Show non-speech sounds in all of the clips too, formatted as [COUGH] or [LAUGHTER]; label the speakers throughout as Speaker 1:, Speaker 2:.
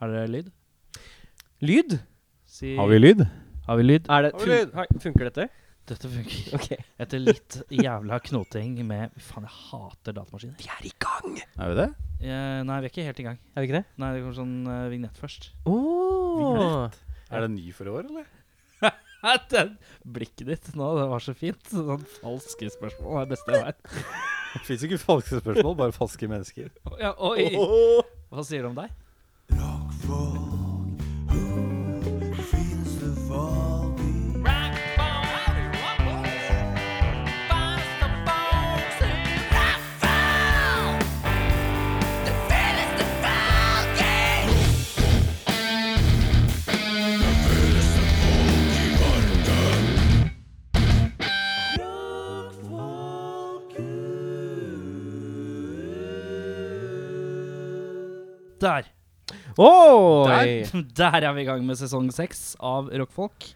Speaker 1: Har dere lyd?
Speaker 2: Lyd?
Speaker 1: Si,
Speaker 3: Har vi lyd?
Speaker 1: Har vi lyd?
Speaker 2: Er det,
Speaker 3: Har vi lyd?
Speaker 2: fun- har- funker dette?
Speaker 1: Dette funker.
Speaker 2: Ok.
Speaker 1: Etter litt jævla knoting med Fy Faen, jeg hater datamaskiner.
Speaker 2: Vi er i gang!
Speaker 3: Er vi det?
Speaker 1: Eh, nei, vi er ikke helt i gang.
Speaker 2: Er vi ikke det?
Speaker 1: Nei, det kommer sånn eh, vignett først. [LAUGHS]
Speaker 2: Oh.
Speaker 3: Er det ny for i år, eller?
Speaker 1: Blikket ditt nå, det var så fint. [LAUGHS] Sånn falske spørsmål er det beste jeg vet.
Speaker 3: Det fins ikke falske spørsmål, bare falske [LAUGHS] mennesker.
Speaker 1: Ja, oi! Hva sier du om deg? Der!
Speaker 2: Oi!
Speaker 1: Der, [LAUGHS] der er vi i gang med sesong seks av Rockfolk.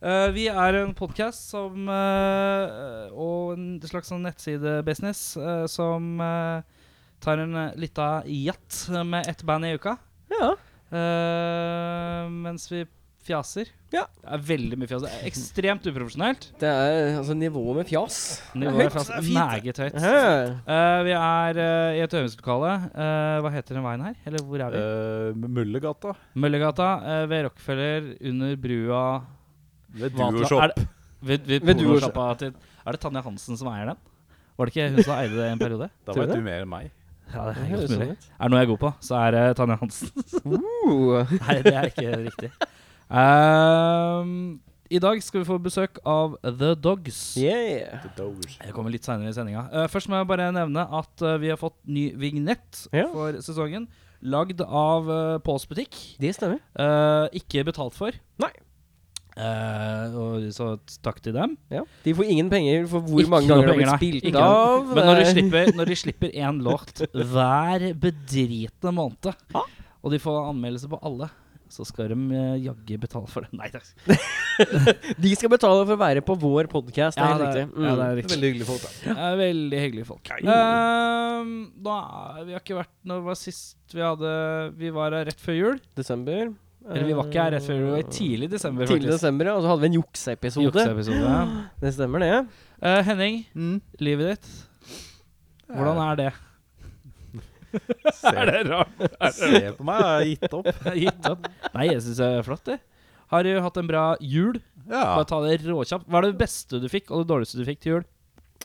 Speaker 1: Eh, vi er en podkast som eh, Og en slags sånn nettsidebusiness eh, som eh, tar en eh, lita jatt med ett band i uka.
Speaker 2: Ja.
Speaker 1: Eh, mens vi fjaser.
Speaker 2: Ja.
Speaker 1: Det er veldig mye fjas. Det er Ekstremt uprofesjonelt.
Speaker 2: Det er altså nivået med fjas.
Speaker 1: Nivået er
Speaker 2: høyt.
Speaker 1: fjas-
Speaker 3: Det er fint.
Speaker 1: meget høyt.
Speaker 2: Hæ?
Speaker 1: Eh, vi er eh, i et øvingslokale. Eh, hva heter den veien her? Eller hvor
Speaker 3: Eh.
Speaker 1: er vi?
Speaker 3: Mullegata.
Speaker 1: Møllergata eh, ved Rockefeller, under brua
Speaker 3: Ved
Speaker 1: Hva-
Speaker 3: Duoshop.
Speaker 1: er det- Ved, ved,
Speaker 2: Ved
Speaker 1: pornosjappa til Er det Tanja Hansen som eier den? Var det ikke hun som eide det en periode?
Speaker 3: Da
Speaker 2: Tror
Speaker 3: vet
Speaker 2: du
Speaker 3: du mer enn meg.
Speaker 1: [LAUGHS] Ja, det
Speaker 2: Det
Speaker 1: er helt
Speaker 2: høres sånn
Speaker 1: mulig.
Speaker 2: ut.
Speaker 1: Er det noe jeg er god på, så er det Tanja Hansen.
Speaker 2: Uh.
Speaker 1: [LAUGHS] Nei, det er ikke riktig. Ehm, I dag skal vi få besøk av The Dogs.
Speaker 2: Yeah.
Speaker 1: Det kommer litt seinere i sendinga. Eh, først må jeg bare nevne at eh, vi har fått ny vignett
Speaker 2: Ja.
Speaker 1: for sesongen. Lagd av uh, Påls butikk.
Speaker 2: Det stemmer.
Speaker 1: Eh, ikke betalt for.
Speaker 2: Nei.
Speaker 1: Eh, og så takk til dem.
Speaker 2: Ja. De får ingen penger for hvor
Speaker 1: Ikke
Speaker 2: mange
Speaker 1: noe
Speaker 2: ganger det har blitt
Speaker 1: penger, nei.
Speaker 2: spilt
Speaker 1: Ikke
Speaker 2: av. Eh,
Speaker 1: Men når de
Speaker 2: det er-
Speaker 1: slipper, når de slipper én låt hver bedritne måned,
Speaker 2: Ja.
Speaker 1: og de får anmeldelse på alle, så skal de eh, jaggu betale for det. Nei, takk.
Speaker 2: De skal betale for å være på vår podkast.
Speaker 1: Ja,
Speaker 2: det,
Speaker 1: det-
Speaker 2: er helt riktig. Mm.
Speaker 1: ja, det er riktig.
Speaker 2: Veldig hyggelig
Speaker 3: [LAUGHS]
Speaker 2: folk, da.
Speaker 1: Det er veldig hyggelige folk. Ehm, da er- vi har ikke vært Når var sist vi hadde Vi var her rett før jul.
Speaker 2: Mm. Desember. Eh,
Speaker 1: Eller vi var ikke her rett før jul, det var i tidlig desember,
Speaker 2: Tidlig Mm.
Speaker 1: faktisk.
Speaker 2: desember, ja. Og så hadde vi en jukseepisode.
Speaker 1: Jukseepisode.
Speaker 2: Det stemmer, det. [LAUGHS]
Speaker 1: Eh, Henning,
Speaker 2: Mm.
Speaker 1: livet ditt.
Speaker 2: Eh,
Speaker 1: Hvordan er det?
Speaker 3: Se, er det rart? Se på meg, jeg har gitt opp.
Speaker 1: [LAUGHS] Gitt opp? Nei, jeg syns det er flott, det. Har du hatt en bra jul?
Speaker 3: [LAUGHS] Ja.
Speaker 1: Bare ta det råkjapt. Hva er det beste du fikk, og det dårligste du fikk til jul?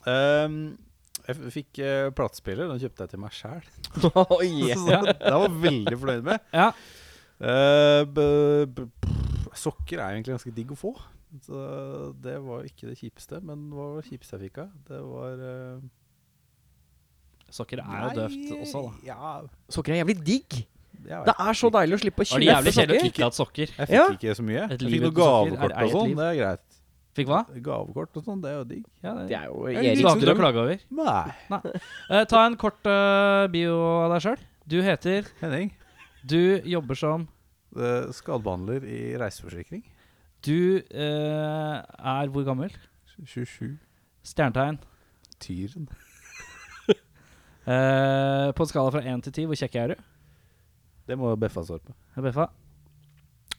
Speaker 3: Ehm, jeg f- fikk eh, platespiller. Den kjøpte jeg til meg [LAUGHS] sjæl.
Speaker 1: [LAUGHS]
Speaker 3: [LAUGHS]
Speaker 2: Oi.
Speaker 3: Så Den var jeg veldig fornøyd med.
Speaker 1: Ja.
Speaker 3: Eh, b- b- pff, sokker er jo egentlig ganske digg å få. Så det var jo ikke det kjipeste, men hva var det kjipeste jeg fikk av? Det var eh,
Speaker 1: Sokker er jo døvt
Speaker 3: nei,
Speaker 1: også, da.
Speaker 3: Ja,
Speaker 2: Sokker er jævlig digg.
Speaker 3: jeg vet
Speaker 2: Det er så deilig å slippe å
Speaker 1: Var det
Speaker 2: kjøpe
Speaker 1: jævlig kjedelig å
Speaker 2: sokker.
Speaker 1: ikke ha hatt sokker?
Speaker 3: Jeg fikk
Speaker 2: Ja.
Speaker 3: ikke så mye.
Speaker 1: Et
Speaker 3: Jeg
Speaker 1: liv
Speaker 3: fikk noe
Speaker 1: uten sokker er-
Speaker 3: gavekort
Speaker 1: er et
Speaker 3: og sånn.
Speaker 1: liv.
Speaker 3: Det er greit.
Speaker 1: Fikk hva?
Speaker 3: Gavekort og sånn, det er jo digg.
Speaker 1: Ja,
Speaker 2: Det er jo
Speaker 3: Jeg
Speaker 1: Ikke
Speaker 3: liker
Speaker 1: noe
Speaker 2: Erik.
Speaker 3: sånn
Speaker 1: annet å
Speaker 3: drøm.
Speaker 1: klage over.
Speaker 3: Nei,
Speaker 1: Eh, ta en kort eh, bio av deg sjøl. Du heter
Speaker 3: Henning.
Speaker 1: Du jobber som
Speaker 3: eh, Skadebehandler i reiseforsikring.
Speaker 1: Du eh, er hvor gammel?
Speaker 3: 27.
Speaker 1: Stjernetegn.
Speaker 3: Tyren.
Speaker 1: Eh, på en skala fra 1 til 10, hvor kjekk er du?
Speaker 3: Det må Beffa svare på.
Speaker 1: Beffa?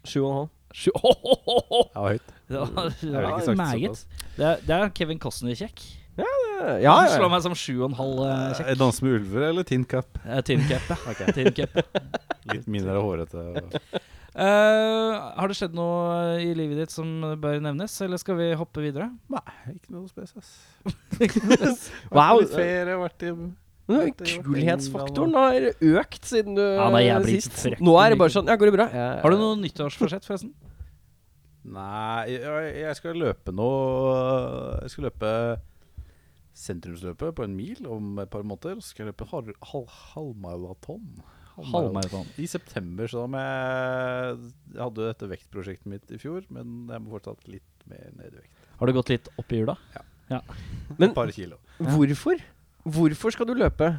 Speaker 2: Sju [LAUGHS] og en halv.
Speaker 1: Sju. Ho, ho, ho, ho.
Speaker 3: Jeg var høyt.
Speaker 1: Det var, det
Speaker 3: ville ikke
Speaker 1: var
Speaker 3: sagt
Speaker 1: meget. Det er, det er Kevin Costner-kjekk.
Speaker 2: Ja,
Speaker 1: Han
Speaker 2: ja,
Speaker 1: slår
Speaker 2: ja.
Speaker 1: meg som sju og en halv eh, kjekk.
Speaker 3: Eh, Danse med ulver eller tin
Speaker 1: [LAUGHS]
Speaker 3: cup?
Speaker 1: Eh, Tin cap, ja. Tin cap,
Speaker 2: [LAUGHS]
Speaker 1: ja.
Speaker 3: Litt mindre hårete. og-
Speaker 1: Eh, har det skjedd noe i livet ditt som bør nevnes, eller skal vi hoppe
Speaker 2: [LAUGHS]
Speaker 1: videre?
Speaker 3: Nei, ikke noe spes, ass.
Speaker 2: Wow.
Speaker 3: Vært på litt ferie, vært i
Speaker 2: Men Kulhetsfaktoren har økt siden du
Speaker 1: Ja, det er jævlig
Speaker 2: sist.
Speaker 1: frekk.
Speaker 2: Nå er det bare sånn Ja, går det bra? Ja.
Speaker 1: Har du noe nyttårsforsett, forresten?
Speaker 3: Nei, jeg, jeg skal løpe nå Jeg skal løpe sentrumsløpet på en mil om et par måneder. Så skal jeg løpe halv, halv, halvmaraton.
Speaker 1: Halvmaraton.
Speaker 3: I september, så da må jeg Jeg hadde jo dette vektprosjektet mitt i fjor, men jeg må fortsatt litt mer ned i vekt.
Speaker 1: Har du gått litt opp i jula?
Speaker 2: Men-
Speaker 3: Et par kilo.
Speaker 2: Hvorfor? Hvorfor skal du løpe?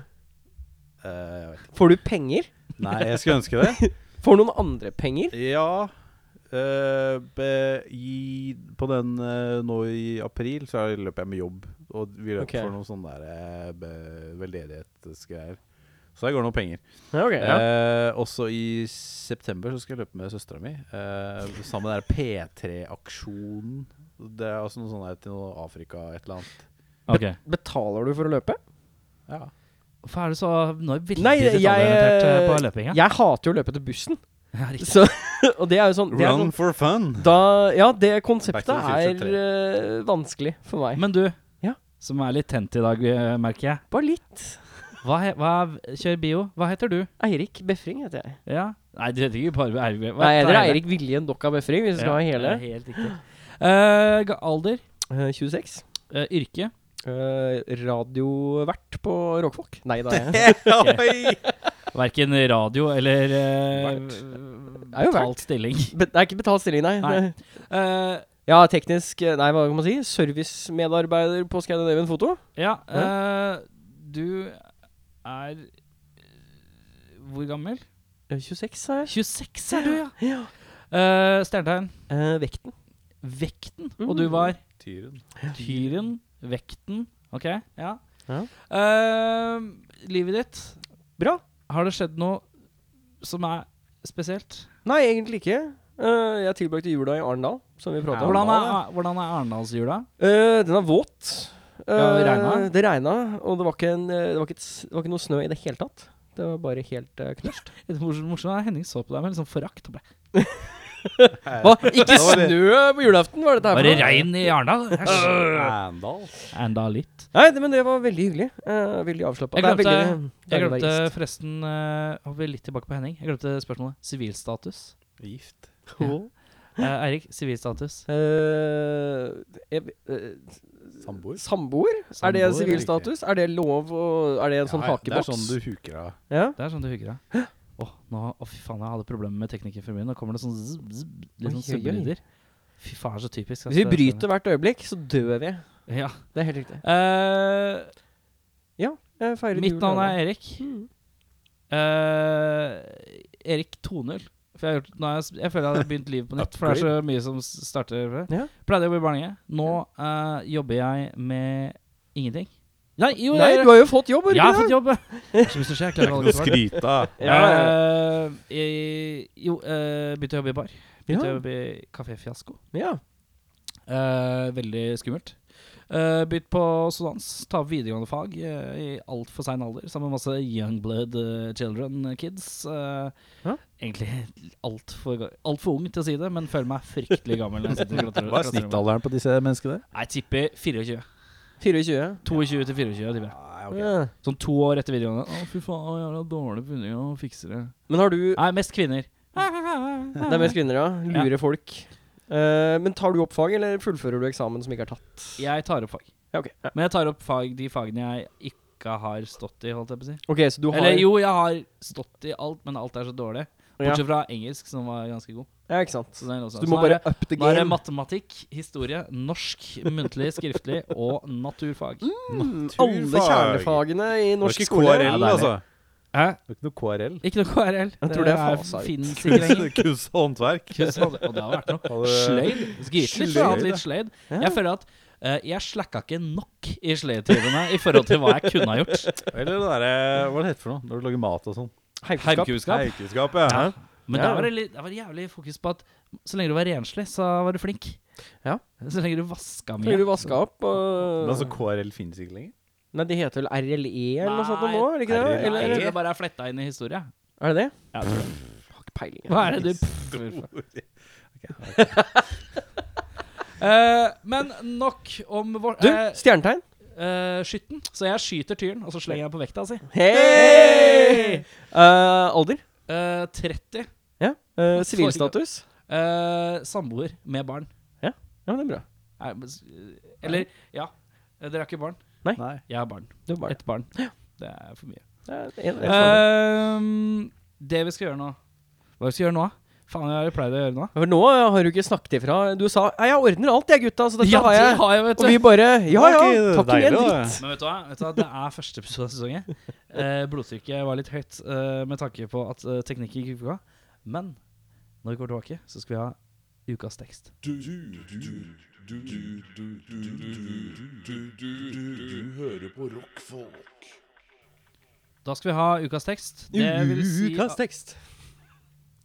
Speaker 3: Eh, jeg vet ikke.
Speaker 2: Får du penger?
Speaker 3: Nei, jeg skulle ønske det.
Speaker 2: Får noen andre penger?
Speaker 3: Ja eh, be, i, På den eh, nå i april så er- løper jeg med jobb. Og vi løper
Speaker 2: Ok.
Speaker 3: for noen sånne der, eh, be- veldedighetsgreier. Så der går det noen penger.
Speaker 2: Ja, ok, ja.
Speaker 3: Eh, også i september så skal jeg løpe med søstera mi. Eh, sammen med den der P3-aksjonen. Det er altså noe sånn her til noe Afrika et eller annet.
Speaker 1: Ok.
Speaker 2: Betaler du for å løpe?
Speaker 3: Ja.
Speaker 1: Hvorfor er du så Nå er jeg veldig
Speaker 2: Nei, jeg,
Speaker 1: detaljorientert eh, på løpinga.
Speaker 2: jeg hater jo å løpe til bussen.
Speaker 1: Ja, riktig.
Speaker 2: Så, [LAUGHS] og det er jo sånn, det er
Speaker 3: Run
Speaker 2: sånn
Speaker 3: for fun!
Speaker 2: da, Ja, det
Speaker 3: Back
Speaker 2: konseptet
Speaker 3: to the
Speaker 2: er
Speaker 3: future
Speaker 2: eh, vanskelig for meg.
Speaker 1: Men du,
Speaker 2: Ja.
Speaker 1: som er litt tent i dag, eh, merker jeg.
Speaker 2: Bare litt.
Speaker 1: Hva, he- hva, kjør bio. Hva heter du?
Speaker 2: Eirik Befring heter jeg.
Speaker 1: Ja. Nei, du heter ikke bare Eirik. Hva
Speaker 2: Nei, jeg heter
Speaker 1: heter
Speaker 2: Eirik Viljen Dokka Befring, hvis du skal
Speaker 1: Ja,
Speaker 2: ha hele.
Speaker 1: det er Helt riktig. Eh, ga- alder?
Speaker 2: Eh, 26.
Speaker 1: eh, yrke?
Speaker 2: Eh, Radiovert på Rockfolk. Nei da. [LAUGHS] Jeg.
Speaker 1: Verken radio eller eh,
Speaker 2: Er jo
Speaker 1: betalt stilling.
Speaker 2: Be- Det er ikke betalt stilling, nei.
Speaker 1: Nei.
Speaker 2: Det-
Speaker 1: [LAUGHS] Eh,
Speaker 2: [LAUGHS] Ja, teknisk eh, Nei, hva kan man si? Servicemedarbeider på Scandinavian Foto.
Speaker 1: ja, eh, du er eh, Hvor gammel?
Speaker 2: Eh, 26, sa jeg.
Speaker 1: 26 er du, ja.
Speaker 2: Ja.
Speaker 1: Eh, Stjernetegn.
Speaker 2: Eh, vekten.
Speaker 1: Vekten. Og du var?
Speaker 3: Tyren.
Speaker 1: Tyren, vekten Ok, ja.
Speaker 2: Ja.
Speaker 1: Eh, livet ditt,
Speaker 2: Bra.
Speaker 1: har det skjedd noe som er spesielt?
Speaker 2: Nei, egentlig ikke. Eh, jeg tilbrakte jula i Arendal, som vi prata om.
Speaker 1: Hvordan er, hvordan er Arendalsjula?
Speaker 2: Eh, den er våt.
Speaker 1: Ja, det
Speaker 2: Eh,
Speaker 1: regna.
Speaker 2: det regna, og det var, ikke en, eh, det, var ikke et, s- det var ikke noe snø i det hele tatt. Det var bare helt uh, knørst.
Speaker 1: Det morsomme morsomme er at Henning så på deg med litt sånn forakt. og ble,
Speaker 2: Hva?
Speaker 3: var
Speaker 2: Ikke
Speaker 3: det-
Speaker 2: snø på julaften, var dette her? for
Speaker 1: Var
Speaker 2: noe?
Speaker 1: det regn i Arendal? [LAUGHS] Æsj.
Speaker 3: Arendal.
Speaker 1: Enda litt.
Speaker 2: Nei, det, men det var veldig hyggelig. Eh, veldig avslappa.
Speaker 1: Jeg
Speaker 2: Det er
Speaker 1: glemte-
Speaker 2: veldig-
Speaker 1: Jeg
Speaker 2: deilig å være
Speaker 1: glemte
Speaker 2: gjest.
Speaker 1: forresten eh, Hopper litt tilbake på Henning. Jeg glemte spørsmålet. Sivilstatus.
Speaker 3: Gift.
Speaker 1: Ja. Eh, Eirik, sivilstatus.
Speaker 2: Eh, jeg- eh,
Speaker 3: Samboer.
Speaker 2: Samboer? Er det
Speaker 1: Samboer,
Speaker 2: sivil
Speaker 3: riktig.
Speaker 2: status? Er det lov og Er det en sånn
Speaker 3: Ja, Det
Speaker 2: hakeboks?
Speaker 3: er sånn du huker av.
Speaker 2: ja?
Speaker 1: Det er sånn du hugger deg. Å, nå, å, fy faen, jeg hadde problemer med teknikerfamilien. Nå kommer det sånn zzz, zzz, litt sånn
Speaker 2: Oi, oi, oi.
Speaker 1: subbelyder. Fy faen, det er så typisk.
Speaker 2: Hvis vi
Speaker 1: ass, det
Speaker 2: bryter hvert øyeblikk, så dør vi.
Speaker 1: stemmer. Ja.
Speaker 2: Det er helt riktig.
Speaker 1: Eh,
Speaker 2: Jeg feirer
Speaker 1: mitt
Speaker 2: jul
Speaker 1: navn
Speaker 2: alene.
Speaker 1: er Erik. Eh, Erik 2.0. For jeg, har gjort, nå har jeg, s- jeg føler jeg har begynt livet på nytt, for det er så mye som s- starter. for det.
Speaker 2: Ja.
Speaker 1: Pleide å jobbe i barnehage. Nå eh, jobber jeg med ingenting. Nei, jo,
Speaker 2: Nei,
Speaker 1: jeg,
Speaker 2: du har jo fått jobb, har du
Speaker 1: jeg har
Speaker 2: ikke
Speaker 1: fått
Speaker 2: det?
Speaker 1: jobb! Det er [LAUGHS] så mye som skjer, jeg klarer å holde [LAUGHS] kontroll.
Speaker 3: skryte [LAUGHS] av.
Speaker 1: Eh, jeg- jo, eh, begynte å jobbe i bar. Begynte
Speaker 2: Ja.
Speaker 1: å jobbe i Kafé Fiasko.
Speaker 2: Ja.
Speaker 1: Eh, veldig skummelt. Uh, Begynt på sodans. Ta opp videregående fag eh, i altfor sein alder. Sammen med masse young blood eh, children eh, kids. Uh,
Speaker 2: Ja.
Speaker 1: Egentlig altfor ga- alt for ung til å si det, men føler meg fryktelig gammel. Når jeg sitter i klatter-
Speaker 3: Hva er
Speaker 1: klasserommet.
Speaker 3: snittalderen på disse menneskene?
Speaker 1: Jeg tipper 24.
Speaker 2: 24.
Speaker 1: 22 til 24. tipper jeg.
Speaker 3: Nei,
Speaker 2: Ja.
Speaker 1: Sånn to år etter videregående. Å, fy faen, å, jævla dårlig på undergang, å fikse det.
Speaker 2: Men har du
Speaker 1: Nei, mest
Speaker 2: [LAUGHS]
Speaker 1: kvinner.
Speaker 2: Det er mest kvinner, ja. Lure folk. Eh, men tar du opp fag, eller fullfører du eksamen som ikke er tatt?
Speaker 1: Jeg tar opp fag.
Speaker 2: Ja, ok. Ja.
Speaker 1: Men jeg tar opp fag, de fagene jeg ikke har stått i, holdt jeg på å si.
Speaker 2: Ok, så du har
Speaker 1: Eller jo, jeg har stått i alt, men alt er så dårlig.
Speaker 2: ja.
Speaker 1: Bortsett fra engelsk, som var ganske god.
Speaker 2: ja, ikke sant.
Speaker 1: Så det er noe
Speaker 2: Så
Speaker 1: sånt.
Speaker 2: du
Speaker 1: Så
Speaker 2: må
Speaker 1: nå er
Speaker 2: bare
Speaker 1: det-
Speaker 2: up the
Speaker 1: Nå er det
Speaker 2: game.
Speaker 1: matematikk, historie, norsk, muntlig, skriftlig og naturfag.
Speaker 2: Mm, alle kjernefagene i
Speaker 3: Det var
Speaker 2: norsk
Speaker 3: ikke
Speaker 2: skole.
Speaker 3: KRL,
Speaker 1: Ja, det er
Speaker 3: altså.
Speaker 1: Hæ?
Speaker 3: Det var ikke noe KRL.
Speaker 1: Ikke noe KRL.
Speaker 2: Jeg tror det er fasa ut.
Speaker 1: Fins ikke
Speaker 2: [LAUGHS]
Speaker 1: lenger.
Speaker 3: [LAUGHS] Kunst og håndverk.
Speaker 1: Kunst og det har vært noe. Sløyd. Grytelig for å ha hatt litt sløyd.
Speaker 2: Ja.
Speaker 1: Jeg føler at eh, jeg slacka ikke nok i sløydtimene i forhold til hva jeg kunne ha gjort.
Speaker 3: Eller det derre Hva er det heter for noe? Når du lager mat og sånn.
Speaker 2: Heimkunnskap.
Speaker 1: Heimkunnskap.
Speaker 3: Eikeskap, ja.
Speaker 2: Ja.
Speaker 1: Men
Speaker 2: Ja,
Speaker 1: der var
Speaker 2: ja.
Speaker 1: det, litt, det var jævlig fokus på at så lenge du var renslig, så var du flink.
Speaker 2: Ja.
Speaker 1: Så lenge du vaska
Speaker 2: Blir
Speaker 1: mye.
Speaker 2: du vaska opp og
Speaker 3: Men altså, KRL finnes ikke lenger?
Speaker 2: Nei, de heter vel RLE eller noe sånt
Speaker 1: Nei,
Speaker 2: nå? Er det ikke det?
Speaker 3: RLE.
Speaker 1: Eller,
Speaker 2: Eller,
Speaker 1: eller det bare er fletta inn i historie.
Speaker 2: er det det?
Speaker 1: Ja, jeg tror det.
Speaker 2: Har ikke peiling. jeg.
Speaker 1: Hva er det du pff, Eh, Men nok om vår
Speaker 2: Du,
Speaker 1: eh,
Speaker 2: stjernetegn.
Speaker 1: eh, Skytten. Så jeg skyter tyren, og så slenger jeg på vekta si.
Speaker 2: Hei! Eh, alder?
Speaker 1: Eh, 30.
Speaker 2: Ja. Eh, Sivilstatus?
Speaker 1: Eh, samboer med barn.
Speaker 2: ja, men det er bra.
Speaker 1: Nei, men s- Eller, ja. eh, Dere har ikke barn?
Speaker 3: Nei.
Speaker 1: Jeg har barn.
Speaker 2: Du er barn.
Speaker 1: Ett barn. Det er for mye.
Speaker 2: Eh, en- en farlig.
Speaker 1: Ehm, det vi skal gjøre nå Hva vi skal gjøre nå? Faen, jeg har jo pleid å gjøre nå.
Speaker 2: For nå har du ikke snakket ifra. Du sa «Nei, 'jeg ordner alt, jeg, gutta', så dette
Speaker 1: Ja,
Speaker 2: har
Speaker 1: det
Speaker 2: jeg.
Speaker 1: har jeg, vet
Speaker 2: Og
Speaker 1: du.
Speaker 2: vi bare 'ja ja,
Speaker 3: Ok,
Speaker 2: takk
Speaker 3: deilig,
Speaker 2: igjen,
Speaker 3: da.
Speaker 2: dritt'.
Speaker 1: Men vet du hva? Vet du hva? Det er første episode av sesongen. Eh, blodtrykket var litt høyt eh, med tanke på at eh, teknikken ikke funka. Men når vi går tilbake, så skal vi ha ukas tekst.
Speaker 4: Du, du, du, du, du, du, du, du, du, du, du, du hører på rockfolk.
Speaker 1: Da skal vi ha ukas tekst. Det vil si
Speaker 2: Ukas tekst.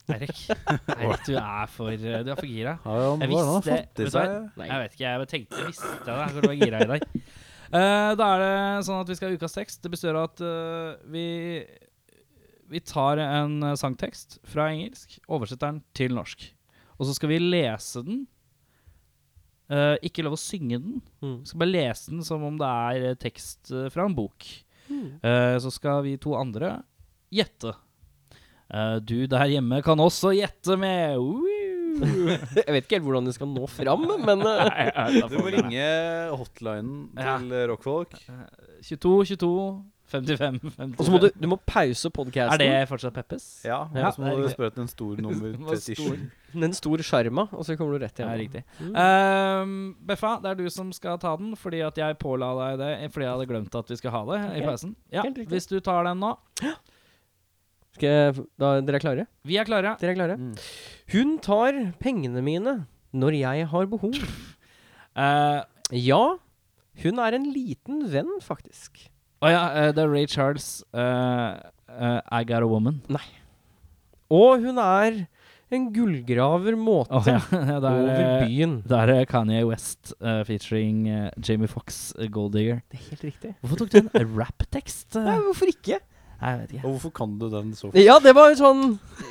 Speaker 2: [LAUGHS]
Speaker 1: Eirik, Eirik, du er for, eh, du er for gira.
Speaker 3: Har han,
Speaker 1: Jeg
Speaker 3: hva har
Speaker 1: visste-
Speaker 3: han fått i
Speaker 1: vet du
Speaker 3: seg?
Speaker 1: hva?
Speaker 2: Nei.
Speaker 1: Jeg vet ikke, jeg bare tenkte jeg visste det. Jeg skulle være gira i
Speaker 3: [LAUGHS]
Speaker 1: dag. Eh, da er det sånn at vi skal ha ukas tekst. Det består av at eh, vi Vi tar en eh, sangtekst fra engelsk, oversetter den til norsk. Og så skal vi lese den. Eh, ikke lov å synge den. Vi skal bare lese den som om det er eh, tekst eh, fra en bok. Eh, så skal vi to andre gjette. Eh, du der hjemme kan også gjette med Woo!
Speaker 2: Jeg vet ikke helt hvordan det skal nå fram, men eh,
Speaker 1: Nei, jeg vet da
Speaker 3: Du må
Speaker 1: faen.
Speaker 3: ringe hotlinen til eh, rockfolk.
Speaker 1: 22, 22, 55, 55.
Speaker 2: Og så må du, du må pause
Speaker 1: Er det
Speaker 2: podkasten.
Speaker 1: fortsatt Peppes?
Speaker 3: Ja,
Speaker 2: Ja,
Speaker 3: og så må
Speaker 2: det er
Speaker 3: du
Speaker 2: riktig.
Speaker 3: spørre etter en
Speaker 1: [LAUGHS]
Speaker 3: stor nummer
Speaker 1: Det var stor.
Speaker 3: 37.
Speaker 2: En stor skjerma, og så kommer du rett
Speaker 1: Det er
Speaker 2: igjen.
Speaker 1: riktig. Ehm, Beffa, det er du som skal ta den, fordi at jeg påla deg det fordi jeg hadde glemt at vi skulle ha det i
Speaker 2: Helt-
Speaker 1: pausen. Ja,
Speaker 2: helt riktig.
Speaker 1: hvis du tar den nå.
Speaker 2: Skal jeg, da, dere er klare?
Speaker 1: Vi er klare.
Speaker 2: Dere er klare?
Speaker 3: Mm.
Speaker 2: Hun tar pengene mine når jeg har behov.
Speaker 1: Eh,
Speaker 2: Ja, hun er en liten venn, faktisk.
Speaker 1: Å ja, eh, det er Ray Charles. eh, eh, I Got A Woman.
Speaker 2: Og hun er en gullgraver
Speaker 1: Å
Speaker 2: måte [LAUGHS]
Speaker 1: ja, [LAUGHS] det er,
Speaker 2: over
Speaker 1: eh,
Speaker 2: byen.
Speaker 1: det er eh, Kanye West eh, featuring eh, Jamie Fox, uh, Gold Digger.
Speaker 2: Det er helt riktig.
Speaker 1: Hvorfor tok du en [LAUGHS] rapptekst?
Speaker 2: Nei,
Speaker 1: Uh,
Speaker 2: hvorfor ikke?
Speaker 1: jeg vet ikke.
Speaker 3: Og hvorfor kan du den så fort?
Speaker 2: Ja, det var jo sånn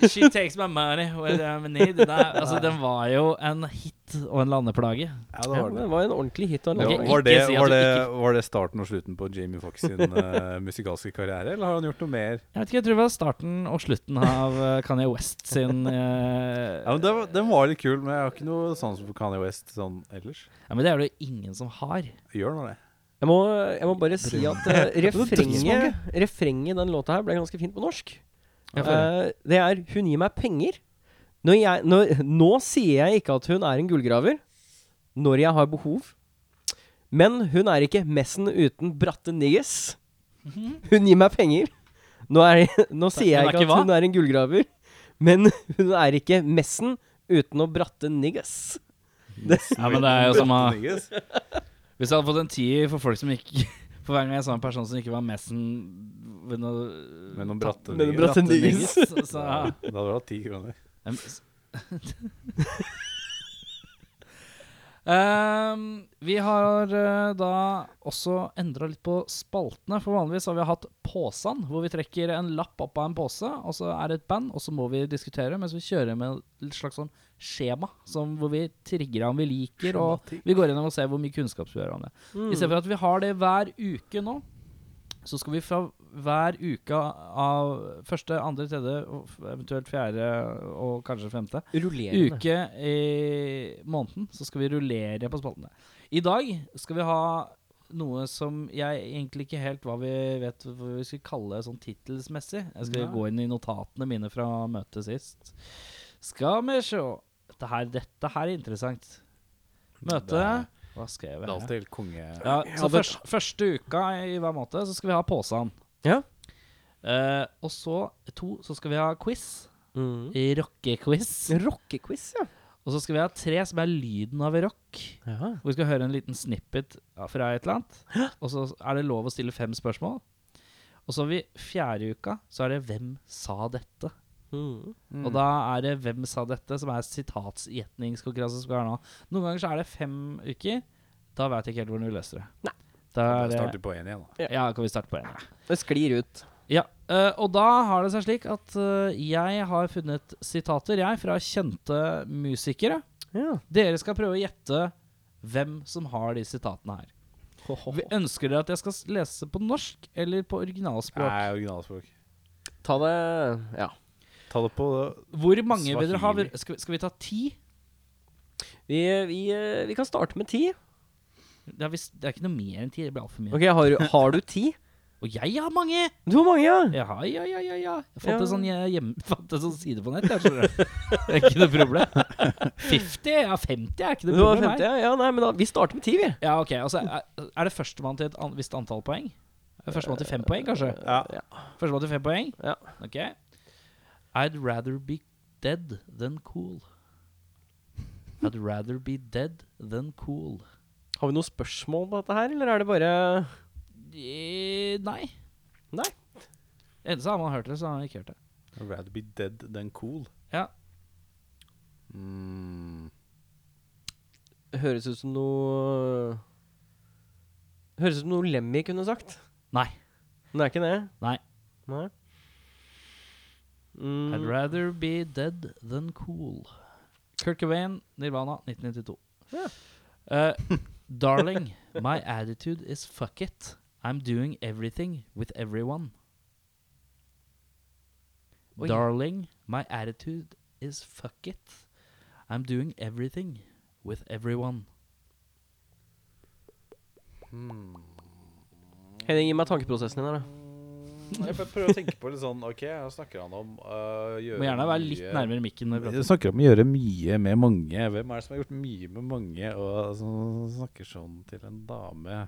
Speaker 1: She takes my money where I'm in need. Nei, altså, den var jo en hit og en landeplage.
Speaker 3: Ja, det
Speaker 2: ja,
Speaker 3: var det.
Speaker 2: Det var en ordentlig hit. Og en
Speaker 1: Det var-
Speaker 2: lang vei.
Speaker 3: Var, det,
Speaker 1: ikke si at
Speaker 3: var,
Speaker 1: du
Speaker 3: det, var det starten og slutten på Jamie Foxx [LAUGHS] sin eh, musikalske karriere, eller har han gjort noe mer?
Speaker 1: Jeg vet ikke, jeg tror det var starten og slutten av eh, Kanye West sin eh,
Speaker 3: Ja, men det var, Den var litt kul, men jeg har ikke noe sans for Kanye West sånn ellers.
Speaker 1: ja, men det er det jo ingen som har.
Speaker 3: Gjør nå det.
Speaker 2: Jeg må, jeg må bare si at
Speaker 3: [LAUGHS]
Speaker 2: eh, refrenget Refrenget i den låta her ble ganske fint på norsk.
Speaker 1: Ja, for det.
Speaker 2: Eh, det er 'Hun gir meg penger'. Når jeg, når, nå sier jeg ikke at hun er en gullgraver, når jeg har behov. Men hun er ikke messen uten bratte niggas. Hun gir meg penger. Nå, er, jeg- nå sier jeg
Speaker 1: Hun er
Speaker 2: ikke
Speaker 1: ikke
Speaker 2: at Mhm. hun er en gullgraver, men hun er ikke messen uten å bratte niggas.
Speaker 1: Ja, men det er jo som å
Speaker 3: Bratte niggas.
Speaker 1: Hvis jeg hadde fått en tier for folk som ikke [LAUGHS] For hver gang jeg sa en person som ikke var messen ved noe
Speaker 3: Med noen
Speaker 1: tatt-
Speaker 3: bratte
Speaker 2: med noen
Speaker 3: niggas.
Speaker 2: bratte
Speaker 1: niggas, så- så-
Speaker 3: Ja, Da hadde du hatt ti kroner.
Speaker 1: Em, s- Em, vi har eh, da også endra litt på spaltene. For vanligvis har vi hatt Påsan, hvor vi trekker en lapp opp av en pose, og så er det et band, og så må vi diskutere, mens vi kjører med et slags sånn skjema, som, hvor vi trigger om vi liker, og vi går gjennom og ser hvor mye kunnskap vi har om det. I stedet for at vi har det hver uke nå, så skal vi fra hver uke av første, andre, tredje, og f- eventuelt fjerde og kanskje femte
Speaker 2: Rullerende.
Speaker 1: uke i måneden, så skal vi rullere på spaltene. I dag skal vi ha noe som jeg egentlig ikke helt hva vi vet hva vi skal kalle sånn tittelsmessig. Jeg skal
Speaker 3: Nei.
Speaker 1: gå inn i notatene mine fra møtet sist. Skal vi sjå Dette her, dette her er interessant.
Speaker 3: Det
Speaker 1: Møte
Speaker 3: er-
Speaker 1: Hva skrev jeg?
Speaker 3: Det er alltid helt konge.
Speaker 1: Ja, så
Speaker 2: hadde-
Speaker 1: først, første uka i hver måned så skal vi ha påsan.
Speaker 2: Ja.
Speaker 1: Eh, og så to, så skal vi ha quiz.
Speaker 2: Mm.
Speaker 1: Rockequiz.
Speaker 2: Rockequiz, ja.
Speaker 1: Og så skal vi ha tre som er lyden av rock.
Speaker 2: ja.
Speaker 1: Hvor vi skal høre en liten snippet fra et eller annet. Og så er det lov å stille fem spørsmål. Og så har vi fjerde uka, så er det 'Hvem sa dette?'
Speaker 2: Mm.
Speaker 1: Og da er det 'Hvem sa dette?' som er sitatsgjetningskonkurranse. som skal være nå. Noen ganger så er det fem uker. Da veit jeg ikke helt hvordan vi løser det.
Speaker 2: Nei.
Speaker 1: Da er
Speaker 3: Da
Speaker 1: det
Speaker 3: starter vi på én igjen, da.
Speaker 1: Ja, kan vi starte på én?
Speaker 2: Det sklir ut.
Speaker 1: Ja, eh, og da har det seg slik at eh, jeg har funnet sitater, jeg, fra kjente musikere.
Speaker 2: Ja.
Speaker 1: Dere skal prøve å gjette hvem som har de sitatene her. Vi ønsker dere at jeg skal s- lese på norsk eller på originalspråk?
Speaker 3: Nei, originalspråk.
Speaker 2: Ta det Ja.
Speaker 3: Ta det på
Speaker 1: Hvor mange vil dere ha?
Speaker 3: Swahili.
Speaker 1: Skal, vi- skal vi ta ti?
Speaker 2: Vi, vi, eh, vi kan starte med ti.
Speaker 1: Det er, visst- det er ikke noe mer enn ti. Det blir altfor mye.
Speaker 2: Ok, har, du- har du ti?
Speaker 1: Og jeg har mange!
Speaker 2: Du har mange, ja.
Speaker 1: Ja, ja, ja, ja, ja. Jeg fant,
Speaker 2: Ja.
Speaker 1: En sånn hjem, [LAUGHS] hjem- fant en sånn side på nett. Jeg skjønner
Speaker 2: [LAUGHS]
Speaker 1: det. det er ikke noe problem. 50? Ja, 50 er ikke
Speaker 2: Du
Speaker 1: noe
Speaker 2: har
Speaker 1: problem. her.
Speaker 2: 50, ja. ja nei, men da, vi starter med ti, vi.
Speaker 1: Ja, ok. Altså, er, er det førstemann til et an visst antall poeng? Er det Førstemann til fem poeng, kanskje?
Speaker 3: Ja.
Speaker 1: Førstemann til fem poeng?
Speaker 2: Ja.
Speaker 1: Ok. I'd rather be dead than cool. I'd rather be dead than cool.
Speaker 2: Har vi noen spørsmål på dette her, eller er det bare
Speaker 1: Eh, nei.
Speaker 2: Nei.
Speaker 1: Enten så har man hørt det, så har man ikke hørt det.
Speaker 3: I'd rather be dead than cool.
Speaker 1: Ja.
Speaker 3: Mm.
Speaker 2: eh, Høres ut som noe eh, Høres ut som noe Lemmy kunne sagt.
Speaker 1: Nei.
Speaker 2: Men det er ikke det?
Speaker 1: Nei.
Speaker 2: Nei. Mm.
Speaker 1: I'd rather be dead than cool. Kurt Cobain, Nirvana, 1992.
Speaker 2: Ja.
Speaker 1: [LAUGHS] Eh, darling, my attitude is fuck it. I'm doing everything with everyone.
Speaker 2: Oi.
Speaker 1: Darling, my attitude is fuck it. I'm doing everything with everyone.
Speaker 3: hmm.
Speaker 2: Henning, gi meg tankeprosessen din her, da.
Speaker 3: Jeg bare prøver å tenke på litt sånn Ok, her snakker han om uh,
Speaker 1: Må gjerne være litt nærmere mikken. når vi
Speaker 3: [LAUGHS]
Speaker 1: prater.
Speaker 3: Jeg snakker om å gjøre mye med mange. Hvem er det som har gjort mye med mange, og som snakker sånn til en dame?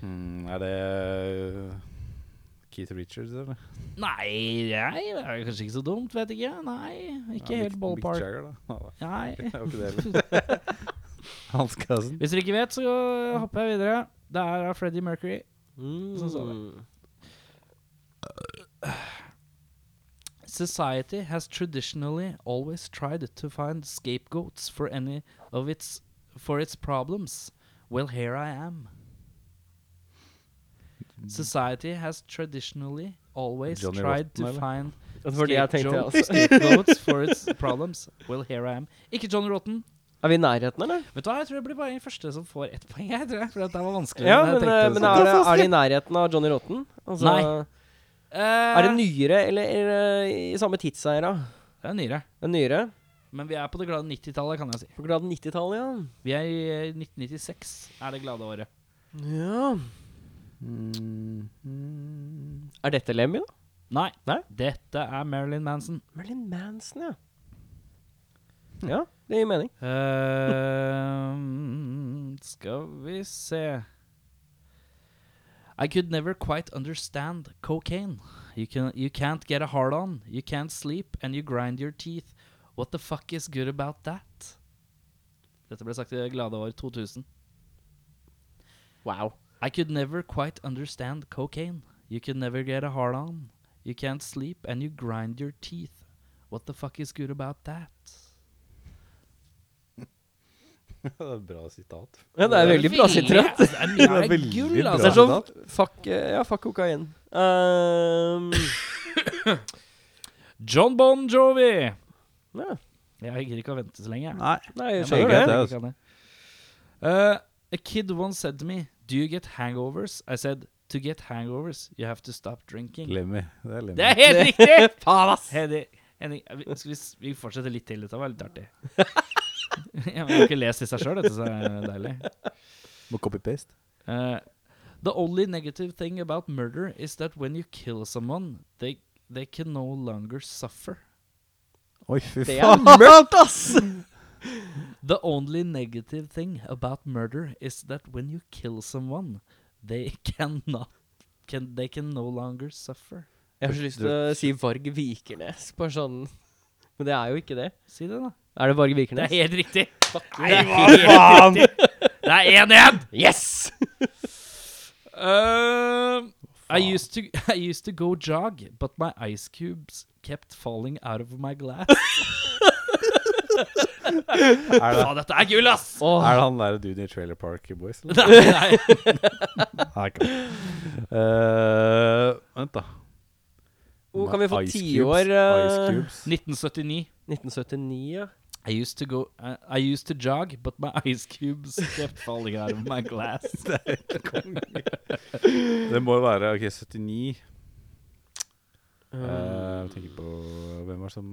Speaker 3: Hmm, er det øh, Keith Richards, eller?
Speaker 1: Nei, jeg er kanskje ikke så dumt, vet ikke. Nei, ikke
Speaker 3: Ja,
Speaker 1: helt
Speaker 3: Mick- Mick
Speaker 1: ballpark.
Speaker 3: Jagger, da. Nei,
Speaker 1: Nei.
Speaker 3: [LAUGHS] det var ikke det
Speaker 1: [LAUGHS]
Speaker 3: heller. Hans Cousin.
Speaker 1: Hvis dere ikke vet, så hopper jeg videre. Det er av Freddie Mercury. Sånn sa
Speaker 2: Mm.
Speaker 1: Society has traditionally always tried to find scapegoats for any of its for its problems. Well, here I am. Society has traditionally always
Speaker 3: Johnny
Speaker 1: tried
Speaker 3: Rotten,
Speaker 1: to
Speaker 3: eller?
Speaker 1: find
Speaker 2: Det var det jeg tenkte,
Speaker 1: scapegoat-
Speaker 2: altså.
Speaker 1: scapegoats for its problems. Well, here I am. Ikke Johnny Rotten.
Speaker 2: Er vi i nærheten, eller?
Speaker 1: Vet du hva, jeg tror jeg blir bare den første som får ett poeng. Jeg tror jeg, For det var vanskeligere
Speaker 2: Ja,
Speaker 1: enn jeg
Speaker 2: men, eh,
Speaker 1: tenkte.
Speaker 2: men
Speaker 1: så-
Speaker 2: er, det, er det i nærheten av Johnny Rotten? Altså,
Speaker 1: Nei. Eh,
Speaker 2: Er det nyere, eller eller, eh, i samme tidseier, da?
Speaker 1: det er nyere.
Speaker 2: Det er nyere?
Speaker 1: Men vi er på det glade 90-tallet, kan jeg si.
Speaker 2: På glad 90-tallet, ja.
Speaker 1: Vi er i eh, 1996, er det glade året.
Speaker 2: ja. Mm-hmm. Er dette Lemmy, da?
Speaker 1: Nei.
Speaker 2: Nei?
Speaker 1: Dette er Marilyn Manson.
Speaker 2: Merlin Manson, ja. Ja, det gir mening.
Speaker 1: Ehm, Eh, skal vi se I could never quite understand cocaine. You, can, you can't get a hard on, you can't sleep, and you grind your teeth. What the fuck is good about that? Dette ble sagt i det glade år 2000.
Speaker 2: Wow.
Speaker 1: I could never quite understand cocaine. You could never get a hard on. You can't sleep and you grind your teeth. What the fuck is good about that?
Speaker 3: Det er et bra sitat.
Speaker 2: Ja, det er veldig bra sitat.
Speaker 1: Det er mye av det
Speaker 3: veldig
Speaker 1: gull,
Speaker 3: bra
Speaker 2: Det er
Speaker 1: altså.
Speaker 2: sånn Fuck eh, Ja, fuck kokain. Um,
Speaker 1: John Bon Jovi.
Speaker 2: ja.
Speaker 1: Jeg gidder ikke å vente så lenge.
Speaker 3: Nei.
Speaker 2: Nei, jeg
Speaker 1: Jeg
Speaker 3: skjønner
Speaker 2: skjønner
Speaker 1: merker
Speaker 2: det.
Speaker 1: at jeg ikke kan det. Uh, a kid once said to me, Do you get hangovers? I said, To get hangovers, you have to stop drinking.
Speaker 3: Lemmy. Det er Lemmy.
Speaker 1: Det er helt riktig!
Speaker 2: [LAUGHS] Faen, ass!
Speaker 1: Henning, Henning vi, skal vi, s- vi fortsetter litt til. Dette var litt artig. [LAUGHS] ja, men jeg har ikke lest disse sjøl, dette, så det er deilig.
Speaker 3: Må copy-paste.
Speaker 1: Uh, the only negative thing about murder is that when you kill someone, they, they can no longer suffer.
Speaker 3: Oi, fy
Speaker 2: Det er mørkt, ass!
Speaker 1: The only negative thing about murder is that when you kill someone, they [LAUGHS] cannot can, they can no longer suffer.
Speaker 2: Jeg har så lyst til å si Varg Vikernes, bare sånn Men det er jo ikke det.
Speaker 1: Si det, da.
Speaker 2: Er det Varg
Speaker 1: Det er
Speaker 2: Vikernes?
Speaker 1: helt riktig.
Speaker 2: Nei,
Speaker 1: Det er helt riktig. Det er 1-1.
Speaker 2: Yes!
Speaker 1: Um, I used to [LAUGHS] I used to go jog, but my ice cubes kept falling out of my glass.
Speaker 3: Er
Speaker 1: [LAUGHS]
Speaker 3: det,
Speaker 1: Faen, dette er gull, ass! [LAUGHS]
Speaker 2: Åh,
Speaker 3: er det han der duden i Trailer Park Boys, eller?
Speaker 1: Nei, nei.
Speaker 3: Nei, ikke han. Eh, Vent, da.
Speaker 2: Hvor oh, kan vi få
Speaker 3: Ice
Speaker 2: tiår,
Speaker 3: Cubes,
Speaker 2: eh,
Speaker 3: Ice Cubes.
Speaker 1: 1979.
Speaker 2: 1979, ja.
Speaker 1: I used to go I, I used to jog, but my ice cubes kept falling out of my glass.
Speaker 3: Det må jo være OK, 79. Eh, Jeg tenker på Hvem var det som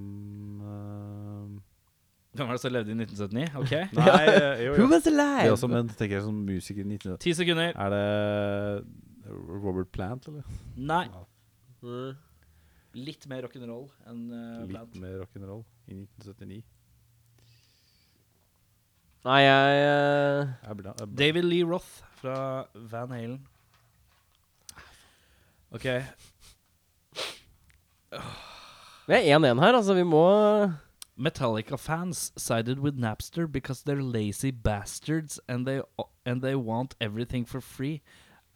Speaker 1: Hvem var det som levde i 1979?
Speaker 3: eh,
Speaker 1: Ok.
Speaker 3: [LAUGHS] Nei, eh, jo,
Speaker 2: Who
Speaker 3: jo.
Speaker 2: was
Speaker 3: Det er
Speaker 2: alive?
Speaker 3: også, men tenker jeg som musiker i 19...
Speaker 1: Ti sekunder.
Speaker 3: Er det Robert Plant, eller?
Speaker 1: Nei.
Speaker 2: Mm.
Speaker 1: Litt mer rock'n'roll enn uh,
Speaker 3: Litt
Speaker 1: Plant.
Speaker 3: mer rock'n'roll i 1979.
Speaker 2: Nei, jeg eh,
Speaker 3: Er bra, er bra.
Speaker 1: David Lee Roth fra Van Halen. Ok.
Speaker 2: Vi er 1-1 her, altså. Vi må
Speaker 1: Metallica fans sided with Napster because they're lazy bastards and they and they want everything for free.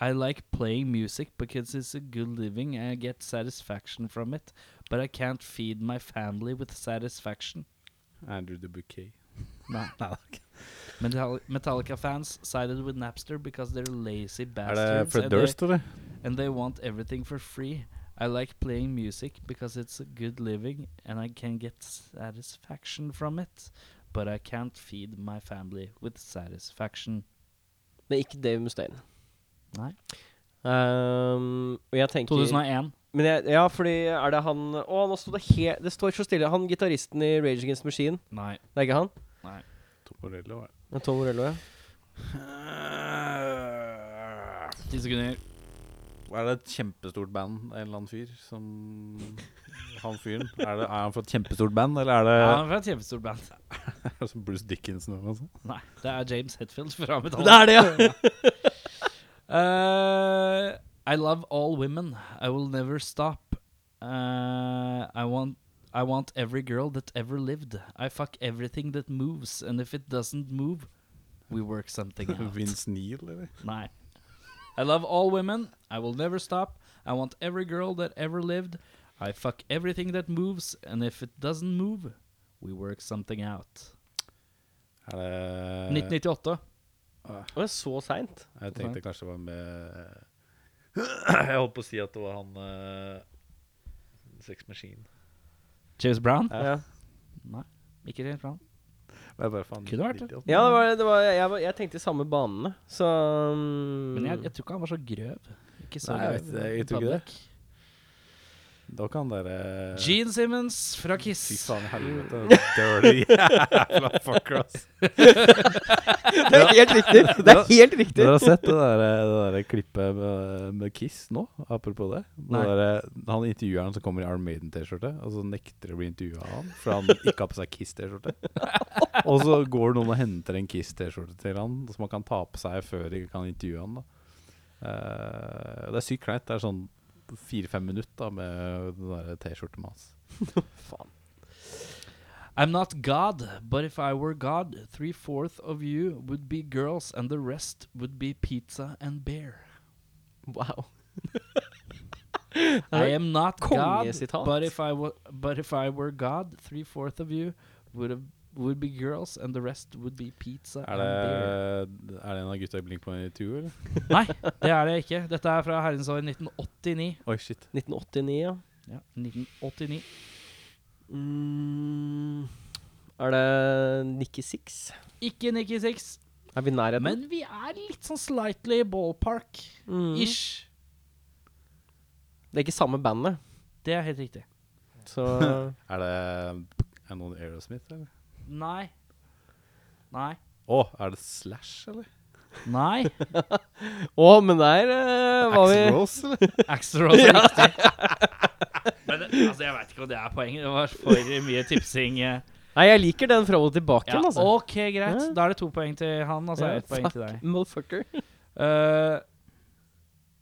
Speaker 1: I like playing music because it's a good living and I get satisfaction from it, but I can't feed my family with satisfaction.
Speaker 3: Andrew the Bouquet.
Speaker 1: Nei. Metalli- Metallica fans sided with Napster because they're lazy
Speaker 3: Er
Speaker 1: bastards.
Speaker 3: det Fred
Speaker 1: and they-
Speaker 3: Durst, eller?
Speaker 1: and they want everything for free. I like playing music because it's a good living and I can get satisfaction from it, but I can't feed my family with satisfaction.
Speaker 2: Det er ikke Dave Mustaine.
Speaker 1: Nei.
Speaker 2: Ehm, og jeg tenker
Speaker 1: 2001.
Speaker 2: Men jeg, ja, fordi er det han Å, nå sto det helt Det står så stille. Han gitaristen i Rage Against the Machine.
Speaker 1: Nei.
Speaker 2: Det er ikke han?
Speaker 1: Nei.
Speaker 3: Tom Morello, var det.
Speaker 2: Det er Tom Morello, ja.
Speaker 1: Ti sekunder.
Speaker 3: Eh, Er det et kjempestort band, en eller annen fyr som Han fyren? Er, det, er han fra et kjempestort band, eller er det,
Speaker 1: Ja, han er fra et kjempestort band.
Speaker 3: er det [LAUGHS] som Bruce Dickinson eller noe sånt?
Speaker 1: Nei, det er James Hetfield fra Metallica.
Speaker 2: [LAUGHS] Det er det, [LAUGHS] ja!
Speaker 1: Uh, I love all women. I will never stop. Uh, I want I want every girl that ever lived. I fuck everything that moves, and if it doesn't move, we work
Speaker 3: [LAUGHS]
Speaker 1: something out.
Speaker 3: Vince Neil, eller?
Speaker 1: Nei. I love all women. I will never stop. I want every girl that ever lived. I fuck everything that moves, and if it doesn't move, we work something out.
Speaker 3: Er det
Speaker 1: 1998.
Speaker 2: Det var så seint.
Speaker 3: Jeg tenkte kanskje det var med [CLEARS THROAT] Jeg holdt på å si at det var han uh, Sex Machine.
Speaker 1: James Brown?
Speaker 3: Eh.
Speaker 2: Ja.
Speaker 1: Nei, ikke James Brown.
Speaker 3: Men jeg bare faen,
Speaker 1: Kunne vært det.
Speaker 3: 98.
Speaker 2: ja, det var, det var jeg, var- jeg tenkte i samme banene, så um,
Speaker 1: Men jeg, jeg tror ikke han var så grøv. Ikke så
Speaker 3: Nei, jeg
Speaker 1: grøv.
Speaker 3: vet det, jeg tror ikke det. Da kan dere
Speaker 1: Gene Simmons fra Kiss.
Speaker 3: Eh, Fy faen i helvete. [LAUGHS] Dirty jævla fucker, ass.
Speaker 2: [LAUGHS] Det er helt riktig! Det [LAUGHS] er helt riktig!
Speaker 3: Dere har sett det der, det der klippet med, med Kiss nå? Apropos det. det
Speaker 1: Nei.
Speaker 3: der, han intervjueren som kommer i Arm Maiden-T-skjorte, og så nekter å bli intervjua av han for han ikke har på seg Kiss-T-skjorte. Og så går noen og henter en Kiss-T-skjorte til han som han kan ta på seg før de kan intervjue han. da Eh, Det er sykt kleint. Det er sånn fire-fem minutter da, med den der T-skjortemas.
Speaker 2: Faen.
Speaker 1: I'm not God, but if I were God, three-fourth of you would be girls, and the rest would be pizza and beer.
Speaker 2: [LAUGHS] Wow.
Speaker 1: I am not God,
Speaker 2: Kongesitat.
Speaker 1: but if I, wa but if I were God, three-fourth of you would, have, would be girls, and the rest would be pizza
Speaker 3: Er
Speaker 1: and beer.
Speaker 3: det, er det en av gutta i Blink-182, eller?
Speaker 1: [LAUGHS] Nei, det er det ikke. Dette er fra herrens år 1989.
Speaker 3: Oi, shit.
Speaker 2: 1989, ja.
Speaker 1: Ja, 1989.
Speaker 2: Mm, er det Nikki Six?
Speaker 1: Ikke Nikki Six.
Speaker 2: Er vi i nærheten?
Speaker 1: Men vi er litt sånn slightly ballpark-ish.
Speaker 2: Mm. Det er ikke samme bandet,
Speaker 1: Det er helt riktig. [LAUGHS]
Speaker 2: så
Speaker 3: Er det er det noen Aerosmith, eller?
Speaker 1: Nei. Nei.
Speaker 3: Å, er det Slash, eller?
Speaker 1: [LAUGHS] Nei.
Speaker 2: Å, men der eh, var vi
Speaker 3: Axl Rose, eller?
Speaker 1: Axel Rose er riktig. [LAUGHS] Men det, altså, jeg veit ikke om det er poenget. Det var for mye tipsing. eh.
Speaker 2: Nei, jeg liker den fra og tilbake,
Speaker 1: Ja, altså,
Speaker 2: igjen, altså.
Speaker 1: OK, greit.
Speaker 2: Ja.
Speaker 1: Da er det to poeng til han, og så er det ett poeng til
Speaker 2: fuck,
Speaker 1: deg.
Speaker 2: motherfucker.
Speaker 1: [LAUGHS] Uh,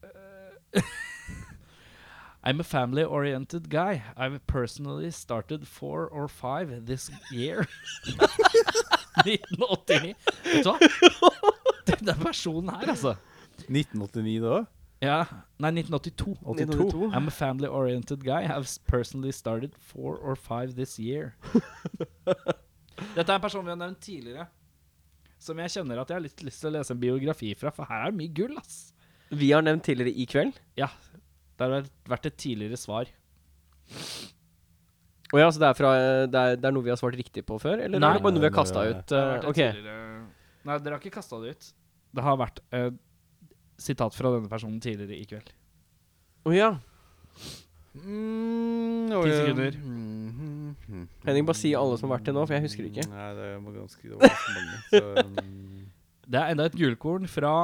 Speaker 1: uh, I'm a family oriented guy. I've personally started four or five this year. [LAUGHS] 1989. Vet du hva? [LAUGHS] Den personen her, altså.
Speaker 3: 1989 det òg?
Speaker 1: Ja. Nei, 1982.
Speaker 3: 82.
Speaker 2: 1982.
Speaker 1: I'm a family oriented guy. I've s- personally started four or five this year. [LAUGHS] Dette er en person vi har nevnt tidligere, som jeg kjenner at jeg har litt lyst til å lese en biografi fra, for her er det mye gull, ass.
Speaker 2: Vi har nevnt tidligere i kveld.
Speaker 1: Ja, det har vært et tidligere svar.
Speaker 2: Å ja, så det er, fra, eh, det, er, det er noe vi har svart riktig på før? Eller
Speaker 1: Nei.
Speaker 2: er det bare noe vi har kasta
Speaker 3: Nei, nei, nei.
Speaker 2: ut? eh, ok.
Speaker 1: Nei, dere har ikke kasta det ut. Det har vært eh, sitat fra denne personen tidligere i kveld.
Speaker 2: Å ja.
Speaker 3: Mm,
Speaker 1: Ti sekunder.
Speaker 2: Henning, bare si alle som har vært til nå, for jeg husker ikke.
Speaker 3: Nei, det var ganske det var ganske mange.
Speaker 2: [LAUGHS]
Speaker 3: Så, mm,
Speaker 1: Det er enda et gullkorn fra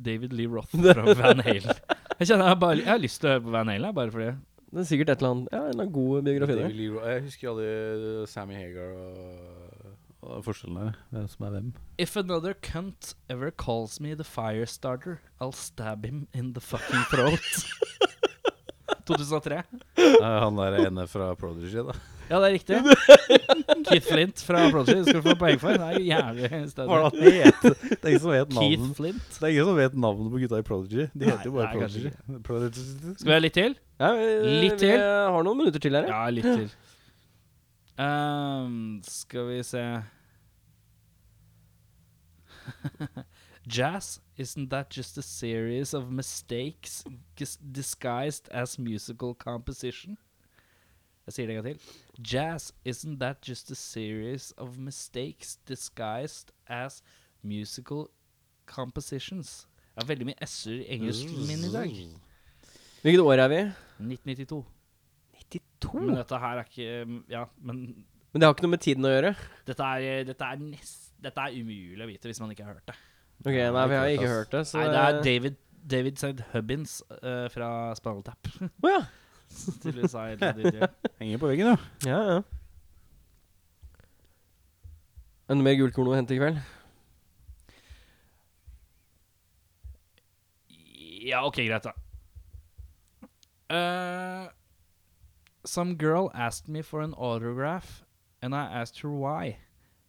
Speaker 1: David Lee [LAUGHS] Roth fra Van Halen. Jeg kjenner jeg, bare, jeg har lyst til å høre på Van Halen, jeg, bare fordi
Speaker 2: Det er sikkert et eller annet Ja, en eller annen god biografi
Speaker 3: David
Speaker 2: der.
Speaker 3: Lee Roth- Jeg husker alle Sammy Hagar og, og forskjellene. Hvem som er
Speaker 2: [LAUGHS]
Speaker 3: hvem.
Speaker 1: If another cunt ever calls me the fire starter, I'll stab him in the fucking
Speaker 3: [LAUGHS]
Speaker 1: throat. 2003.
Speaker 2: [LAUGHS]
Speaker 3: Eh, Han der ene fra Prodigy, da.
Speaker 1: Ja, det er riktig.
Speaker 3: [LAUGHS]
Speaker 1: Keith Flint fra Prodigy skal du få poeng for. Det er jo jævlig
Speaker 3: Hva
Speaker 1: stødig.
Speaker 3: er det han het? Det er ingen som vet
Speaker 1: Keith
Speaker 3: navnet.
Speaker 1: Flint.
Speaker 3: Det er ingen som vet navnet på gutta i Prodigy. De heter jo bare
Speaker 1: nei, kanskje
Speaker 3: Prodigy. Prodigy.
Speaker 1: Skal vi ha litt til?
Speaker 2: Ja, vi-
Speaker 1: Litt
Speaker 2: Vi
Speaker 1: til.
Speaker 2: har noen minutter til her.
Speaker 1: Ja,
Speaker 2: Ja.
Speaker 1: litt til. Ehm, skal vi se [LAUGHS] Jazz, isn't that just a series of mistakes gis- disguised as musical composition? Jeg sier det en gang til. Jazz, isn't that just a series of mistakes disguised as musical compositions? Det er veldig mye s-er i engelsken min i dag.
Speaker 2: Hvilket år er vi?
Speaker 1: 1992.
Speaker 2: 92.
Speaker 1: Men dette her er ikke Ja, men
Speaker 2: Men det har ikke noe med tiden å gjøre.
Speaker 1: Dette er, eh, dette er, nest, dette er umulig å vite hvis man ikke har hørt det.
Speaker 2: Ok, Nei, vi har ikke hørt det. Så
Speaker 1: Nei, det er David, David St. Hubbins eh, fra Spinal Tap.
Speaker 2: Å, ja.
Speaker 1: Tydeligvis er det DJ.
Speaker 3: Henger på veggen, jo.
Speaker 2: Ja, ja. Enda mer gullkorn å hente i kveld?
Speaker 1: Ja, ok, greit, da. Eh, some girl asked me for an autograph, and I asked her why.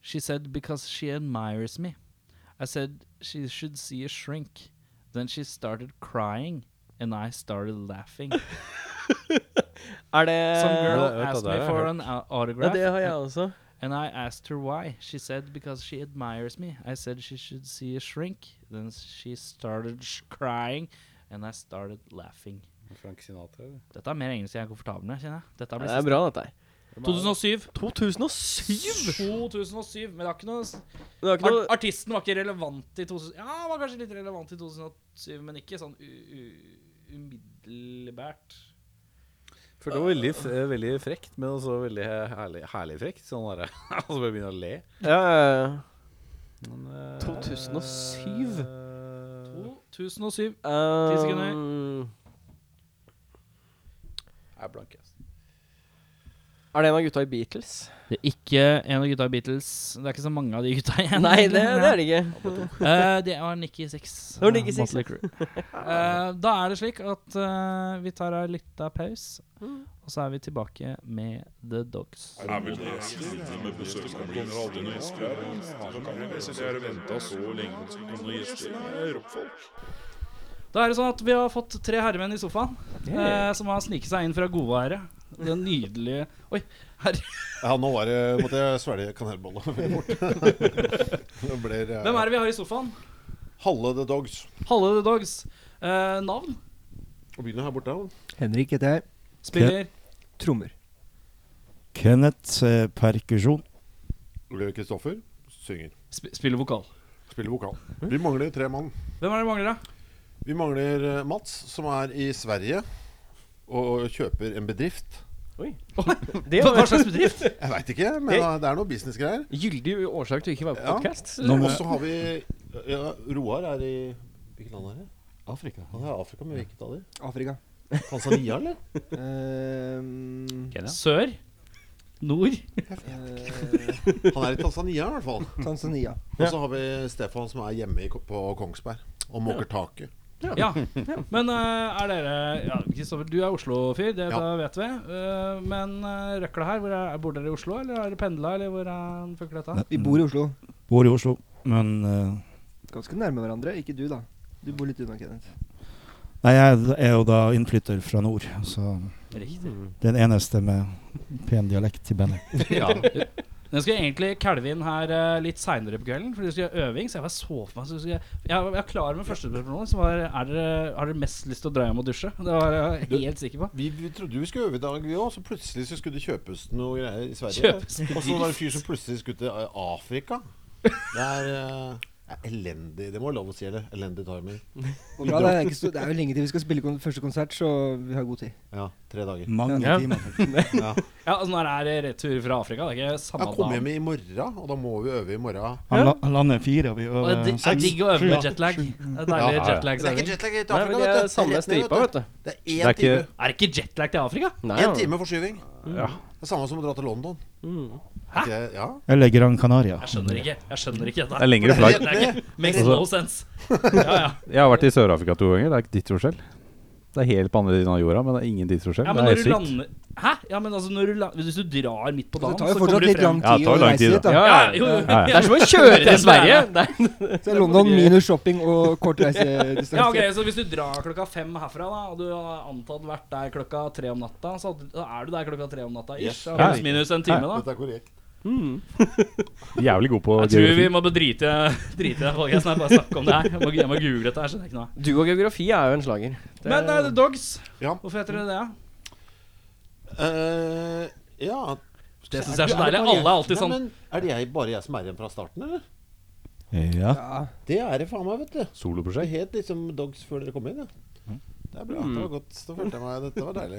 Speaker 1: She said because she admires me. I said she should see a shrink. Then she started crying, and I started laughing.
Speaker 2: Er det
Speaker 1: Some
Speaker 3: Ja,
Speaker 1: girl
Speaker 3: jeg vet
Speaker 1: asked
Speaker 3: at det
Speaker 1: me
Speaker 3: har jeg
Speaker 1: for
Speaker 3: hørt.
Speaker 1: an au-
Speaker 2: Ja,
Speaker 1: autograph,
Speaker 2: det har jeg også.
Speaker 1: and I asked her why. She said because she admires me. I said she should see a shrink. Then she started sh- crying, and I started laughing.
Speaker 3: Frank Sinatra, eller?
Speaker 1: Dette er mer engelsk jeg er komfortabel med, kjenner jeg. Dette
Speaker 2: Ja,
Speaker 1: blir
Speaker 2: det er bra, dette her.
Speaker 1: siste. 2007.
Speaker 2: 2007!
Speaker 1: 2007, men det er ikke noe, s-
Speaker 2: Det var ikke
Speaker 1: Ar
Speaker 2: noe
Speaker 1: Artisten var ikke relevant i 2000 Ja, han var kanskje litt relevant i 2007, men ikke sånn u u umiddelbart.
Speaker 3: For det var veldig, f- eh, veldig frekt, men også veldig eh, herlig, herlig frekt. Sånn derre [LAUGHS] Og så bare begynne å le.
Speaker 2: ja, ja, ja.
Speaker 3: Men, eh,
Speaker 2: 2007?
Speaker 3: eh,
Speaker 1: 2007.
Speaker 2: Ti
Speaker 1: sekunder.
Speaker 3: Jeg er blank, ass.
Speaker 2: Er det en av gutta i Beatles? [LAUGHS]
Speaker 1: Det er ikke en av gutta i Beatles. Det er ikke så mange av de gutta igjen.
Speaker 2: Nei, det, det er det ikke.
Speaker 1: Eh, det var Nikki Six.
Speaker 2: Det var Nikki Sixx,
Speaker 1: Motley Crue. [LAUGHS] Eh, da er det slik at eh, vi tar ei lita pause, og så er vi tilbake med The Dogs. Da er det sånn at vi har fått tre herremenn i sofaen eh, som har sniket seg inn fra godværet. Det nydelige Oi, her.
Speaker 5: Ja, nå var det, måtte jeg svelge kanelbolla veldig fort. Det blir eh,
Speaker 1: Hvem er [LAUGHS] det vi har i sofaen?
Speaker 5: [LAUGHS] Halle the Dogs.
Speaker 1: Halle The Dogs. Eh, navn?
Speaker 5: Og begynner her borte.
Speaker 6: Henrik heter jeg.
Speaker 1: Spiller?
Speaker 6: Trommer.
Speaker 7: Kenneth eh, perkusjon.
Speaker 5: Ole Kristoffer synger.
Speaker 1: Sp spiller vokal.
Speaker 5: Spiller vokal. Vi mangler tre mann.
Speaker 1: Hvem er det mangler, da?
Speaker 5: Vi mangler eh, Mats, som er i Sverige og kjøper en bedrift.
Speaker 2: Det
Speaker 1: Hva, hva
Speaker 2: var
Speaker 1: slags bedrift?
Speaker 5: Jeg veit ikke, men eh, det er noe businessgreier.
Speaker 2: gyldig årsak til å ikke være på
Speaker 5: Ja.
Speaker 2: podkast.
Speaker 7: Nå
Speaker 5: Og
Speaker 7: må-
Speaker 5: så har vi ja, Roar er i Hvilket land er det? Afrika. Han er i Afrika, men hvilket av de?
Speaker 6: Afrika.
Speaker 5: Tanzania, eller?
Speaker 6: Ehm,
Speaker 3: Kenya?
Speaker 1: [LAUGHS] Sør? Nord?
Speaker 6: eh,
Speaker 5: Han er i Tanzania, i hvert fall.
Speaker 6: Tanzania.
Speaker 5: Og så har vi Stefan, som er hjemme i, Ko- på Kongsberg og måker taket.
Speaker 1: Ja. Men eh, er dere ja, Kristoffer, du er Oslo-fyr, det
Speaker 5: Ja.
Speaker 1: da vet vi. Eh, men uh, røkla her, hvor er, bor dere i Oslo, eller har dere pendla, eller hvor er fucker dette?
Speaker 6: Vi bor i Oslo.
Speaker 7: Bor i Oslo, men eh,
Speaker 6: Ganske nærme hverandre. Ikke du, da. Du bor litt unna, Kenneth.
Speaker 7: Nei, jeg er jo da innflytter fra nord, så
Speaker 1: Riktig. [LAUGHS]
Speaker 7: den eneste med pen dialekt i bandet.
Speaker 1: Jeg skulle egentlig kalve inn her eh, litt seinere på kvelden, Fordi vi skulle ha øving. Så jeg bare så for meg så skulle jeg, jeg, jeg var klar med første spørsmål, så var er dere, har dere mest lyst til å dra hjem og dusje? Det var jeg helt sikker på.
Speaker 5: Vi, vi trodde vi skulle øve i dag, vi òg, så plutselig så skulle det kjøpes noe greier i Sverige.
Speaker 1: Kjøpes bedrift.
Speaker 5: Og så var det en fyr som plutselig skulle til eh, Afrika. Det er eh, det er elendig Det må være lov å si det. Elendig timing.
Speaker 6: Og bra, det, er ikke så, det er jo lenge til vi skal spille kon første konsert, så vi har god tid.
Speaker 5: Ja, tre dager.
Speaker 7: [LAUGHS] Mange
Speaker 2: Ja.
Speaker 7: timer.
Speaker 5: Ja.
Speaker 1: Ja, altså Når det er retur fra Afrika, det er ikke samme
Speaker 5: Jeg kom
Speaker 1: dag.
Speaker 5: hjem i morgen, og da må vi øve i morgen.
Speaker 7: Han, la, han lander fire, og vi
Speaker 1: Og
Speaker 7: øver
Speaker 1: det er
Speaker 7: Eh, seks.
Speaker 1: digg å øve
Speaker 7: sju,
Speaker 1: med
Speaker 7: åtte,
Speaker 1: jetlag.
Speaker 7: sju.
Speaker 1: Det er
Speaker 5: Ja,
Speaker 1: deilig
Speaker 5: ja, ja.
Speaker 1: jetlag.
Speaker 5: Det er ikke
Speaker 1: Det
Speaker 5: jetlag i
Speaker 2: Nei, men
Speaker 5: Afrika,
Speaker 2: det er
Speaker 5: vet du.
Speaker 2: samme
Speaker 5: Rett ned,
Speaker 2: stripa, vet du.
Speaker 5: Det er
Speaker 3: Det
Speaker 5: én
Speaker 3: er ikke-
Speaker 5: time.
Speaker 1: er det ikke jetlag til Afrika?
Speaker 2: Nei,
Speaker 5: En
Speaker 2: ja.
Speaker 5: time forskyving.
Speaker 3: Ja.
Speaker 5: Det er samme som å dra til London.
Speaker 2: Mm.
Speaker 5: Hæ? Ja.
Speaker 7: Eller Gran Canaria.
Speaker 1: Jeg skjønner ikke. Jeg skjønner ikke
Speaker 3: Det
Speaker 1: dette.
Speaker 3: er lengre
Speaker 5: Det er
Speaker 3: flagg.
Speaker 5: rett ned.
Speaker 1: Makes no sense. Ja, ja.
Speaker 3: Jeg har vært i Sør-Afrika to ganger. Det er ikke ditt forskjell. Det er helt på andre siden av jorda, men det er ingen tidsforskjell.
Speaker 1: Ja, men
Speaker 3: det
Speaker 1: når
Speaker 3: er
Speaker 1: du
Speaker 3: helt sykt.
Speaker 1: lander Hæ? Ja, men altså, når du la- Hvis du drar midt på
Speaker 6: Det
Speaker 1: dagen,
Speaker 6: tar
Speaker 1: så
Speaker 6: jo
Speaker 1: kommer
Speaker 6: fortsatt
Speaker 1: du
Speaker 6: litt lang
Speaker 1: frem.
Speaker 3: Ja, det tar
Speaker 6: tid å
Speaker 3: jo lang
Speaker 6: reise
Speaker 3: tid,
Speaker 6: dit.
Speaker 2: da.
Speaker 6: da.
Speaker 1: Ja, jo, jo.
Speaker 3: Ja,
Speaker 2: Det er som å kjøre
Speaker 5: [LAUGHS]
Speaker 1: [LAUGHS]
Speaker 2: til Sverige! Det er,
Speaker 6: Så London minus shopping og kort reisedistanse.
Speaker 1: Ja, ok, så Hvis du drar klokka fem herfra, da og du har antatt vært der klokka tre om natta, så da er du der klokka tre om natta. Ish,
Speaker 5: Yes.
Speaker 1: da, pluss minus en time, da.
Speaker 5: Dette er korrekt.
Speaker 3: Jævlig god på
Speaker 1: Jeg tror vi må bare drite [LAUGHS] drite i det. folkens, nei, Bare snakke om det her. Jeg må, jeg må google dette. her, skjønner jeg ikke noe.
Speaker 2: du og geografi er jo en slager. Det er-
Speaker 1: Men eh, The Dogs,
Speaker 5: Ja.
Speaker 1: hvorfor heter det det?
Speaker 5: Eh, ja.
Speaker 1: Det synes jeg er så deilig.
Speaker 5: det bare jeg-
Speaker 1: Alle er alltid
Speaker 5: Nei,
Speaker 1: sånn.
Speaker 5: men Er det jeg, bare jeg som er igjen fra starten, eller?
Speaker 7: Ja.
Speaker 6: Ja.
Speaker 5: Det er det faen meg, vet du. Det
Speaker 3: soloprosjekt.
Speaker 5: het liksom Dogs før dere kom inn, ja. Det er
Speaker 1: Mm.
Speaker 5: bra. Det var godt. Da følte jeg meg Dette var [LAUGHS] deilig.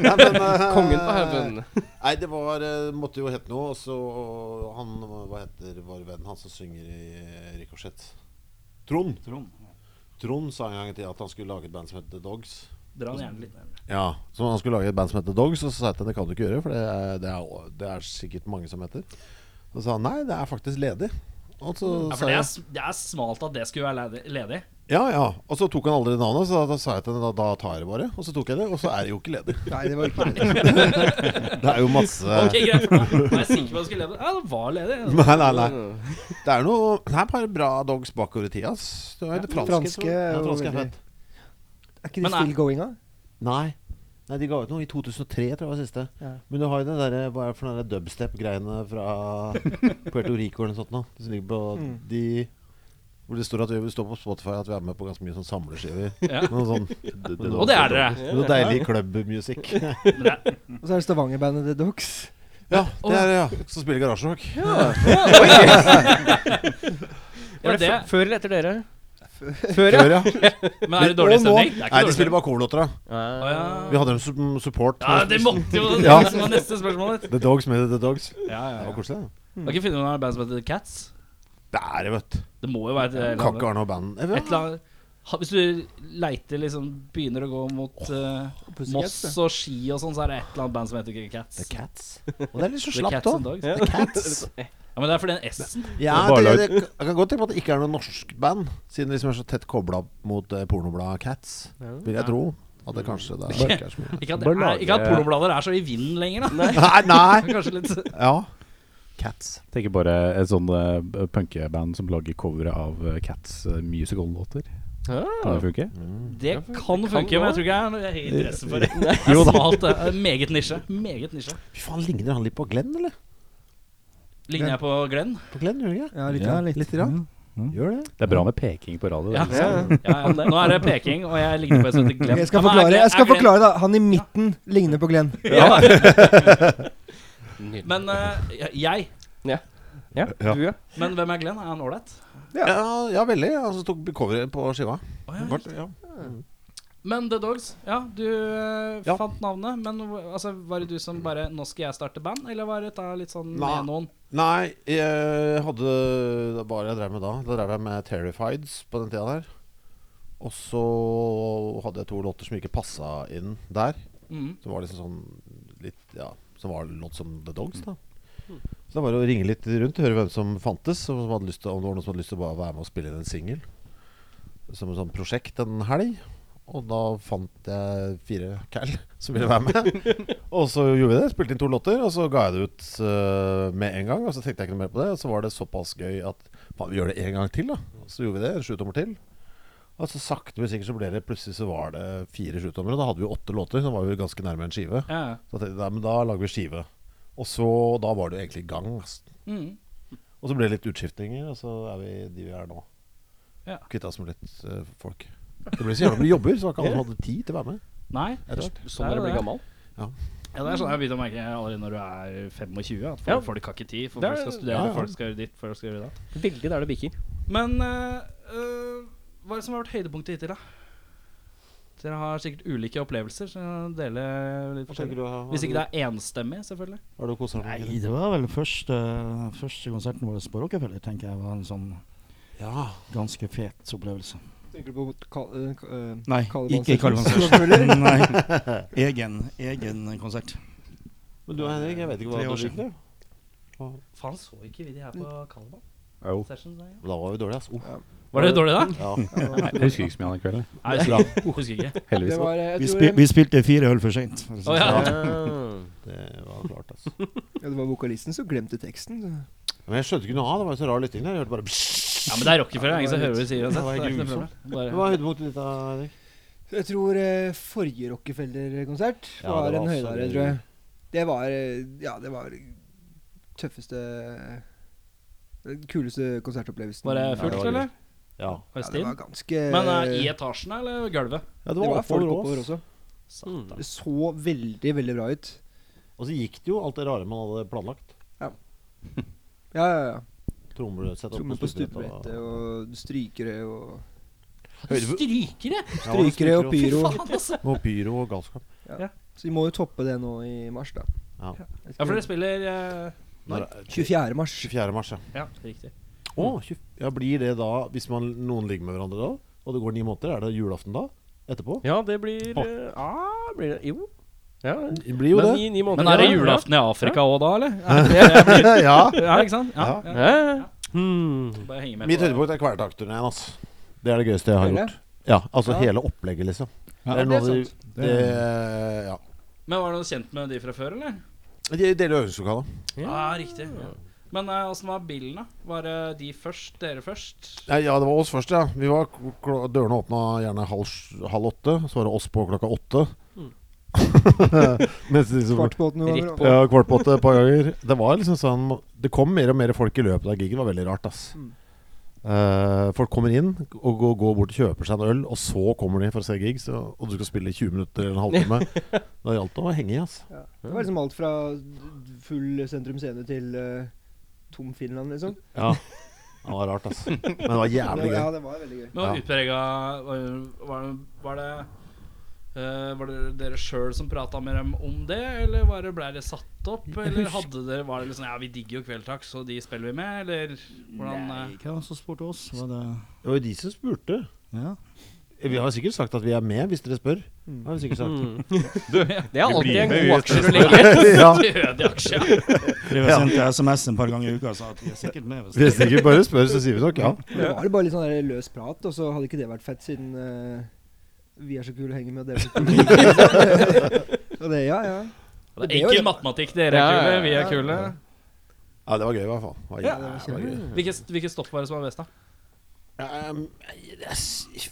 Speaker 5: Nei, men, eh,
Speaker 2: Kongen på haugen.
Speaker 5: Nei, det var eh, Måtte jo hete noe, og så og han Hva heter vår venn, han som synger i eh, Ricochet? Trond.
Speaker 1: Trond.
Speaker 5: Trond sa en gang i tida at han skulle lage et band som het The Dogs.
Speaker 1: Dra den gjerne litt nærmere.
Speaker 5: Ja, Så han skulle lage et band som heter Dogs, og så sa jeg til ham det kan du ikke gjøre, for det er, det er, det er sikkert mange som heter. Så sa han nei, det er faktisk ledig. Og
Speaker 1: Ja,
Speaker 5: så
Speaker 1: for
Speaker 5: sa
Speaker 1: Altså, det
Speaker 5: jeg
Speaker 1: er, s- det er smalt at det skulle være ledig- ledig.
Speaker 5: ja, ja. Og så tok han aldri navnet, så da, da sa jeg til henne da, da tar jeg det bare. Og så tok jeg det, og så er det jo ikke
Speaker 1: [LAUGHS]
Speaker 5: ledig.
Speaker 6: Nei, det var ikke det.
Speaker 5: Det er jo masse
Speaker 1: Ok, greit. Da er jeg sikker på at det skulle ledig. Ja, det var ledig.
Speaker 5: [LAUGHS] Nei, nei, nei. Det er noe Det er bare bra dogs bakover i tida, ass. Det er det franske,
Speaker 6: franske
Speaker 5: tror jeg.
Speaker 6: er
Speaker 5: Ja,
Speaker 6: jo
Speaker 5: franske er
Speaker 6: veldig-
Speaker 5: fett.
Speaker 6: Er ikke
Speaker 1: Men eh,
Speaker 6: det
Speaker 1: er-
Speaker 6: still going, da?
Speaker 5: Nei. Nei, de ga ut noe i 2003, tror jeg var siste.
Speaker 6: Ja.
Speaker 5: Men du har jo den derre Hva er det for noen dubstep-greiene fra
Speaker 1: [LAUGHS]
Speaker 5: Puerto Rico eller noe sånt nå? De Som ligger på
Speaker 6: Mm.
Speaker 5: de Hvor det står at vi vi står på Spotify at vi er med på ganske mye sånn samleskiver.
Speaker 1: Ja.
Speaker 5: Noe sånn
Speaker 1: Og det er dere.
Speaker 5: Noe deilig klubbmusikk.
Speaker 6: Og så er det Stavanger-bandet The Dogs.
Speaker 5: Ja, det er det, ja. Som spiller garasjerock.
Speaker 2: Var
Speaker 1: Ja,
Speaker 2: det
Speaker 1: det,
Speaker 2: f- før eller etter dere?
Speaker 5: Før, ja.
Speaker 1: men er det dårlig
Speaker 5: Og nå-
Speaker 1: stemning? Det er
Speaker 5: Nei,
Speaker 1: ikke
Speaker 5: de
Speaker 1: dårlig
Speaker 5: spiller
Speaker 1: stemning.
Speaker 5: bare kornlåter, da.
Speaker 1: Å,
Speaker 5: Vi
Speaker 1: ja.
Speaker 5: hadde dem som support.
Speaker 1: ja, det måtte jo Det
Speaker 5: Ja.
Speaker 1: var neste spørsmål. ditt.
Speaker 5: The Dogs med The Dogs.
Speaker 1: Ja, ja,
Speaker 5: Det var
Speaker 1: ja.
Speaker 5: koselig, det.
Speaker 1: Kan ikke finne noen band som heter The Cats.
Speaker 5: Det er det, vet du.
Speaker 1: Det må jo være et eller
Speaker 5: Kan
Speaker 1: annet.
Speaker 5: ikke ha noe band. Eh,
Speaker 1: Et eller annet. Ha- Hvis du leiter liksom Begynner å gå mot eh, Moss
Speaker 6: Pussycats,
Speaker 1: og Ski og sånn, så er det et eller annet band som heter Cats.
Speaker 5: The Cats. Og det er litt så
Speaker 1: The
Speaker 5: slapt
Speaker 1: Cats and
Speaker 5: òg.
Speaker 1: Dogs.
Speaker 2: Ja.
Speaker 5: The Cats.
Speaker 1: Ja, men [LAUGHS] det er fordi den S-en
Speaker 5: Ja,
Speaker 3: Det er
Speaker 5: det,
Speaker 3: bare
Speaker 5: det, jeg kan godt tenke på at det ikke er noe norsk band, siden de liksom er så tett kobla opp mot eh, pornobladet Cats, vil jeg tro. At det kanskje det er, ikke er så
Speaker 1: [LAUGHS]
Speaker 5: mye.
Speaker 1: Ikke at, det
Speaker 3: Bare
Speaker 1: er,
Speaker 3: lage-
Speaker 1: ikke at pornoblader er så i vinden lenger, da.
Speaker 5: Nei, nei!
Speaker 1: [LAUGHS] Kanskje litt
Speaker 5: Ja. Cats.
Speaker 3: Tenker bare et sånn eh, punkeband som lager covere av eh, Cats eh, musical-låter. Kan det funke?
Speaker 1: Ah,
Speaker 5: Mm.
Speaker 1: Det kan funke, men jeg tror ikke jeg har helt interesse for det. Det
Speaker 3: Jo
Speaker 1: er
Speaker 3: da.
Speaker 1: smalt. det er Meget nisje. Meget nisje.
Speaker 5: Fy faen, ligner han litt på Glenn, eller?
Speaker 1: Ligner jeg på Glenn?
Speaker 5: På Glenn, gjør det ikke?
Speaker 6: Ja, litt.
Speaker 7: Ja,
Speaker 6: Ja,
Speaker 7: litt.
Speaker 5: Litt grann. Gjør det?
Speaker 3: Det er bra med peking på radio.
Speaker 1: Ja.
Speaker 3: det.
Speaker 1: Ja, ja. Nå er det peking, og jeg ligner på en som heter Glenn.
Speaker 6: Jeg skal
Speaker 1: Ja, men er
Speaker 6: forklare,
Speaker 1: Glenn-
Speaker 6: jeg skal
Speaker 1: er Glenn-
Speaker 6: forklare da. Han i midten ligner på Glenn.
Speaker 1: Men eh, jeg
Speaker 2: Ja, du, ja.
Speaker 1: Men hvem er Glenn? Er han ålreit?
Speaker 5: Ja, ja veldig. Han som tok coveret på skiva. Vart- ja.
Speaker 1: Men The Dogs, ja, du eh,
Speaker 5: Ja.
Speaker 1: fant navnet. Men hvor- altså, var det du som bare 'Nå skal jeg starte band', eller var det da litt sånn
Speaker 5: Nei.
Speaker 1: med noen?
Speaker 5: Nei, jeg hadde det var det jeg drev med da. Da drev jeg med Terrifieds på den tida der. Og så hadde jeg to låter som ikke passa inn der.
Speaker 1: Mhm.
Speaker 5: Som var liksom sånn litt Ja, som var låt som The Dogs, da. Så det var å ringe litt rundt, høre hvem som fantes, og som hadde lyst til, om det var noen som hadde lyst til å bare være med og spille inn en singel. Som et sånt prosjekt en helg. Og da fant jeg fire cal [LAUGHS] som ville være med. Og så gjorde vi det, spilte inn to låter, og så ga jeg det ut eh, med en gang. Og så tenkte jeg ikke noe mer på det, og så var det såpass gøy at faen, vi gjør det en gang til, da. Og så gjorde vi det, en sjutommer til. Og så sakte, men sikkert så ble det plutselig så var det fire sjutommere. og Da hadde vi jo åtte låter, så var vi jo ganske nærme en skive.
Speaker 1: Ja, ja.
Speaker 5: Så tenkte jeg "Nei, men da lager vi skive. Og så da var det jo egentlig i gang. ass.
Speaker 1: Mhm.
Speaker 5: Og så ble det litt utskiftninger, og så er vi de vi er nå.
Speaker 1: Ja.
Speaker 5: Kvitta oss med litt eh, folk. Det ble så jævla mye jobber, så det var ikke alle som hadde tid til å være med.
Speaker 1: Nei.
Speaker 5: rett og slett.
Speaker 2: Sånn dere blir gammel.
Speaker 1: Ja, det er sånn jeg begynte å merke allerede når du er 25, at folk,
Speaker 2: Ja.
Speaker 1: folk har ikke tid. For
Speaker 2: Det er-
Speaker 1: folk skal studere,
Speaker 5: ja, ja.
Speaker 1: folk skal gjøre ditt, folk skal gjøre det.
Speaker 2: Veldig der det bikker.
Speaker 1: Men eh, eh, hva er det som har vært høydepunktet hittil, da? Dere har sikkert ulike opplevelser, så dele litt forskjellig. Hvis ikke det er enstemmig, selvfølgelig.
Speaker 5: Har du kosa deg?
Speaker 7: Nei, det var vel første, første konserten vår på Rockefeller, tenker jeg var en sånn
Speaker 5: Ja.
Speaker 7: ganske fet opplevelse.
Speaker 6: Tenker du på Kal- eh, Ka- eh,
Speaker 7: Nei,
Speaker 6: Karlevans-
Speaker 7: ikke [LAUGHS] Karlevannskjørt. Nei, egen, egen konsert.
Speaker 5: Men du Henrik, jeg vet ikke
Speaker 7: Tre
Speaker 5: hva
Speaker 7: år
Speaker 5: du
Speaker 7: siden.
Speaker 5: liker. Mm.
Speaker 1: Faen, så ikke vi de her på Kalban?
Speaker 3: Au.
Speaker 1: Sessions, da, ja.
Speaker 5: Da var vi dårlige, ass. Oh.
Speaker 1: Var det dårlig, da?
Speaker 5: Ja.
Speaker 3: Nei, jeg husker ikke så mye av den kvelden. jeg.
Speaker 1: Nei, jeg husker ikke. Husker
Speaker 5: [LAUGHS]
Speaker 1: ikke.
Speaker 6: Det
Speaker 3: Heldigvis.
Speaker 6: var, eh,
Speaker 7: Vi,
Speaker 6: jeg tror
Speaker 7: spi
Speaker 6: det,
Speaker 7: vi spilte fire øl for seint. for å si
Speaker 1: Å,
Speaker 7: det
Speaker 1: ja.
Speaker 7: sånn.
Speaker 5: Det var klart, ass.
Speaker 6: ja, det var vokalisten som glemte teksten. Så.
Speaker 5: Men jeg skjønte ikke noe av det. var jo så rar lytting der. Jeg hørte bare
Speaker 1: Ja, men det er Rockefeller. Ingen som hører hva vi sier uansett.
Speaker 5: Det var
Speaker 1: Det er ikke noe
Speaker 5: grusomt.
Speaker 1: problem. Bare-
Speaker 5: Hva er høydepunktet ditt, da, Henrik?
Speaker 6: Jeg tror eh, forrige Rockefeller-konsert
Speaker 5: Ja, det
Speaker 6: var,
Speaker 5: var altså
Speaker 6: en
Speaker 5: også
Speaker 6: høydare,
Speaker 5: det-
Speaker 6: tror jeg. Det var eh, Ja, det var tøffeste Den kuleste konsertopplevelsen.
Speaker 1: Var det
Speaker 6: Ja,
Speaker 1: fullt,
Speaker 5: var
Speaker 1: eller?
Speaker 5: Ja.
Speaker 1: Var det
Speaker 6: det
Speaker 1: stid?
Speaker 6: var ganske
Speaker 1: Men eh, i etasjen eller gulvet?
Speaker 5: ja,
Speaker 6: det var folk
Speaker 5: oppover
Speaker 6: oppover
Speaker 5: oss.
Speaker 6: også.
Speaker 1: Satan.
Speaker 6: Det så veldig, veldig bra ut.
Speaker 5: Og så gikk det jo alt det rare man hadde planlagt.
Speaker 6: Ja, ja, ja.
Speaker 5: Trommer sett opp
Speaker 6: Trommer på eh,
Speaker 5: stupebrettet
Speaker 6: stupebrettet og strykere og
Speaker 5: Høydepunkt-
Speaker 1: Strykere!
Speaker 5: Ja, det var
Speaker 6: Strykere og pyro.
Speaker 1: Faen, altså.
Speaker 5: Og pyro og galskap.
Speaker 6: Så vi må jo toppe det nå i mars, da.
Speaker 5: Ja.
Speaker 1: Ja, for dere spiller eh,
Speaker 5: Nei,
Speaker 6: 24. mars.
Speaker 5: 24. mars, ja.
Speaker 1: Ja, riktig.
Speaker 5: Å, 20 ja. Blir det da, hvis man, noen ligger med hverandre da, og det går ni måneder, er det julaften da? Etterpå?
Speaker 2: Ja, det blir eh, ah, blir det Jo. Ja.
Speaker 5: Det blir jo
Speaker 2: Men
Speaker 5: det.
Speaker 2: i ni måneder,
Speaker 1: Men er det
Speaker 2: ja.
Speaker 1: julaften i Afrika òg da, eller?
Speaker 5: [LAUGHS] ja.
Speaker 1: Ja, ikke sant? Ja,
Speaker 2: Ja.
Speaker 1: ja.
Speaker 2: Ja. ja.
Speaker 1: [LAUGHS]
Speaker 2: Hmm.
Speaker 1: Bare henge med.
Speaker 5: Mitt
Speaker 1: på det.
Speaker 5: høydepunkt er Kvelertak-turneen, altså. Det er det gøyeste jeg har
Speaker 6: Hele?
Speaker 5: gjort. Ja, altså
Speaker 6: Ja.
Speaker 5: hele opplegget, liksom.
Speaker 3: Ja,
Speaker 5: det er noe av det, det Ja.
Speaker 1: Men var du kjent med de fra før, eller?
Speaker 5: De deler øvingslokalet.
Speaker 1: Ja, riktig. Ja. Men eh, åssen var bilen, da? Var det de først, dere først?
Speaker 5: Ja, ja, det var oss først, ja. Vi var kl- kl- Dørene åpna gjerne halv, sj- halv åtte. Så var det oss på klokka åtte. [LAUGHS] Mens de som
Speaker 6: Kvart på åtte noen ganger.
Speaker 5: Ja, kvart på åtte et par ganger. Det var liksom sånn Det kom mer og mer folk i løpet av gigen. Det var veldig rart, ass.
Speaker 6: Mm.
Speaker 5: Eh, folk kommer inn og går, går bort og kjøper seg en øl, og så kommer de for å se gig. Så, og du skal spille i 20 minutter eller en halvtime.
Speaker 6: [LAUGHS]
Speaker 5: da gjaldt det å henge i, ass.
Speaker 6: Ja. Det var liksom alt fra full sentrum scene til eh, tom Finland, liksom.
Speaker 5: Ja. Det var rart, ass. Men det var jævlig gøy.
Speaker 6: Ja, det var veldig gøy.
Speaker 1: Men var
Speaker 5: Ja.
Speaker 1: utprega var, var, var det eh, var det dere sjøl som prata med dem om det, eller var det, ble det satt opp? Eller hadde dere, var det liksom Ja, vi digger jo Kveldtak, så de spiller vi med, eller hvordan eh?
Speaker 7: Nei, Hvem var det som spurte oss? Var det
Speaker 5: Det var jo de som spurte.
Speaker 7: Ja.
Speaker 5: Vi har sikkert sagt at vi er med, hvis dere spør.
Speaker 6: Mm.
Speaker 5: Det har vi sikkert sagt.
Speaker 2: Hmm. Det er alltid en god aksjer å legge.
Speaker 5: [LAUGHS] ja.
Speaker 1: Døde aksjer.
Speaker 7: Drev og sendte SMS en par ganger i uka og sa at vi er sikkert med. Hvis
Speaker 5: Hvis dere bare spør, så sier vi nok ja.
Speaker 6: Men det var jo bare litt sånn der løs prat, og så hadde ikke det vært fett siden eh, vi er så kule å henge med, og dere er så kule. [LAUGHS] Og det, ja, ja.
Speaker 1: Det er Enkel matematikk. Dere er
Speaker 2: Ja, ja,
Speaker 1: kule,
Speaker 2: ja.
Speaker 1: vi er kule.
Speaker 5: Ja, det var gøy, i hvert fall. Det var
Speaker 6: Ja,
Speaker 5: jævlig
Speaker 6: det var
Speaker 5: gøy.
Speaker 1: Hvilket, hvilket stopp var det som var best, da?
Speaker 5: Um, yes,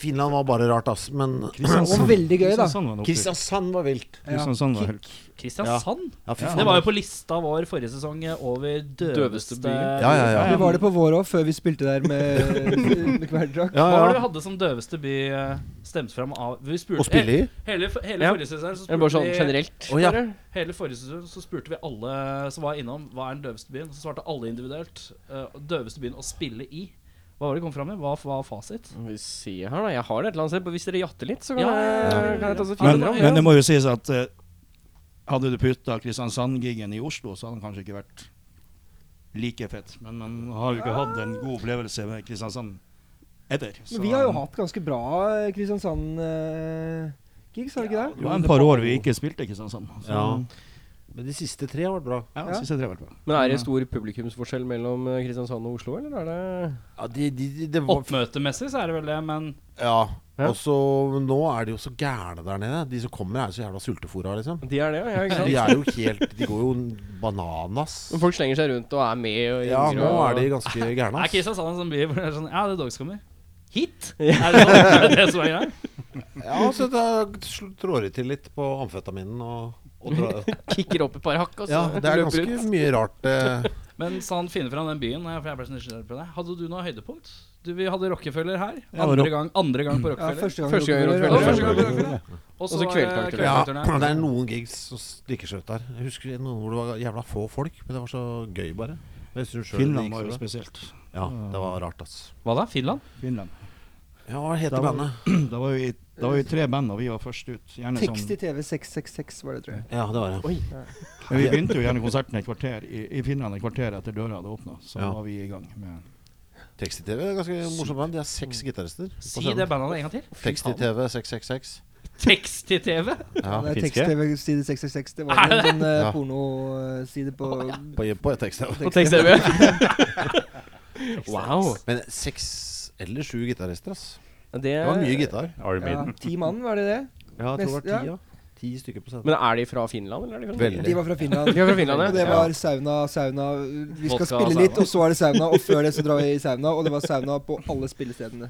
Speaker 5: Finland var bare rart, ass. Men
Speaker 6: Og veldig gøy, da.
Speaker 7: Kristiansand var en opptur.
Speaker 5: Kristiansand var vilt.
Speaker 6: Ja.
Speaker 7: Kristiansand var helt
Speaker 1: Kristiansand?
Speaker 5: Ja, fy
Speaker 1: Det var jo på lista vår forrige sesong eh, over døveste
Speaker 2: Døveste by.
Speaker 5: Ja, ja, ja.
Speaker 6: Vi var det på vår òg, før vi spilte der med, [LAUGHS] med Kvelertak.
Speaker 5: ja,
Speaker 1: Hva var det
Speaker 5: ja.
Speaker 1: vi hadde som døveste by eh, stemt fram av Vi spurte
Speaker 5: Å spille i?
Speaker 1: he- Hele, hele
Speaker 2: Ja.
Speaker 1: forrige sesong så
Speaker 2: Eller bare
Speaker 1: spurte
Speaker 2: sånn
Speaker 1: vi
Speaker 2: generelt.
Speaker 5: Å, ja.
Speaker 2: bare.
Speaker 1: Hele forrige sesong så spurte vi alle som var innom, hva er den døveste byen? Så svarte alle individuelt. eh, døveste byen å spille i. Hva var det vi kom fram med? Hva var fasit?
Speaker 2: Skal Vi se her, da. Jeg har det et eller annet sted. Hvis dere jatter litt, så kan
Speaker 1: Ja, ja, ja,
Speaker 2: jeg, kan jeg ta så
Speaker 7: Men,
Speaker 2: finne
Speaker 7: men det
Speaker 2: fram.
Speaker 7: må jo sies at eh, hadde du putta Kristiansand-gigen i Oslo, så hadde den kanskje ikke vært like fett. Men man har jo ikke hatt en god opplevelse med Kristiansand etter. så-
Speaker 6: Men vi har jo hatt ganske bra eh, Kristiansand-gigs, har vi ikke det?
Speaker 7: det var en par år vi ikke spilte Kristiansand. Så, ja.
Speaker 5: Ja. Men de siste tre har vært bra.
Speaker 6: Ja.
Speaker 7: synes jeg det var bra.
Speaker 2: Men er det stor publikumsforskjell mellom eh, Kristiansand og Oslo, eller er det
Speaker 5: Ja, de, de, de, det var
Speaker 1: Oppmøtemessig så er det vel det, men
Speaker 5: Ja.
Speaker 2: Ja.
Speaker 5: Og så men Nå er de jo så gærne der nede. De som kommer, er jo så jævla sultefòra, liksom.
Speaker 2: De er det, ja. ikke sant?
Speaker 5: De er jo helt De går jo bananas.
Speaker 2: Men folk slenger seg rundt og er med og
Speaker 5: Ja,
Speaker 2: ringer
Speaker 5: nå
Speaker 2: og-
Speaker 5: er de ganske gærne.
Speaker 1: er
Speaker 5: ass.
Speaker 1: Kristiansand en sånn by hvor det er sånn Ja, det er dagskommer. Hit? Er det sånn? [LAUGHS] Er det det som er greia?
Speaker 5: Ja, så da sl- trår de til litt på amfetaminen og, og dra,
Speaker 2: kicker opp et par hakk, og så
Speaker 5: Ja, det er
Speaker 2: løper
Speaker 5: ganske
Speaker 2: ut.
Speaker 5: mye rart. Eh.
Speaker 1: Men sånn finne fram den byen, eh, for jeg ble så nysgjerrig på det. Hadde du noe høydepunkt? Du, vi hadde Rockefeller her.
Speaker 7: Ja,
Speaker 1: Andre
Speaker 7: rock-
Speaker 1: gang, andre gang på
Speaker 6: Ja,
Speaker 1: Rockefeller.
Speaker 6: første gang.
Speaker 2: Første gang
Speaker 6: Rockefeller,
Speaker 1: Det var
Speaker 2: Rockefeller.
Speaker 1: første gang på Rockefeller. eh,
Speaker 2: Og så Kvelertak, tror jeg.
Speaker 5: Ja,
Speaker 1: Kvelertak-turné.
Speaker 5: det er noen gigs som stikker seg ut der. Jeg husker noen hvor det var jævla få folk, men det var så gøy, bare. Men Jeg synes selv det
Speaker 7: Finland
Speaker 5: gikk
Speaker 7: var
Speaker 5: så
Speaker 7: jo
Speaker 5: bra.
Speaker 7: spesielt.
Speaker 5: Ja, det var rart, ass.
Speaker 1: Hva da? Finland?
Speaker 7: Finland. [CLEARS THROAT]
Speaker 5: Ja, hva
Speaker 7: Da
Speaker 5: heter
Speaker 7: var-
Speaker 5: bandet?
Speaker 7: Da var vi, da var vi tre band, og vi var først ut. Gjerne som,
Speaker 6: Tekst i TV 666 var det, tror jeg.
Speaker 5: Ja, det var det.
Speaker 7: men vi begynte jo gjerne konserten et kvarter i, i Finland et kvarter etter døra hadde åpna, så
Speaker 5: Ja.
Speaker 7: var vi i gang. med
Speaker 5: Tekst-TV er et ganske morsomt band. De har seks gitarister. på
Speaker 1: Si
Speaker 5: scenen.
Speaker 1: det bandet en gang
Speaker 2: [LAUGHS]
Speaker 1: til.
Speaker 5: Tekst-TV 666.
Speaker 1: Tekst i TV?
Speaker 5: Ja,
Speaker 6: det er
Speaker 3: finske?
Speaker 6: tekst-TV side 666. Det var en sånn eh, pornoside på
Speaker 5: på, på tekst-TV.
Speaker 2: På tekst-TV. Wow.
Speaker 5: Men seks eller sju gitarister, ass.
Speaker 2: Det,
Speaker 5: Det var mye gitar.
Speaker 6: Ja,
Speaker 3: Armaden.
Speaker 6: ti mann, var det det?
Speaker 5: Ja,
Speaker 6: jeg tror det var ti,
Speaker 5: ja. Ti stykker på scenen.
Speaker 2: Men er de fra Finland, eller er de fra
Speaker 5: Veldig.
Speaker 2: Norge?
Speaker 6: De var fra Finland.
Speaker 2: De var fra Finland, ja.
Speaker 6: Og det var sauna, sauna Vi skal
Speaker 2: Vodka,
Speaker 6: spille
Speaker 2: sauna.
Speaker 6: litt, og så er det sauna. Og før det så drar vi i sauna, og det var sauna på alle spillestedene.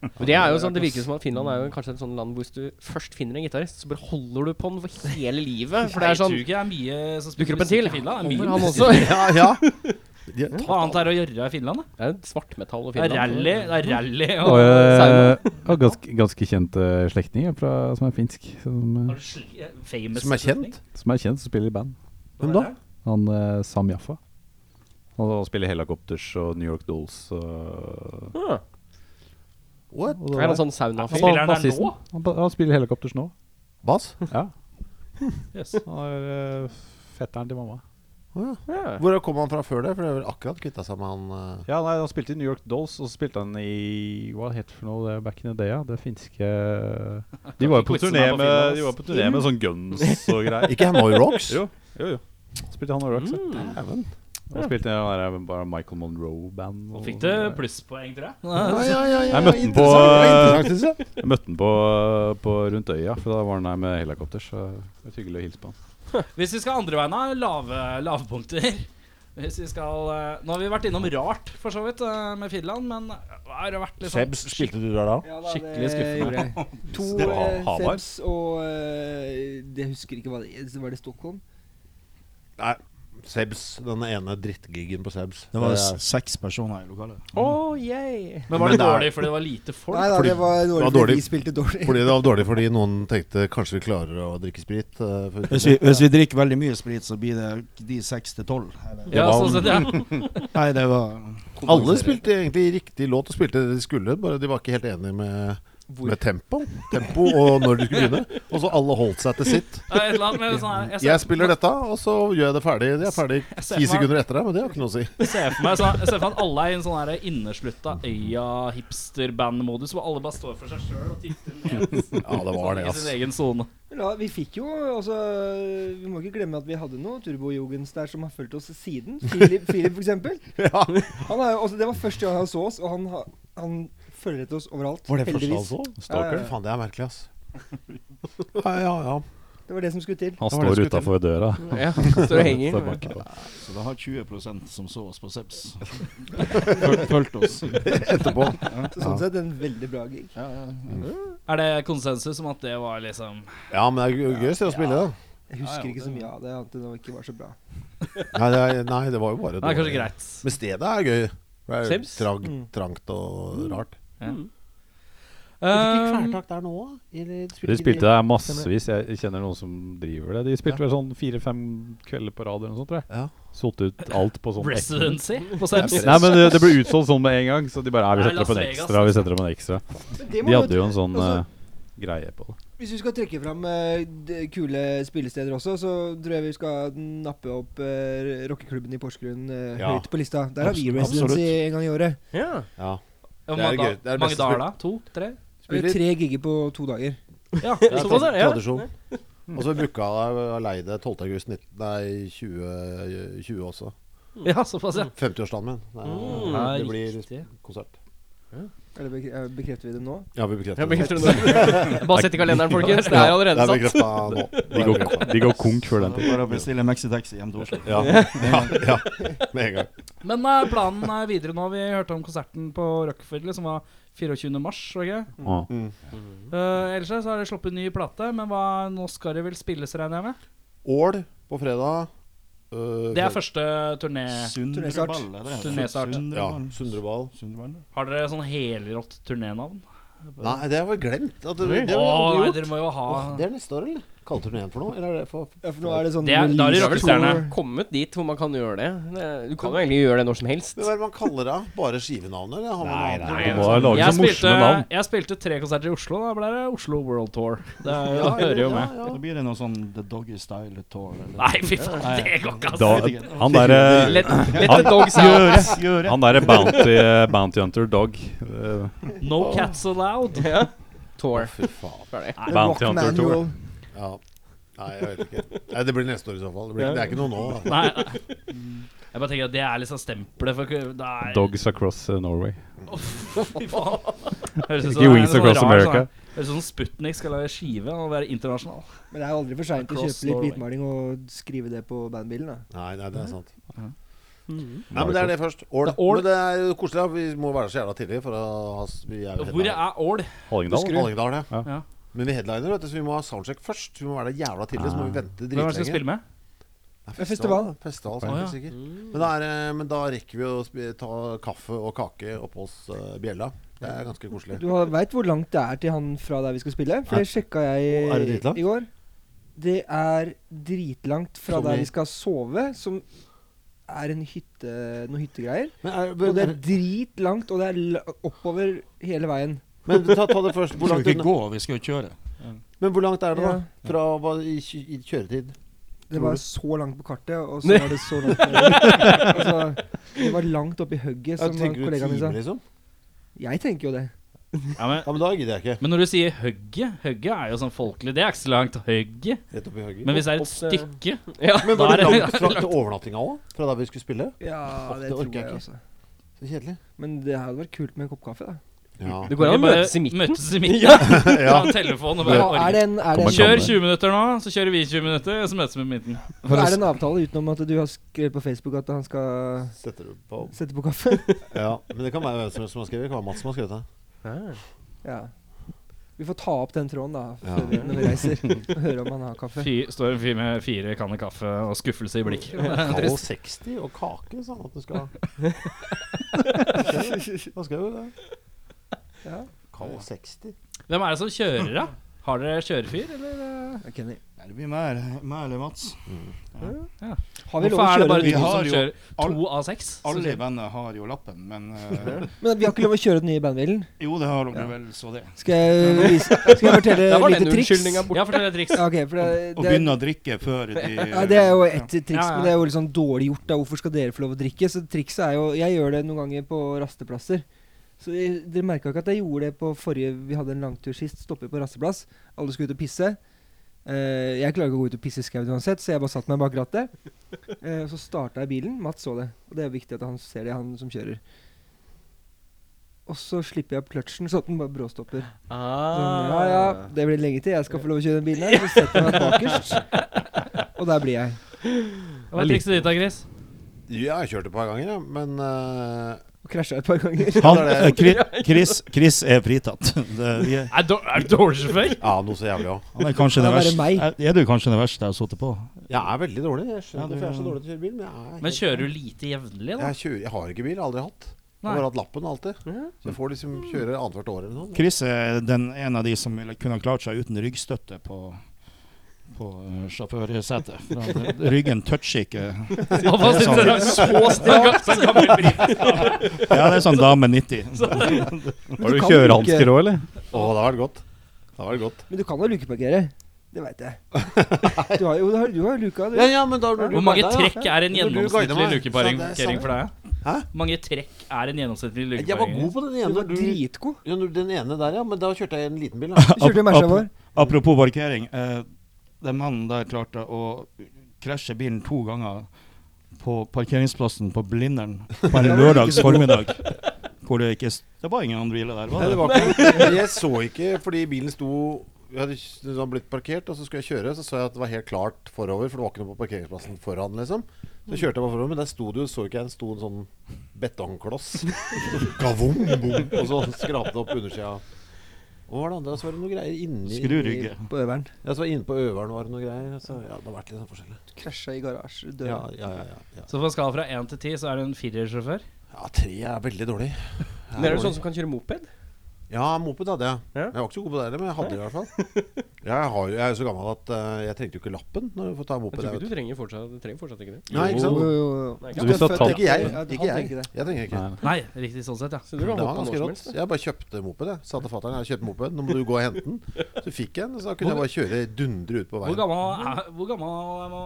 Speaker 2: Men det er jo sånn, det virker som at Finland er jo kanskje et sånt land hvor hvis du først finner en gitarist, så bare holder du på den for hele livet. For det er sånn
Speaker 1: Jeg tror ikke det er mye som
Speaker 2: Dukker
Speaker 1: spiller
Speaker 2: opp en
Speaker 1: musikk i Finland. Det
Speaker 2: til. Kommer
Speaker 1: er
Speaker 2: han
Speaker 1: mye
Speaker 2: også.
Speaker 5: Ja, ja. De er
Speaker 1: Hva annet er det å gjøre i Finland? da?
Speaker 2: Det er jo svartmetall og
Speaker 1: Det er
Speaker 2: Finland.
Speaker 1: rally. Det er rally
Speaker 3: Og,
Speaker 1: og
Speaker 6: [LAUGHS]
Speaker 2: Sauna.
Speaker 3: eh, og ganske, ganske kjent eh, slektning eh, fra- som er finsk. Som, eh,
Speaker 1: Har du sli- famous
Speaker 5: Som er kjent?
Speaker 3: som er kjent, som spiller i band.
Speaker 5: Hvem da?
Speaker 3: Han eh, Sam Jaffa. Han han spiller Helicopters og New York Dolls og,
Speaker 2: Ah,
Speaker 5: What?
Speaker 3: og det
Speaker 2: er
Speaker 3: der.
Speaker 2: det sånn sauna
Speaker 3: Han
Speaker 1: Spiller
Speaker 3: var
Speaker 1: han der
Speaker 3: bassisten.
Speaker 1: nå?
Speaker 3: Han, ba- han spiller Helicopters nå.
Speaker 5: Bass?
Speaker 3: Ja.
Speaker 1: Yes.
Speaker 3: Han er eh, fetteren til mamma.
Speaker 5: Å, ja.
Speaker 2: Ja.
Speaker 5: Hvor kom han fra før det? For det er vel akkurat kvitta seg med han eh,
Speaker 3: Ja, nei, Han spilte i New York Dolls, og så spilte han i Hva het det for noe det back in the day? Ja? Det finske eh,
Speaker 1: [LAUGHS]
Speaker 3: De var jo på
Speaker 1: Quizen
Speaker 3: turné
Speaker 1: er på
Speaker 3: med,
Speaker 1: Finland,
Speaker 3: de var på turné med sånn guns og greier.
Speaker 5: Ikke Hanoi Rocks?
Speaker 3: Jo, jo. jo. Spilte han og Rox. Mm.
Speaker 5: Dæven.
Speaker 3: Han spilte i det der bare Michael Monroe-band.
Speaker 1: Og
Speaker 3: og-
Speaker 1: fikk det plusspoeng, tror jeg.
Speaker 5: Ja, ja, ja, ja,
Speaker 3: Jeg møtte den på-
Speaker 5: interessant, det var interessant, synes jeg.
Speaker 3: Jeg møtte han på, på rundt øya, for da var han der med helikopter. Så det var hyggelig å hilse på han.
Speaker 1: Hvis vi skal andre veien, da. Lave, lavpunkter. Hvis vi skal eh, Nå har vi vært innom rart, for så vidt, eh, med Finland, men har det vært litt sånn
Speaker 5: Sebs, spilte du der da?
Speaker 6: Ja,
Speaker 1: da, Skikkelig det skuffende. gjorde
Speaker 5: [LAUGHS]
Speaker 6: To
Speaker 5: Det var
Speaker 6: eh,
Speaker 3: Hamar.
Speaker 6: Sebs og eh, Det husker ikke hva det Var det Stockholm?
Speaker 5: Nei. Sebs. Den ene drittgigen på Sebs.
Speaker 7: Det var
Speaker 5: Eh,
Speaker 7: s- seks personer i lokalet.
Speaker 2: Oh, yay.
Speaker 1: Men var det
Speaker 5: Men det er-
Speaker 1: dårlig fordi det var lite folk?
Speaker 6: Nei da,
Speaker 5: fordi-
Speaker 6: det var dårlig.
Speaker 5: var
Speaker 6: fordi
Speaker 5: dårlig.
Speaker 6: Vi spilte dårlig.
Speaker 5: Fordi det var dårlig fordi noen tenkte kanskje vi klarer å drikke sprit. eh, for
Speaker 7: Hvis vi, hvis vi drikker veldig mye sprit, så blir det de seks til tolv.
Speaker 1: ja,
Speaker 5: var-
Speaker 1: sånn sett, ja.
Speaker 7: Nei, det var
Speaker 5: Alle spilte egentlig riktig låt og spilte det de skulle, bare de var ikke helt enige med, med tempo, tempo og når de skulle begynne. Og så alle holdt seg til sitt.
Speaker 1: Det er Et eller annet med sånn her
Speaker 5: Jeg spiller dette, og så gjør jeg det ferdig. Jeg er
Speaker 1: [LAUGHS]
Speaker 5: ferdig
Speaker 1: ser for
Speaker 5: ti
Speaker 1: meg-
Speaker 5: sekunder etter deg, men det har ikke noe å si.
Speaker 1: Jeg ser for meg, sånn- jeg ser for meg at alle er i en sånn her inneslutta øya-hipsterband-modus, hvor alle bare står for seg sjøl og titter ned
Speaker 5: Ja, det var det,
Speaker 1: i
Speaker 5: ass.
Speaker 1: sin egen sone.
Speaker 6: Men [LAUGHS] Ja, vi fikk jo altså Vi må ikke glemme at vi hadde noe turbojogens der som har fulgt oss siden. Philip, Philip
Speaker 5: [LAUGHS]
Speaker 6: for eksempel. Han er, jo- altså, det var første gang han så oss, og han, har- han følger etter oss overalt. heldigvis.
Speaker 5: Stalker? Faen, det er merkelig, ass. Ja, ja, ja.
Speaker 6: Det var det som skulle til.
Speaker 3: Han
Speaker 5: Hva var det
Speaker 3: står
Speaker 5: jeg skulle
Speaker 3: utafor døra.
Speaker 2: Ja, står og henger.
Speaker 3: Står bak.
Speaker 7: Så det har 20 som så oss på [LAUGHS] Seps. Fulgte oss.
Speaker 5: Etterpå. [LAUGHS]
Speaker 6: Så sånn sett en veldig bra gig.
Speaker 7: Ja, ja.
Speaker 1: Er det konsensus om at det var liksom
Speaker 5: Ja, men det er jo gøy å se å spille, da.
Speaker 6: Jeg husker ikke så mye av det, annet enn at det ikke var så bra.
Speaker 5: Nei, det, er, nei, det var jo
Speaker 1: Det er
Speaker 5: bare
Speaker 1: kanskje
Speaker 5: dårlig.
Speaker 1: greit.
Speaker 5: Men stedet er gøy. Det er
Speaker 2: Sebs?
Speaker 5: Trang, trangt og rart.
Speaker 1: Mm. Um,
Speaker 5: der nå?
Speaker 3: De spilte der massevis. Jeg kjenner noen som driver det. De spilte vel sånn fire-fem kvelder på rad eller noe sånt, tror jeg.
Speaker 5: Ja.
Speaker 3: Solgt ut alt på sånn
Speaker 1: residency på Sebs.
Speaker 3: Nei, men det, det ble utsolgt sånn med en gang, så de bare "Nei, Vi
Speaker 1: Det er
Speaker 3: setter
Speaker 1: Las
Speaker 3: opp en
Speaker 1: Vegas, liksom."
Speaker 3: ekstra. Vi setter opp en ekstra.
Speaker 6: Men det må
Speaker 3: De
Speaker 6: jo-
Speaker 3: hadde jo en sånn
Speaker 6: altså-
Speaker 3: eh, greie på det.
Speaker 6: Hvis vi skal trekke fram eh, d- kule spillesteder også, så tror jeg vi skal nappe opp eh, rockeklubben i Porsgrunn eh,
Speaker 5: Ja.
Speaker 6: høyt på lista. Der har vi
Speaker 5: Abs-
Speaker 6: residency
Speaker 5: absolutt.
Speaker 6: en gang i året.
Speaker 2: Ja.
Speaker 5: Ja.
Speaker 1: Hvor
Speaker 5: Det er
Speaker 1: mange,
Speaker 5: gøy. Det er det
Speaker 1: mange
Speaker 5: beste
Speaker 1: dager da? To? Tre?
Speaker 5: Spiller-
Speaker 6: Tre gigger på to dager.
Speaker 1: Ja,
Speaker 5: Det er
Speaker 1: såpass, ja.
Speaker 5: trad-
Speaker 2: ja.
Speaker 5: tradisjon. Og så booka jeg leid det 12. august 19, nei, 20, 20 også.
Speaker 1: ja, såpass, ja.
Speaker 5: 50-årsdagen min. Det, er-
Speaker 1: Mm. Ja,
Speaker 5: det blir
Speaker 1: riktig.
Speaker 5: konsert.
Speaker 6: Er det bekre- eh, bekrefter vi det nå?
Speaker 5: Ja, vi bekrefter
Speaker 2: Jeg bekrefter det nå. Bare sett i kalenderen, folkens. Det er
Speaker 5: det
Speaker 2: allerede
Speaker 5: er
Speaker 2: satt.
Speaker 5: bekrefta
Speaker 1: [LAUGHS]
Speaker 5: nå. Det
Speaker 3: De
Speaker 5: er
Speaker 3: går,
Speaker 5: bekreftet.
Speaker 3: de går konk før den tid.
Speaker 7: Bare å bestille maxitaxi hjem til Oslo. [LAUGHS]
Speaker 5: Ja,
Speaker 1: [LAUGHS]
Speaker 5: ja, ja, med en gang.
Speaker 1: Men eh, planen er videre nå. Vi hørte om konserten på Rockefeller som var 24. mars. var det ikke?
Speaker 3: Ah.
Speaker 5: Mm.
Speaker 1: Eh, ellers så har de sluppet ny plate, men hva, nå skal det vel spilles, regner jeg med?
Speaker 5: Ål på fredag. øh,
Speaker 1: Det er
Speaker 5: fred-
Speaker 1: første turné.
Speaker 6: Turnestart.
Speaker 7: Sundreball, er det?
Speaker 1: Turnestart.
Speaker 5: Ja,
Speaker 7: Sundreball.
Speaker 5: Sundreball.
Speaker 7: Sundreball.
Speaker 1: Har dere sånn helrått turnénavn?
Speaker 5: Nei, det har jeg glemt. At det,
Speaker 1: Å,
Speaker 5: det, har jeg aldri
Speaker 1: nei,
Speaker 5: gjort.
Speaker 1: dere må jo ha
Speaker 5: Åh, det er neste år, eller? Kaller turneen for noe? Eller er det for
Speaker 6: Ja, for nå er det sånn
Speaker 1: Det er- da er det
Speaker 6: release
Speaker 1: rockestjerne.
Speaker 6: tour.
Speaker 2: Kommet dit hvor man kan gjøre det. Det- Du kan jo egentlig gjøre det når som helst.
Speaker 5: Men Hva er det man kaller det? Bare skivenavnet? eller har man
Speaker 3: Nei,
Speaker 5: noe
Speaker 3: nei,
Speaker 5: annet?
Speaker 3: du må ha laget
Speaker 1: altså. jeg
Speaker 3: så morsomme
Speaker 1: spilte,
Speaker 3: navn.
Speaker 1: jeg spilte tre konserter i Oslo. Da ble det Oslo World Tour. Det er,
Speaker 5: Ja,
Speaker 1: hører jo
Speaker 5: ja,
Speaker 1: med.
Speaker 5: ja.
Speaker 7: Da blir det noe sånn The Doggy Style Tour. Eller?
Speaker 1: Nei, fy faen, det går ikke,
Speaker 3: Da,
Speaker 1: altså.
Speaker 3: han derre
Speaker 2: Let, let the dogs out.
Speaker 7: Gjør det.
Speaker 3: Han derre bounty, bounty Hunter Dog. eh,
Speaker 1: No cats allowed.
Speaker 2: Ja. Tour.
Speaker 5: Fy faen.
Speaker 2: Ferdig.
Speaker 6: Rock
Speaker 3: Bounty Hunter Tour.
Speaker 6: Manual.
Speaker 5: Ja. Nei, jeg vet ikke. Nei, det blir neste år i så fall. Det, blir, ikke- det er ikke noe nå. Da.
Speaker 1: Nei. [LAUGHS] Jeg bare tenker at det er liksom stempelet for det
Speaker 3: [LAUGHS]
Speaker 1: er,
Speaker 3: Dogs Across eh, Norway.
Speaker 1: Fy faen. Høres ut som
Speaker 3: Ikke Wings
Speaker 1: det er
Speaker 3: Across
Speaker 1: sånn
Speaker 3: America.
Speaker 1: Sånn, høres ut som Sputnik skal lage skive og være internasjonal.
Speaker 6: Men det er aldri for seint å
Speaker 1: Across
Speaker 6: kjøpe litt
Speaker 1: Norway.
Speaker 6: hvitmaling og skrive det på bandbilen. da
Speaker 5: Nei, nei, det er sant.
Speaker 1: Mm.
Speaker 2: Mhm.
Speaker 5: Nei, men det er det først. Ål.
Speaker 1: Det er ål.
Speaker 5: Men det er jo koselig. da. Vi må være så jævla tidlig for å ha s- vi er jo
Speaker 1: Hvor er Ål?
Speaker 3: Hallingdal.
Speaker 5: Hallingdal, ja.
Speaker 1: Ja.
Speaker 5: Men vi headliner, vet du, så vi må ha soundcheck først. Vi må være der jævla tidlig, så må vi
Speaker 1: Hvem
Speaker 5: vente
Speaker 1: er det som
Speaker 5: dritlenge.
Speaker 1: spiller med?
Speaker 5: Nei,
Speaker 6: er festival.
Speaker 5: Festival,
Speaker 1: Ah. Å,
Speaker 5: snakker
Speaker 1: ja.
Speaker 5: sikkert. Men, da er, eh, men da rekker vi å spi- ta kaffe og kake oppå hos eh, bjella. Det er ganske koselig.
Speaker 6: Du veit hvor langt det er til han fra der vi skal spille? For det sjekka jeg
Speaker 5: Er det dritlangt?
Speaker 6: i går. Det er dritlangt fra
Speaker 5: Som i-
Speaker 6: der vi skal sove, som er en hytte, noen hyttegreier.
Speaker 5: Men, er,
Speaker 6: Og det
Speaker 5: men,
Speaker 6: er dritlangt, og det er la- oppover hele veien.
Speaker 5: men ta, ta det først.
Speaker 7: Vi
Speaker 5: Hvor
Speaker 7: skal jo
Speaker 5: langt,
Speaker 7: ikke
Speaker 5: unna-
Speaker 7: gå, vi skal jo kjøre.
Speaker 5: men hvor langt er det,
Speaker 6: Ja.
Speaker 5: da? Fra hva, i, kj- i kjøretid?
Speaker 6: Det
Speaker 5: Tror
Speaker 6: var
Speaker 5: du?
Speaker 6: så langt på kartet, og så var det så langt
Speaker 5: [LAUGHS]
Speaker 6: altså, Det var langt oppi hugget,
Speaker 5: Ja,
Speaker 6: som han-
Speaker 5: tenker du
Speaker 6: kollegaen min
Speaker 5: time,
Speaker 6: sa.
Speaker 5: liksom?
Speaker 6: Jeg tenker jo det.
Speaker 1: Ja, men,
Speaker 5: Ja, men da gidder jeg ikke.
Speaker 1: men når du sier hugget Hugget er jo sånn folkelig. Det er ikke så langt. Hugget.
Speaker 5: Rett opp i høyre.
Speaker 1: Men hvis det er
Speaker 5: Opp
Speaker 1: et
Speaker 5: til-
Speaker 1: stykke
Speaker 5: Men
Speaker 1: Da
Speaker 5: var det
Speaker 1: er det-
Speaker 5: langt fra til overnattinga òg? Fra der vi skulle spille?
Speaker 6: Ja,
Speaker 5: Åh,
Speaker 6: det
Speaker 5: det
Speaker 6: tror
Speaker 5: orker jeg
Speaker 6: jeg,
Speaker 5: ikke.
Speaker 6: altså.
Speaker 5: Så kjedelig.
Speaker 6: Men det hadde vært kult med en kopp kaffe, da.
Speaker 5: Ja.
Speaker 2: Det går an å
Speaker 1: Bare
Speaker 2: møtes i midten.
Speaker 1: Møtes i midten. [LAUGHS] Ja.
Speaker 5: ja.
Speaker 1: Ta en telefon og bare
Speaker 6: Ja, er det en, er det
Speaker 3: Kommer
Speaker 1: Kjør
Speaker 6: en
Speaker 3: Kan-
Speaker 1: 20 minutter nå, så kjører vi 20 minutter, og så møtes vi på midten.
Speaker 6: Men er det en avtale utenom at du har skrevet på Facebook at han skal
Speaker 5: Setter du på
Speaker 6: sette på kaffe?
Speaker 5: Ja, men det kan være hvem som helst som har skrevet. Det kan være Mats som har skrevet det.
Speaker 1: Ah.
Speaker 6: ja. Vi får ta opp den tråden, da,
Speaker 5: Ja.
Speaker 6: før vi, når vi reiser. Og høre om han har kaffe.
Speaker 1: Fy, står en fyr med fire kanner kaffe og skuffelse i blikket.
Speaker 5: Kald
Speaker 1: Trist.
Speaker 5: 60 og kake, sånn at du skal Hva skrev du der?
Speaker 6: Ja.
Speaker 5: Kald 60.
Speaker 1: Hvem er det som kjører, da? Har dere kjørefyr, eller? eh?
Speaker 6: Ja, Kenny.
Speaker 7: Nei, det blir mer, mer eller Mats.
Speaker 6: Har vi lov
Speaker 1: Hvorfor
Speaker 6: å
Speaker 1: er det
Speaker 6: kjøre
Speaker 1: bare
Speaker 6: den
Speaker 7: Vi
Speaker 1: to
Speaker 6: nye?
Speaker 7: har
Speaker 1: som
Speaker 7: jo
Speaker 1: kjører?
Speaker 7: all-
Speaker 1: To av seks? som
Speaker 7: Alle i
Speaker 1: kjører?
Speaker 7: bandet har jo lappen, men [LAUGHS] eh,
Speaker 6: Men vi har ikke lov å kjøre den nye bandbilen.
Speaker 7: Jo, det har dere vel, så det.
Speaker 6: Skal jeg, vise, skal jeg fortelle
Speaker 2: Der var
Speaker 6: et
Speaker 2: den
Speaker 6: lite triks?
Speaker 2: unnskyldninga borte.
Speaker 1: Ja, fortell et triks.
Speaker 6: Ja, ok, for det,
Speaker 7: Å
Speaker 6: det,
Speaker 7: begynne å drikke før de
Speaker 6: [LAUGHS] ja, det er jo ett triks,
Speaker 1: Ja, ja.
Speaker 6: men det er jo litt sånn dårlig gjort. da Hvorfor skal dere få lov å drikke? Så trikset er jo Jeg gjør det noen ganger på rasteplasser. Så jeg, Dere merka ikke at jeg gjorde det på forrige Vi hadde en langtur sist. Stoppet på rasteplass. Alle skulle ut og pisse. Eh, jeg klarer ikke å gå ut og pisse i skauen uansett, så jeg bare satte meg bak rattet. Eh, og så starta jeg bilen. Mats så det. Og det er viktig at han ser det, han som kjører. Og så slipper jeg opp kløtsjen, så at den bare bråstopper.
Speaker 1: Ah.
Speaker 6: Sånn, ja, ja, det blir lenge til jeg skal få lov å kjøre den bilen her. Så setter jeg meg bakerst, og der blir jeg.
Speaker 1: Hva er trikset ditt da, Chris?
Speaker 5: Ja, jeg kjørte et par ganger, ja, men eh,
Speaker 6: Og krasja et par ganger. [LAUGHS]
Speaker 7: Han,
Speaker 5: det
Speaker 7: eh, Chri- Chris, Chris er fritatt. [LAUGHS] Det, vi er,
Speaker 1: Er du dårlig sjåfør?
Speaker 5: Ja, noe så jævlig òg.
Speaker 7: han er kanskje
Speaker 6: Det
Speaker 7: det
Speaker 6: er bare
Speaker 7: verste
Speaker 6: meg.
Speaker 7: er, er du kanskje det verste jeg har sittet på?
Speaker 5: Jeg er veldig dårlig. Jeg
Speaker 7: Ja,
Speaker 5: skjønner
Speaker 7: du-
Speaker 5: hvorfor jeg er så dårlig til å kjøre bil, men jeg er
Speaker 1: [LAUGHS] Men
Speaker 5: helt-
Speaker 1: kjører du lite jevnlig, da?
Speaker 5: jeg, kjører, jeg har ikke bil. Aldri hatt. Jeg har
Speaker 1: Nei.
Speaker 5: bare hatt lappen alltid. Så jeg får liksom kjøre annethvert år eller noe.
Speaker 7: Chris er den en av de som ville kunne ha klart seg uten ryggstøtte på, på eh, sjåførsetet. For
Speaker 6: [LAUGHS]
Speaker 7: han- Ryggen toucher ikke
Speaker 1: Han var
Speaker 7: Sånn.
Speaker 1: sånn, så strak, sånn gammel brit.
Speaker 7: Ja, det er sånn dame 90.
Speaker 3: Har
Speaker 6: du
Speaker 3: du
Speaker 6: kan
Speaker 3: kjørehansker òg, eller?
Speaker 5: Å, det har vært godt. Det har vært godt.
Speaker 6: Men du kan jo lukeparkere. Det veit
Speaker 5: [LAUGHS]
Speaker 6: jeg. Du har jo du har, du har luka, du.
Speaker 5: Ja, ja, men da når du
Speaker 1: Hvor mange
Speaker 5: guider, ja.
Speaker 1: trekk er en
Speaker 5: Når du guider
Speaker 1: gjennomsnittlig
Speaker 5: meg, så det er
Speaker 1: lukeparkering
Speaker 5: sant.
Speaker 1: for deg?
Speaker 5: Hæ?
Speaker 1: Hvor mange trekk er en gjennomsnittlig
Speaker 5: Jeg var god
Speaker 1: lukeparkering?
Speaker 5: på den
Speaker 6: Du
Speaker 5: ene.
Speaker 6: var
Speaker 5: Du,
Speaker 6: dritgod.
Speaker 5: ja, når- den ene der, ja. Men da kjørte jeg en liten [LAUGHS] bil. Da.
Speaker 6: Du kjørte jo Merca vår.
Speaker 7: Apropos parkering. Eh, den mannen der klarte å krasje bilen to ganger på parkeringsplassen på Blindern på en lørdags formiddag. Hvor det ikke s- Det var ingen andre biler der,
Speaker 5: Nei,
Speaker 7: var
Speaker 5: det
Speaker 7: det?
Speaker 5: var ikke, jeg så ikke, fordi bilen sto Jeg hadde k- den hadde blitt parkert, og så skulle jeg kjøre. Så så jeg at det var helt klart forover, for det var ikke noe på parkeringsplassen foran. liksom Så kjørte jeg bare forover, men der sto det jo, så ikke jeg, en sto en sånn betongkloss. Gavum, bom, og så skrapte det opp undersida. Og hva var det andre? Så var det noe greier inni
Speaker 7: Skrurygge.
Speaker 6: På Øveren.
Speaker 5: Ja, så var det inne på øveren var det noe greier. Så ja, det har vært litt sånn forskjellig.
Speaker 6: Krasja i
Speaker 5: Ja,
Speaker 6: garasjedøra.
Speaker 5: ja, ja, ja, ja.
Speaker 1: Så på en skala fra én til ti, så er du en firersjåfør?
Speaker 5: ja tre er veldig dårlig. Jeg
Speaker 2: Men er du
Speaker 5: dårlig.
Speaker 2: sånn som kan kjøre moped?
Speaker 5: Ja, moped hadde jeg.
Speaker 2: Ja.
Speaker 5: Jeg var ikke så god på det heller, men jeg hadde det i
Speaker 2: [LAUGHS]
Speaker 5: hvert fall. Jeg, har, jo- jeg er jo så gammel at eh, jeg trengte jo ikke lappen når du får ta
Speaker 2: Jeg
Speaker 5: moped.
Speaker 2: tror
Speaker 5: Jeg
Speaker 2: ikke
Speaker 5: vet.
Speaker 2: du trenger fortsatt, du trenger fortsatt ikke det.
Speaker 5: Nei, ikke sant?
Speaker 6: Jo, jo, jo.
Speaker 2: Nei,
Speaker 5: Så
Speaker 2: ikke
Speaker 5: hvis du
Speaker 2: sant?
Speaker 5: har tatt Ikke jeg.
Speaker 6: Ja, du
Speaker 5: Ikke
Speaker 6: kan
Speaker 5: jeg.
Speaker 6: tenke det.
Speaker 5: jeg trenger ikke.
Speaker 3: Nei.
Speaker 1: Nei, riktig sånn sett, ja.
Speaker 2: Så du kan
Speaker 5: Det
Speaker 2: hoppe
Speaker 5: var
Speaker 2: på når
Speaker 5: ganske
Speaker 2: som
Speaker 5: rått.
Speaker 2: helst. da.
Speaker 5: Jeg bare kjøpte moped. Jeg sa til fatter'n jeg kjøpte moped, nå må du gå og hente den. Så fikk jeg den, så da kunne jeg bare kjøre dundre ut på
Speaker 1: Hvor
Speaker 5: veien.
Speaker 1: gammel er hvor gammel er man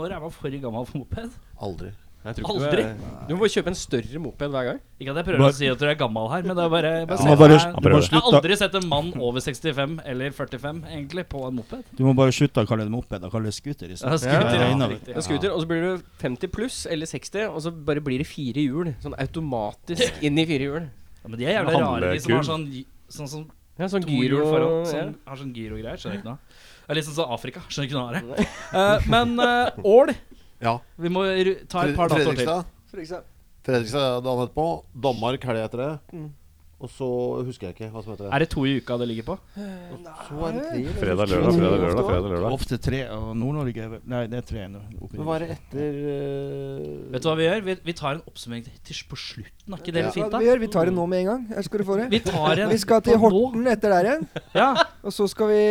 Speaker 1: Når er man for gammel for moped?
Speaker 5: Aldri.
Speaker 8: Jeg tror ikke Du
Speaker 2: Aldri!
Speaker 8: er,
Speaker 2: Du må kjøpe en større moped hver gang.
Speaker 1: Ikke at jeg prøver
Speaker 7: Bare-
Speaker 1: å si at du er gammel her, men det er bare, bare,
Speaker 7: Du
Speaker 1: se
Speaker 7: må
Speaker 1: for
Speaker 7: bare-
Speaker 1: deg-
Speaker 7: du må
Speaker 1: jeg,
Speaker 7: bare
Speaker 1: har
Speaker 7: slutte.
Speaker 1: aldri sett en mann over 65 eller 45 egentlig på en moped.
Speaker 7: Du må bare slutte å kalle det moped og kalle det scooter. i stedet.
Speaker 1: Ja, scooter,
Speaker 7: Det
Speaker 1: ja,
Speaker 7: regner vi.
Speaker 1: riktig.
Speaker 2: En scooter, og så blir du 50 pluss eller 60, og så bare blir det fire hjul. Sånn automatisk inn i fire hjul.
Speaker 1: Ja, men de er jævlig rare, de som har
Speaker 8: Handlekurv.
Speaker 1: sånn, sånn som
Speaker 2: Ja, sånn
Speaker 1: to hjul
Speaker 2: gyro
Speaker 1: foran.
Speaker 2: ja.
Speaker 1: Som har sånn gyro-greier. Skjønner ikke noe av. Det er litt sånn som Afrika. Skjønner ikke noe av det. [LAUGHS] Eh, men eh, Ål
Speaker 5: Ja.
Speaker 1: Vi må ru- ta et par datoer til.
Speaker 5: Fredrikstad
Speaker 6: For eksempel.
Speaker 5: Fredrikstad dagen etterpå. Danmark helga etter det. Og så husker jeg ikke hva som heter det.
Speaker 1: Er det to i uka det ligger på?
Speaker 5: Så er det tre.
Speaker 8: fredag,
Speaker 7: Mm.
Speaker 8: lørdag, fredag, lørdag. fredag, lørdag
Speaker 7: Ofte tre, og Nord-Norge er vel- Nei, det er tre nå. oppe i-
Speaker 5: Men hva er det etter eh,
Speaker 1: Vet du hva vi gjør? Vi, vi tar en oppsummering til, til på slutten. Er ikke det
Speaker 5: Ja.
Speaker 1: litt fint,
Speaker 6: Hva
Speaker 1: da?
Speaker 6: vi gjør, vi tar det nå med en gang. Her skal du få det.
Speaker 1: Vi tar en
Speaker 6: Vi skal til
Speaker 1: på nå.
Speaker 6: Horten etter der igjen.
Speaker 1: Ja.
Speaker 6: Og så skal vi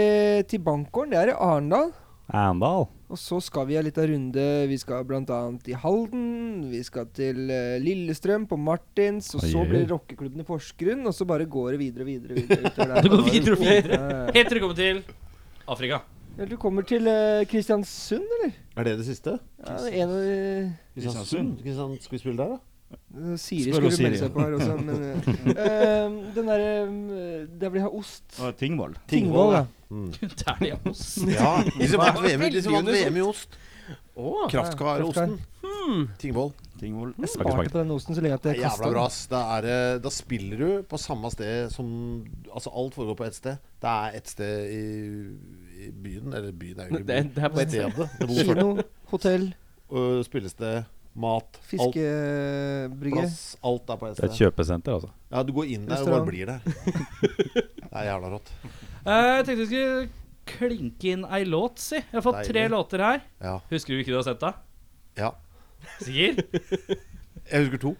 Speaker 6: til Bankgården. Det er i Arendal.
Speaker 3: Arendal.
Speaker 6: Og så skal vi ha litt av runde. Vi skal bl.a. til Halden. Vi skal til eh, Lillestrøm på Martins. Og
Speaker 3: Oi,
Speaker 6: så
Speaker 3: oi, oi.
Speaker 6: blir det rockeklubben i Porsgrunn. Og så bare går det videre og videre. videre
Speaker 1: [LAUGHS]
Speaker 6: utover der.
Speaker 1: Du går videre og videre.
Speaker 6: Ja, ja.
Speaker 1: Helt til du kommer til Afrika.
Speaker 6: Eller du kommer til eh, Kristiansund, eller?
Speaker 5: Er det det siste?
Speaker 6: Ja, det er en av de
Speaker 5: Kristiansund? Kristiansand, skal vi spille der, da?
Speaker 6: Eh, Siri
Speaker 7: Spør
Speaker 6: skulle
Speaker 7: oss, Siri.
Speaker 6: melde seg på her også, men eh, eh, Den derre Der vil jeg ha ost.
Speaker 7: Og Tingvoll.
Speaker 6: Tingvoll, ja.
Speaker 5: Mm.
Speaker 1: Der de er hos.
Speaker 5: Ja, de som vant VM, i- de som vant VM i ost.
Speaker 2: Å, Hmm.
Speaker 5: Kraftkarosten. Tingvoll.
Speaker 7: Tingvoll.
Speaker 6: Jeg sparte på den osten så lenge at
Speaker 5: Det
Speaker 6: jeg
Speaker 5: er jævla
Speaker 6: kasta
Speaker 5: bra,
Speaker 6: den.
Speaker 5: ass. Da, er, det- da spiller du på samme sted som Altså, alt foregår på ett sted. Det er ett sted i, i byen, eller byen er jo
Speaker 2: Det,
Speaker 5: ikke byen.
Speaker 2: det er på et
Speaker 5: Stedet. Det bor folk.
Speaker 6: Kino, hotell,
Speaker 5: Og spillested, mat, alt.
Speaker 6: fiskebrygge.
Speaker 5: Plass, alt er på ett
Speaker 3: Det er et
Speaker 5: sted.
Speaker 3: kjøpesenter, altså.
Speaker 5: Ja, du går inn der og bare
Speaker 6: Restaurant.
Speaker 5: blir der. Det er jævla rått.
Speaker 1: Eh, Jeg tenkte vi skulle klinke inn ei låt, si. Jeg har fått tre
Speaker 5: Deilig.
Speaker 1: låter her.
Speaker 5: Ja.
Speaker 1: Husker du ikke du har sett det?
Speaker 5: ja.
Speaker 1: Sikker?
Speaker 5: Jeg husker to.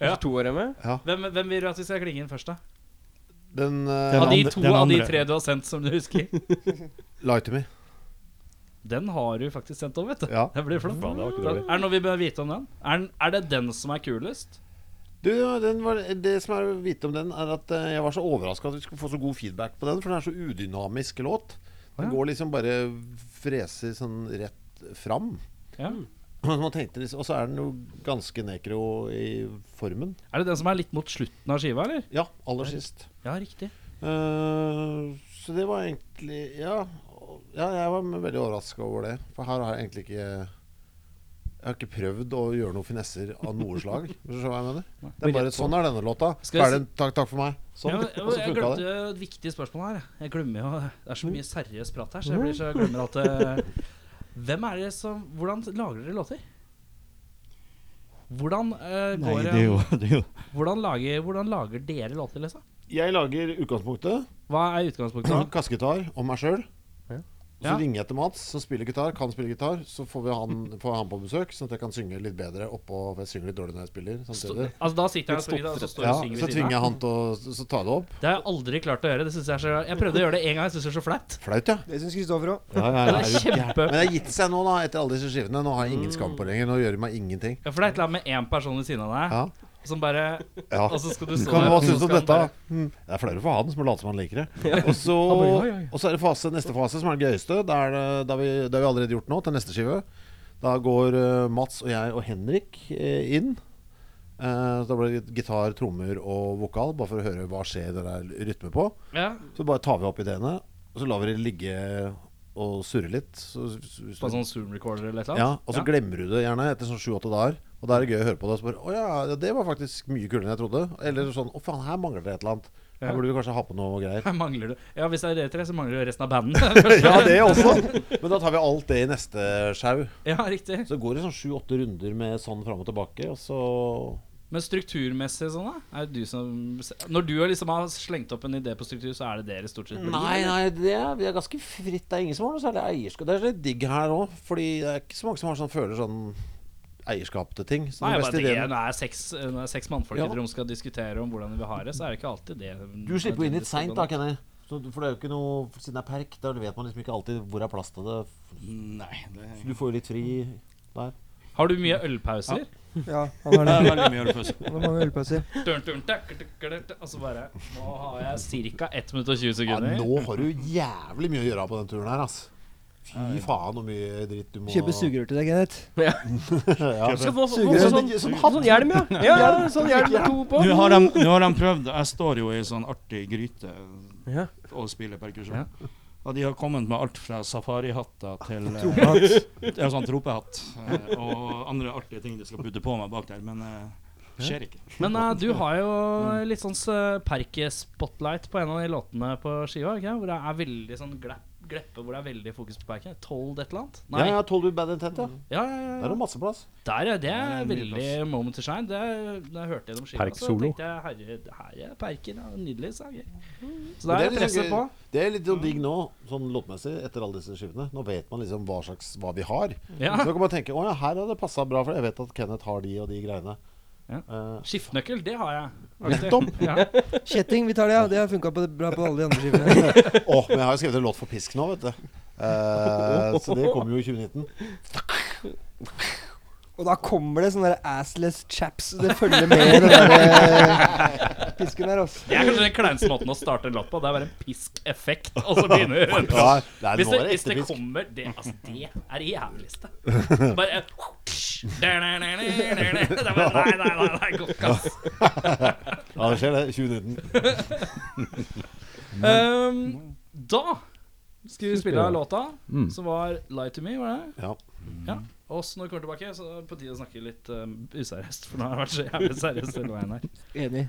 Speaker 1: Ja.
Speaker 2: to år hjemme.
Speaker 5: Ja.
Speaker 1: Hvem, hvem vil du at vi skal klinge inn først, da?
Speaker 5: Den
Speaker 7: Den
Speaker 5: uh,
Speaker 1: Av de
Speaker 7: andre-
Speaker 1: to
Speaker 7: den
Speaker 1: av de
Speaker 7: andre.
Speaker 1: tre du har sendt som du husker.
Speaker 5: Lie to me.
Speaker 1: Den har du faktisk sendt over, vet du.
Speaker 5: Ja.
Speaker 1: Det blir flott.
Speaker 8: Faen, det var ikke
Speaker 1: Er
Speaker 8: dårlig.
Speaker 1: det noe vi bør vite om den? Er, den, er det den som er kulest?
Speaker 5: Du, den var, det som er å vite om den, er at eh, jeg var så overraska at vi skulle få så god feedback på den, for den er så udynamisk låt. Den
Speaker 1: Ja.
Speaker 5: går liksom bare freser sånn rett fram. [CLEARS THROAT]
Speaker 1: Ja.
Speaker 5: Og man tenkte liksom- og så er den jo ganske nekro i formen.
Speaker 1: Er det den som er litt mot slutten av skiva, eller?
Speaker 5: Ja, aller sist.
Speaker 1: Ja, riktig.
Speaker 5: Eh, så det var egentlig Ja, ja jeg var veldig overraska over det. For her har jeg egentlig ikke Jeg har ikke prøvd å gjøre noen finesser av noe slag. Hvis du skjønner hva jeg mener? Det er bare Sånn er denne låta.
Speaker 1: Skal jeg
Speaker 5: Ferdig. Takk, takk for meg. Sånn.
Speaker 1: Ja, men,
Speaker 5: og så
Speaker 1: jeg
Speaker 5: funka det.
Speaker 1: glemte et viktig spørsmål her. Jeg glemmer jo Det er så mye seriøs prat her, så jeg, blir,
Speaker 5: Mm.
Speaker 1: så jeg glemmer alt det. Hvem er det som Hvordan lager dere låter? Hvordan eh,
Speaker 7: Nei,
Speaker 1: går
Speaker 7: det er jo, det er jo
Speaker 1: hvordan, lager, hvordan lager dere låter, liksom?
Speaker 5: Jeg lager utgangspunktet.
Speaker 1: Hva er utgangspunktet? da?
Speaker 5: Kassegitar og meg sjøl. Så
Speaker 1: Ja.
Speaker 5: ringer jeg til Mats, som spiller gitar, kan spille gitar. Så får vi han, får jeg han på besøk, sånn at jeg kan synge litt bedre oppå For jeg synger litt dårlig når jeg spiller.
Speaker 1: Stå-
Speaker 5: Samtidig.
Speaker 1: altså, da sitter jeg og spiller, og så står
Speaker 5: Ja,
Speaker 1: jeg og synger
Speaker 5: så
Speaker 1: ved
Speaker 5: tvinger
Speaker 1: siden
Speaker 5: jeg
Speaker 1: av.
Speaker 5: han til å så- så ta det opp.
Speaker 1: Det har jeg aldri klart å gjøre. Det synes jeg, er så, jeg prøvde å gjøre det én gang, jeg syns det er så flaut.
Speaker 5: Flaut, ja.
Speaker 6: Det syns Kristoffer òg.
Speaker 5: ja, ja,
Speaker 1: Det
Speaker 5: ja.
Speaker 1: er kjempe
Speaker 5: Men det har gitt seg nå, da, etter alle disse skivene. Nå har jeg ingen skam på lenger. Nå gjør det meg ingenting.
Speaker 1: Ja, for det er et eller annet med én person ved siden av deg
Speaker 5: Ja.
Speaker 1: som bare
Speaker 5: ja.
Speaker 1: Og Altså, så skal du stå
Speaker 5: Kan,
Speaker 1: der,
Speaker 5: hva
Speaker 1: og så
Speaker 5: syns du
Speaker 1: skal
Speaker 5: om
Speaker 1: han
Speaker 5: dette?
Speaker 1: bare-
Speaker 5: Mm. Det er flauere for han som later som han liker det. Og så,
Speaker 2: oi, oi.
Speaker 5: og så er det fase, neste fase, som er den gøyeste. Det er det- det har vi, det har vi allerede gjort nå, til neste skive. Da går eh, Mats og jeg og Henrik eh, inn. Eh, så da blir det gitar, trommer og vokal, bare for å høre hva skjer det der rytme på.
Speaker 1: Ja,
Speaker 5: Så bare tar vi opp ideene, og så lar vi det ligge og surre litt. Så, så,
Speaker 1: på en sånn Zoom recorder eller et eller
Speaker 5: ja,
Speaker 1: annet.
Speaker 5: og så
Speaker 1: Ja.
Speaker 5: glemmer du det gjerne etter sånn sju-åtte dager. Og da er det gøy å høre på det. Og så bare, å ja, ja, det var faktisk mye kulere enn jeg trodde. Eller sånn Å, faen, her mangler det et eller annet. Her
Speaker 1: Ja.
Speaker 5: burde vi kanskje ha på noe [LAUGHS] greier.
Speaker 1: Her mangler du Ja, hvis det er dere tre, så mangler du resten av banden.
Speaker 5: Ja, det også. Men da tar vi alt det i neste sjau.
Speaker 1: ja, riktig.
Speaker 5: Så går det sånn sju-åtte runder med sånn fram og tilbake, og så
Speaker 1: Men strukturmessig sånn, da? Er det du som Når du liksom har slengt opp en idé på struktur, så er det dere stort sett blir?
Speaker 5: Nei, nei, det er, vi er ganske fritt. Det er ingen som har noe særlig eierskap. Det er litt digg her òg, fordi det er ikke så mange som har sånn, føler sånn eierskap til ting. Så
Speaker 1: Nei,
Speaker 5: den
Speaker 1: jeg bare
Speaker 5: beste
Speaker 1: tenker,
Speaker 5: ideen-
Speaker 1: når det er seks, når det er seks mannfolk i
Speaker 5: Ja.
Speaker 1: et rom skal diskutere om hvordan de vil ha det, så er det ikke alltid det
Speaker 5: Du slipper jo inn litt
Speaker 1: nødvendigvis
Speaker 5: seint,
Speaker 1: går
Speaker 5: da,
Speaker 1: an.
Speaker 5: Kenny. Så, du- for det er jo ikke noe Siden det er perk, da vet man liksom ikke alltid hvor er plass til det.
Speaker 7: Nei. Det
Speaker 5: Så du får jo litt fri der.
Speaker 1: Har du mye ølpauser?
Speaker 6: Ja, han
Speaker 7: [LAUGHS]
Speaker 6: har det.
Speaker 7: er veldig mye å gjøre først.
Speaker 6: Han har mange ølpauser.
Speaker 1: Dun, dun, tak, tak, tak, tak, Og så bare Nå har jeg ca. 1 minutt og 20
Speaker 5: Ja,
Speaker 1: sekunder.
Speaker 5: nå har du jævlig mye å gjøre på den turen her, ass. Fy faen, hvor mye dritt du må
Speaker 6: Kjøpe sugerør til deg, Kenneth.
Speaker 5: [LAUGHS] Ja.
Speaker 2: Skal få så,
Speaker 6: Sugerør.
Speaker 2: også sånn,
Speaker 5: Som
Speaker 2: sånn,
Speaker 5: hatt.
Speaker 2: hjelm, ja. ja, ja sånn hjelm med to på.
Speaker 7: Nå har, de, nå har de prøvd Jeg står jo i ei sånn artig gryte
Speaker 2: Ja.
Speaker 7: og spiller perkusjon. Og de har kommet med alt fra safarihatter til Tropehatt. Ja, sånn tropehatt. eh, Og andre artige ting de skal putte på meg bak der. Men eh, skjer ikke.
Speaker 1: Men eh, du har jo
Speaker 5: Mm.
Speaker 1: litt sånn eh, perke-spotlight på en av de låtene på skiva, ikke? hvor det er veldig sånn glapp, gleppe, hvor det er veldig fokus på perke. Told et eller annet? Nei.
Speaker 5: Ja, ja, Tollwood Bad Intent, ja.
Speaker 1: Ja, ja, ja.
Speaker 5: Der er det masse plass.
Speaker 1: Der, ja. Det
Speaker 7: Ja,
Speaker 1: er
Speaker 7: det er mye
Speaker 1: veldig moment to shine. Det er, da jeg hørte gjennom skiva,
Speaker 3: Perk
Speaker 1: så
Speaker 3: solo.
Speaker 1: tenkte jeg herre, her er Perken. Ja, nydelig sanger. Så
Speaker 5: Men
Speaker 1: der
Speaker 5: det er
Speaker 1: er
Speaker 5: liksom
Speaker 1: presset
Speaker 5: gøy-
Speaker 1: på.
Speaker 5: Det er litt sånn digg nå, sånn låtmessig, etter alle disse skivene. Nå vet man liksom hva slags hva vi har.
Speaker 1: Ja.
Speaker 5: Så du kan man tenke å ja, her har det passa bra, for jeg vet at Kenneth har de og de greiene.
Speaker 1: Ja.
Speaker 5: Eh,
Speaker 1: Skiftenøkkel, det har jeg. Nettopp! Ja.
Speaker 6: Kjetting, vi tar det, ja. Det har funka bra på alle de andre skivene.
Speaker 5: Åh, men jeg har jo skrevet en låt for Pisk nå, vet du. Eh, så det kommer jo i 2019.
Speaker 6: [LAUGHS] Og da kommer det sånne der assless chaps. Det følger med den der eh, pisken der, altså.
Speaker 1: Det er kanskje den kleineste måten å starte en låt på. Det er bare en piskeffekt, og så begynner
Speaker 5: Ja, det er
Speaker 1: Hvis det,
Speaker 5: nå er det
Speaker 1: hvis
Speaker 5: ekte
Speaker 1: det
Speaker 5: pisk.
Speaker 1: kommer
Speaker 5: [LAUGHS]
Speaker 1: det, altså, det er det jævligste. Bare eh, Det er bare, Nei, nei, nei, nei, godt kast.
Speaker 5: Ja, det skjer, det. 2019.
Speaker 1: Um, da skal vi spille av låta
Speaker 3: Mm.
Speaker 1: som var 'Lie to Me', var det?
Speaker 5: Ja.
Speaker 1: Ja. Og så når vi kommer tilbake, så er det på tide å snakke litt um, useriøst. For nå har det vært så jævlig seriøst hele veien her.
Speaker 6: Enig.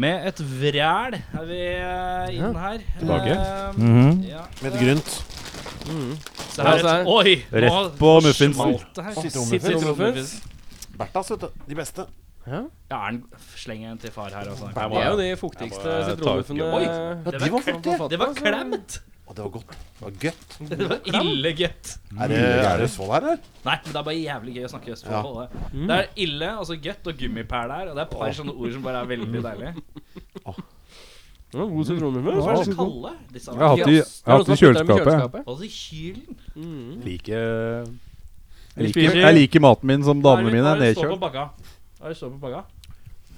Speaker 1: Med et vræl er vi eh, inn her.
Speaker 3: Tilbake. Mhm.
Speaker 1: Um, ja. Mm.
Speaker 5: Med et grunt.
Speaker 1: Så her er et, oi!
Speaker 3: altså, Rett på muffinsen.
Speaker 1: smalt det her.
Speaker 5: Sitteromuffins.
Speaker 1: Sitteromuffins.
Speaker 5: Berthas, vet du. De beste.
Speaker 1: Ja, er den- Slenger en til far her, altså.
Speaker 2: Det er jo de fuktigste
Speaker 3: Jeg må- jeg tar ikke-
Speaker 2: sitronmuffene.
Speaker 1: Oi. Det var,
Speaker 5: de var
Speaker 1: det var klemt!
Speaker 5: Å, det var godt. Det var gøtt.
Speaker 1: Det var ille gøtt.
Speaker 5: Er det, er det Østfold her, eller?
Speaker 1: Nei, men det er bare jævlig gøy å snakke østfold
Speaker 5: Ja.
Speaker 1: på det. Det er ille, altså gøtt og gummipæl der. Og det er et par sånne ord som bare er veldig deilige.
Speaker 2: Det var Sånn god sitroner.
Speaker 1: Hva er det så kalde? Disse
Speaker 3: Jeg har hatt
Speaker 1: er
Speaker 3: det i- jeg har hatt det i kjøleskapet.
Speaker 1: Altså, kylen.
Speaker 3: Liker
Speaker 1: Vi
Speaker 3: jeg liker,
Speaker 1: spiser-
Speaker 3: jeg liker maten min som
Speaker 1: Hva er
Speaker 3: damene
Speaker 1: det-
Speaker 3: mine
Speaker 1: hva
Speaker 3: er
Speaker 1: er det står på
Speaker 3: nedkjølt.
Speaker 1: bakka? Hva er det står på bakka?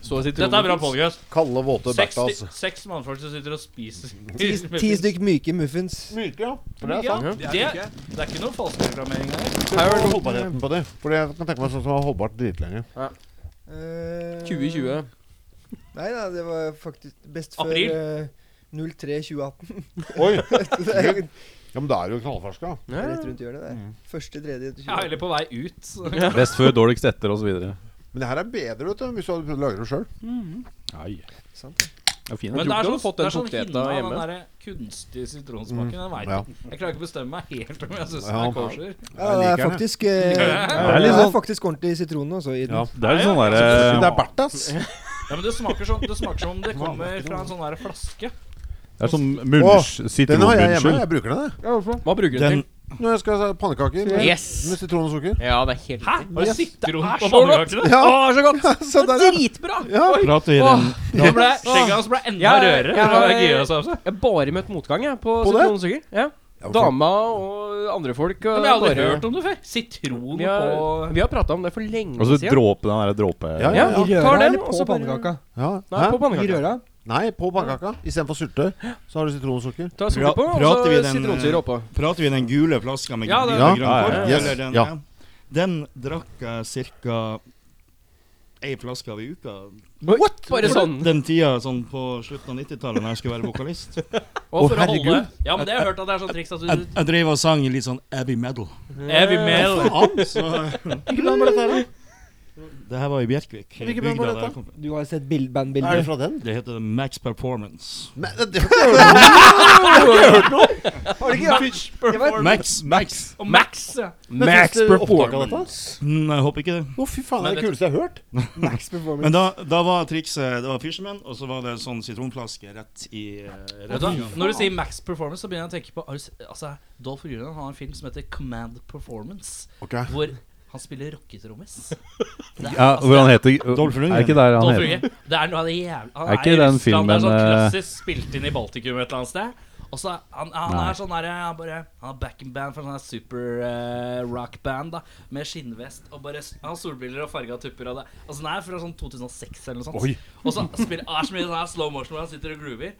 Speaker 2: Så
Speaker 1: Dette er bra podkast.
Speaker 5: Kalde, våte
Speaker 1: Seks,
Speaker 5: Bertas.
Speaker 1: seks mannfolk som sitter og spiser
Speaker 6: Ti,
Speaker 1: [LAUGHS]
Speaker 6: ti stykk myke muffins.
Speaker 5: Myke, ja. For det er
Speaker 1: Ja,
Speaker 5: sant.
Speaker 1: det, det er ikke noe falskreklamering her.
Speaker 5: Det er holdbarheten på det. Fordi jeg kan tenke meg sånn som har holdbart dritlenge.
Speaker 6: Eh,
Speaker 2: 2020.
Speaker 6: Nei da, det var faktisk best før
Speaker 1: April.
Speaker 6: eh, 03 2018.
Speaker 5: Oi!
Speaker 6: det er
Speaker 5: [LAUGHS] Ja, men da er det jo knallferska.
Speaker 6: rett rundt hjørnet, det. Første tredje
Speaker 1: Ja, eller
Speaker 6: 2018.
Speaker 1: på vei ut. så-
Speaker 3: Best før, dårligst etter osv.
Speaker 5: Men det her er bedre, vet du, hvis du hadde prøvd å lage det sjøl.
Speaker 6: Sant,
Speaker 1: Men det er sånn,
Speaker 2: tror ikke du hadde fått
Speaker 1: det
Speaker 2: den
Speaker 1: er sånn
Speaker 2: poteta
Speaker 1: hinna av den
Speaker 2: hjemme.
Speaker 1: derre kunstige sitronsmaken. Jeg, vet,
Speaker 5: Ja.
Speaker 1: ikke. jeg klarer ikke å bestemme meg helt om jeg syns den
Speaker 5: Ja.
Speaker 1: er kosher.
Speaker 6: Ja, det
Speaker 5: Jeg
Speaker 6: er
Speaker 5: liker den,
Speaker 6: faktisk eh,
Speaker 3: er litt
Speaker 6: Det er
Speaker 3: sånn-
Speaker 6: faktisk ordentlig sitron også i den.
Speaker 5: Ja.
Speaker 3: Det er litt sånn derre
Speaker 5: Det er Bertas.
Speaker 1: Ja, men det smaker, sånn, det smaker som om det kommer fra en sånn der flaske.
Speaker 3: Det er sånn
Speaker 5: Åh, Den har jeg hjemme.
Speaker 3: sitronmunnskyld.
Speaker 5: Jeg bruker den, jeg.
Speaker 2: Hva bruker du den til?
Speaker 5: Når jeg skal ha pannekaker med,
Speaker 2: Yes.
Speaker 5: med sitron
Speaker 2: [LAUGHS]
Speaker 5: og sukker.
Speaker 2: Ja, det er helt
Speaker 1: Hæ? Var det
Speaker 5: Yes.
Speaker 1: sitron
Speaker 2: Det er
Speaker 1: på
Speaker 2: så godt.
Speaker 1: pannekakene?
Speaker 5: Ja.
Speaker 2: Å, så godt!
Speaker 5: Så
Speaker 2: Det
Speaker 5: der,
Speaker 2: er
Speaker 5: ja.
Speaker 2: dritbra!
Speaker 5: ja.
Speaker 7: Prater vi i
Speaker 2: Åh,
Speaker 7: den
Speaker 1: Det ble- Skjegget hans ble enda
Speaker 2: Jeg-
Speaker 1: rødere.
Speaker 2: jeg
Speaker 1: for å være
Speaker 2: har-
Speaker 1: gøy å sa også. altså.
Speaker 2: Jeg har bare møtt motgang jeg, på,
Speaker 5: På det?
Speaker 2: sitronsukker. Ja.
Speaker 5: Ja, for-
Speaker 2: Dama og andre folk.
Speaker 1: Men
Speaker 2: Og
Speaker 1: jeg har aldri
Speaker 2: bare-
Speaker 1: hørt om det før. Sitron
Speaker 2: vi har,
Speaker 1: på
Speaker 2: vi har prata om det for lenge
Speaker 3: Og så
Speaker 2: siden.
Speaker 3: dråpe den derre dråpe...
Speaker 5: Ja,
Speaker 2: Ja,
Speaker 6: I
Speaker 2: tar
Speaker 6: røra
Speaker 2: den,
Speaker 6: eller
Speaker 2: og
Speaker 6: på
Speaker 2: så bare-
Speaker 6: pannekaka?
Speaker 5: Ja.
Speaker 2: Nei,
Speaker 5: Hæ?
Speaker 2: på
Speaker 6: I
Speaker 2: pannekaka.
Speaker 6: røra?
Speaker 5: Nei, på pannekaka. Istedenfor syltetøy, så har du sitron og sukker.
Speaker 2: Ta sukker på, og
Speaker 7: Prater vi
Speaker 2: så
Speaker 7: den,
Speaker 2: sitronsyre oppå.
Speaker 7: Prater vi den gule flaska med
Speaker 1: Ja,
Speaker 7: gul-
Speaker 1: det-
Speaker 7: lille
Speaker 5: Ja,
Speaker 7: grønn
Speaker 3: ja, ja,
Speaker 7: kork?
Speaker 5: ja.
Speaker 7: Eller den,
Speaker 5: Ja.
Speaker 7: ja. den drakk jeg ca. ei flaske av i uka.
Speaker 2: What? Bare sånn.
Speaker 7: Den tida sånn på slutten av 90-tallet da jeg skulle være vokalist.
Speaker 2: Og for å holde
Speaker 1: Ja, men det har jeg hørt at det er sånn triks at
Speaker 7: Jeg,
Speaker 1: du
Speaker 7: jeg drev og sang litt sånn Abbey Metal.
Speaker 1: Heavy mail.
Speaker 7: Så Det her var i Bjerkvik. i
Speaker 5: Hvilken band var
Speaker 7: bygda
Speaker 5: dette?
Speaker 7: der jeg kom fra.
Speaker 6: Du har sett bild,
Speaker 5: Er det
Speaker 6: bandbilder?
Speaker 5: fra den?
Speaker 7: Det heter Max Performance.
Speaker 5: Men, det, det, det,
Speaker 6: Har du ikke hørt? Det var et
Speaker 7: Max, Max.
Speaker 1: Og Max. ja.
Speaker 5: Max performance.
Speaker 7: Mm, jeg håper ikke det.
Speaker 5: Å, fy faen, det
Speaker 1: Men
Speaker 5: er det kuleste jeg har hørt.
Speaker 6: Max
Speaker 7: Men
Speaker 6: Performance.
Speaker 7: da, da var trikset Det var Fisherman, og så var det sånn sitronflaske rett i eh,
Speaker 1: Vet
Speaker 7: rett
Speaker 1: du
Speaker 7: i
Speaker 1: hva?
Speaker 7: gang.
Speaker 1: Når du sier Max Performance, så begynner jeg å tenke på har du se- Altså, Dolph Lundgren har en film som heter Command Performance,
Speaker 5: Ok
Speaker 1: hvor han spiller rocketrommis. Det er-
Speaker 3: Ja,
Speaker 1: altså,
Speaker 3: hvor han heter
Speaker 7: Dolph Lundgren.
Speaker 3: Er ikke der han
Speaker 1: Dolph
Speaker 3: heter?
Speaker 1: Lundgren. Det er noe av det jævlig Han
Speaker 3: Er ikke
Speaker 1: Russland, Det er
Speaker 3: den
Speaker 1: sånn
Speaker 3: filmen, eh,
Speaker 1: klassisk spilt inn i Baltikum et eller annet sted. Og så er- han, han
Speaker 3: Nei.
Speaker 1: er sånn derre Han bare Han er backing-band for sånn her super eh, rock-band, da. Med skinnvest og bare s- Han har solbriller og farga tupper og det. Altså, den er fra sånn 2006 eller noe sånt. Og så spiller er så mye sånn her slow motion hvor han sitter og groover.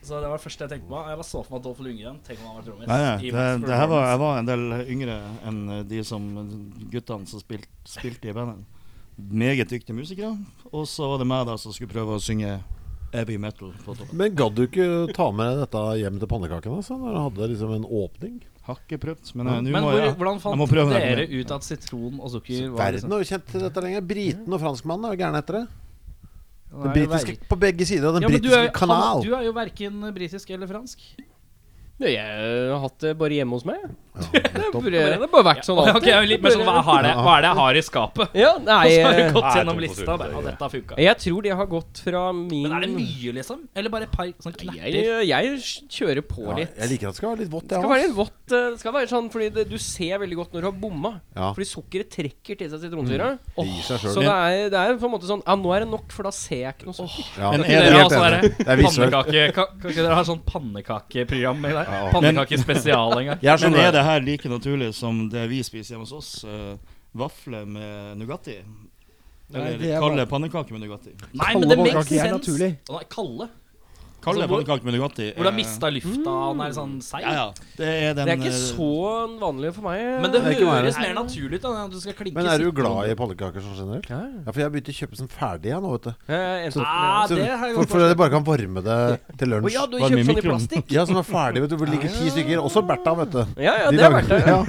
Speaker 1: Så det var det første jeg tenkte på. Jeg bare så for meg Dolph Lundgren. Tenk om han var trommis.
Speaker 7: Nei, nei,
Speaker 1: i
Speaker 7: det,
Speaker 1: Max
Speaker 7: det her var, jeg
Speaker 1: Performance.
Speaker 7: var en del yngre enn eh, de som guttene som spilt, spilte i bandet. Meget dyktige musikere. Og så var det meg da som skulle prøve å synge Abbey Metal på toppen.
Speaker 5: Men gadd du ikke ta med dette hjem til pannekakene? Altså, når du hadde liksom en åpning?
Speaker 7: Har ikke prøvd, men eh, nå
Speaker 1: Men
Speaker 7: må
Speaker 1: hvor,
Speaker 7: jeg
Speaker 1: hvordan
Speaker 7: jeg må
Speaker 1: fant
Speaker 7: prøve den.
Speaker 1: dere ut at sitron og sukker var
Speaker 5: Verden har jo kjent til dette lenge. Briten og franskmannen er jo gærne etter det.
Speaker 1: liksom-
Speaker 5: Den
Speaker 1: Nei,
Speaker 5: britiske, på begge sider av den
Speaker 1: Ja, men du
Speaker 5: britiske
Speaker 1: er- han-
Speaker 5: kanal.
Speaker 1: Du er jo verken britisk eller fransk.
Speaker 2: Nei, Jeg har hatt det bare hjemme hos meg. jeg. Det har
Speaker 5: nettopp.
Speaker 2: bare, det har bare vært sånn
Speaker 1: Ok, jeg er litt mer sånn, hva, har det, hva er det jeg har i skapet? [LAUGHS]
Speaker 2: Ja,
Speaker 1: Og så har du
Speaker 2: nei, eh,
Speaker 1: gått
Speaker 8: Nei,
Speaker 1: gjennom
Speaker 8: to på
Speaker 1: lista.
Speaker 8: tur,
Speaker 1: Bare, og
Speaker 8: det-
Speaker 1: dette har funka.
Speaker 2: jeg tror det har gått fra min
Speaker 1: Men er det mye, liksom? Eller bare et par sånn
Speaker 2: jeg,
Speaker 1: knapper?
Speaker 2: jeg kjører på
Speaker 5: Ja,
Speaker 2: litt.
Speaker 5: jeg liker at det skal være litt vått,
Speaker 2: Det
Speaker 5: jeg
Speaker 2: skal være litt
Speaker 5: også.
Speaker 2: vått. eh, Det skal være sånn, fordi det, du ser veldig godt når du har bomma.
Speaker 5: Ja.
Speaker 2: Fordi sukkeret trekker til seg sitronsyre.
Speaker 5: Det gir seg
Speaker 2: Så
Speaker 5: sjøl.
Speaker 2: det er, det er på en måte sånn Ja, nå er det nok, for da ser jeg ikke noe sukker.
Speaker 5: Ja.
Speaker 7: En
Speaker 1: Kan ikke dere ha sånn
Speaker 5: enig. Det er
Speaker 1: derre
Speaker 5: visuelt.
Speaker 1: pannekake Kan kan ikke dere ha sånn pannekakeprogram i der? Pannekakespesial en gang.
Speaker 5: Jeg er sånn
Speaker 7: Men er det her like naturlig som det vi spiser hjemme hos oss? eh, vafler med Nugatti?
Speaker 6: Nei,
Speaker 7: Eller
Speaker 6: det er
Speaker 7: kalde pannekaker med Nugatti?
Speaker 1: [LAUGHS] Nei, men det
Speaker 6: Kalle
Speaker 1: makes
Speaker 6: pannekaker er
Speaker 1: sense.
Speaker 6: naturlig.
Speaker 1: Å, Nei, Kalle.
Speaker 7: Kalde
Speaker 1: Altså, hvor-
Speaker 7: pannekaker med Nugatti
Speaker 1: Hvor du har
Speaker 7: er-
Speaker 1: mista lufta, og han er sånn seig.
Speaker 7: Ja, ja. Det er den
Speaker 2: Det er ikke
Speaker 7: eh,
Speaker 2: så vanlig for meg.
Speaker 1: Men det
Speaker 5: er ikke meg,
Speaker 1: høres mer naturlig ut da, enn at du skal klinke
Speaker 5: Men er du
Speaker 1: sitron.
Speaker 5: glad i pannekaker sånn generelt?
Speaker 2: ja.
Speaker 5: Ja, for jeg har begynt å kjøpe sånn ferdig jeg nå, vet du.
Speaker 2: Eh, enten-
Speaker 1: Ah,
Speaker 5: Så,
Speaker 1: det har jeg
Speaker 5: for,
Speaker 1: godt
Speaker 5: for at jeg bare kan varme det til
Speaker 2: Å ja,
Speaker 5: lunsj.
Speaker 2: du
Speaker 7: Varm i
Speaker 2: kjøper sånn i
Speaker 7: mikroen.
Speaker 2: plastikk?
Speaker 5: [LAUGHS] Ja, som er ferdig, vet du. Hvor det ligger ti stykker. Også Bertha, vet du.
Speaker 2: Ja, ja,
Speaker 5: De
Speaker 2: det er
Speaker 5: lager-
Speaker 2: verdt det.
Speaker 5: [LAUGHS] Ja,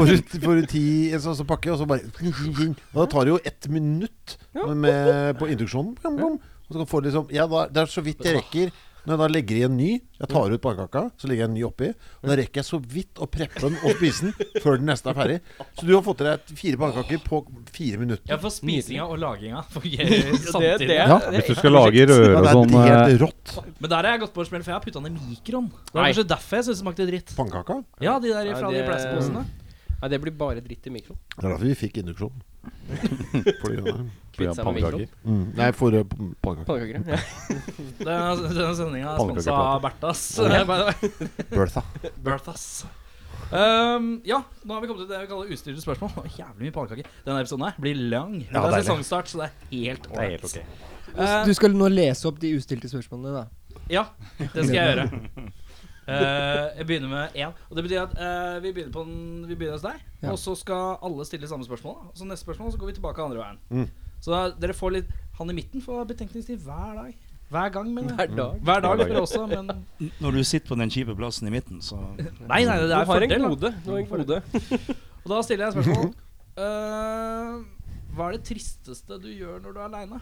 Speaker 5: får du- får du ti i en sånn sånn pakke, og så bare Og da tar det jo ett minutt med, på induksjonen. Bom, bom. Og så kan du få liksom Ja, da, det er så vidt jeg rekker. Når jeg da legger i en ny Jeg tar ut pannekaka, så legger jeg en ny oppi. Og da rekker jeg så vidt å preppe den og spise den før den neste er ferdig. Så du har fått i deg fire pannekaker på fire
Speaker 1: Ja,
Speaker 5: minutter.
Speaker 1: for spisinga og laginga
Speaker 5: [LAUGHS]
Speaker 1: fungerer samtidig.
Speaker 2: det-
Speaker 5: Ja,
Speaker 2: det-
Speaker 8: Hvis du skal lage
Speaker 5: Ja,
Speaker 8: røre og
Speaker 5: det
Speaker 8: sånn
Speaker 5: er
Speaker 8: eh,
Speaker 5: helt rått.
Speaker 1: Men der har jeg gått på et smell, for jeg har putta den i mikroen. Det var
Speaker 2: Nei.
Speaker 1: kanskje derfor jeg syntes det smakte dritt.
Speaker 5: Pannekaka.
Speaker 1: Ja, de der
Speaker 2: Nei,
Speaker 1: fra de
Speaker 2: det-
Speaker 1: plastposene.
Speaker 2: Nei, det blir bare dritt i mikroen.
Speaker 5: Det er derfor vi fikk induksjon.
Speaker 8: [LAUGHS]
Speaker 5: Fordi,
Speaker 8: blir
Speaker 5: nei.
Speaker 8: det
Speaker 2: Pizza med
Speaker 8: pannekaker.
Speaker 5: Mm, nei, for eh, pannekaker.
Speaker 2: Pannekaker. [LAUGHS] ja.
Speaker 1: Denne, denne sendinga er [LAUGHS] sponsa
Speaker 8: Pannekakeplate.
Speaker 1: av Berthas. Eh, [LAUGHS] by the way.
Speaker 5: Bertha.
Speaker 1: Berthas. Ehm, ja, nå har vi kommet til det vi kaller ustyrte spørsmål. Å, Jævlig mye pannekaker. Denne episoden her blir lang. Men det er
Speaker 5: deilig.
Speaker 1: sesongstart, så det er helt ålreit. Ehm,
Speaker 6: Du skal nå lese opp de ustilte spørsmålene, da.
Speaker 1: Ja, det skal jeg gjøre. Eh, jeg begynner med én. Og det betyr at eh, vi, begynner på den, vi begynner hos deg.
Speaker 6: Ja.
Speaker 1: Og så skal alle stille samme spørsmål. da. Og så neste spørsmål så går vi tilbake andre veien. Så da, dere får litt Han i midten får betenkningstid hver dag. Hver gang, men
Speaker 2: Hver dag.
Speaker 1: Hver dag spør jeg også, men Nei,
Speaker 7: Når du sitter på den kjipe plassen i midten, så
Speaker 1: nei, det
Speaker 2: Du
Speaker 1: er
Speaker 2: har en
Speaker 1: fordel. da.
Speaker 2: kode. Du har en kode.
Speaker 1: Og da stiller jeg spørsmål. Eh, hva er det tristeste du gjør når du er aleine?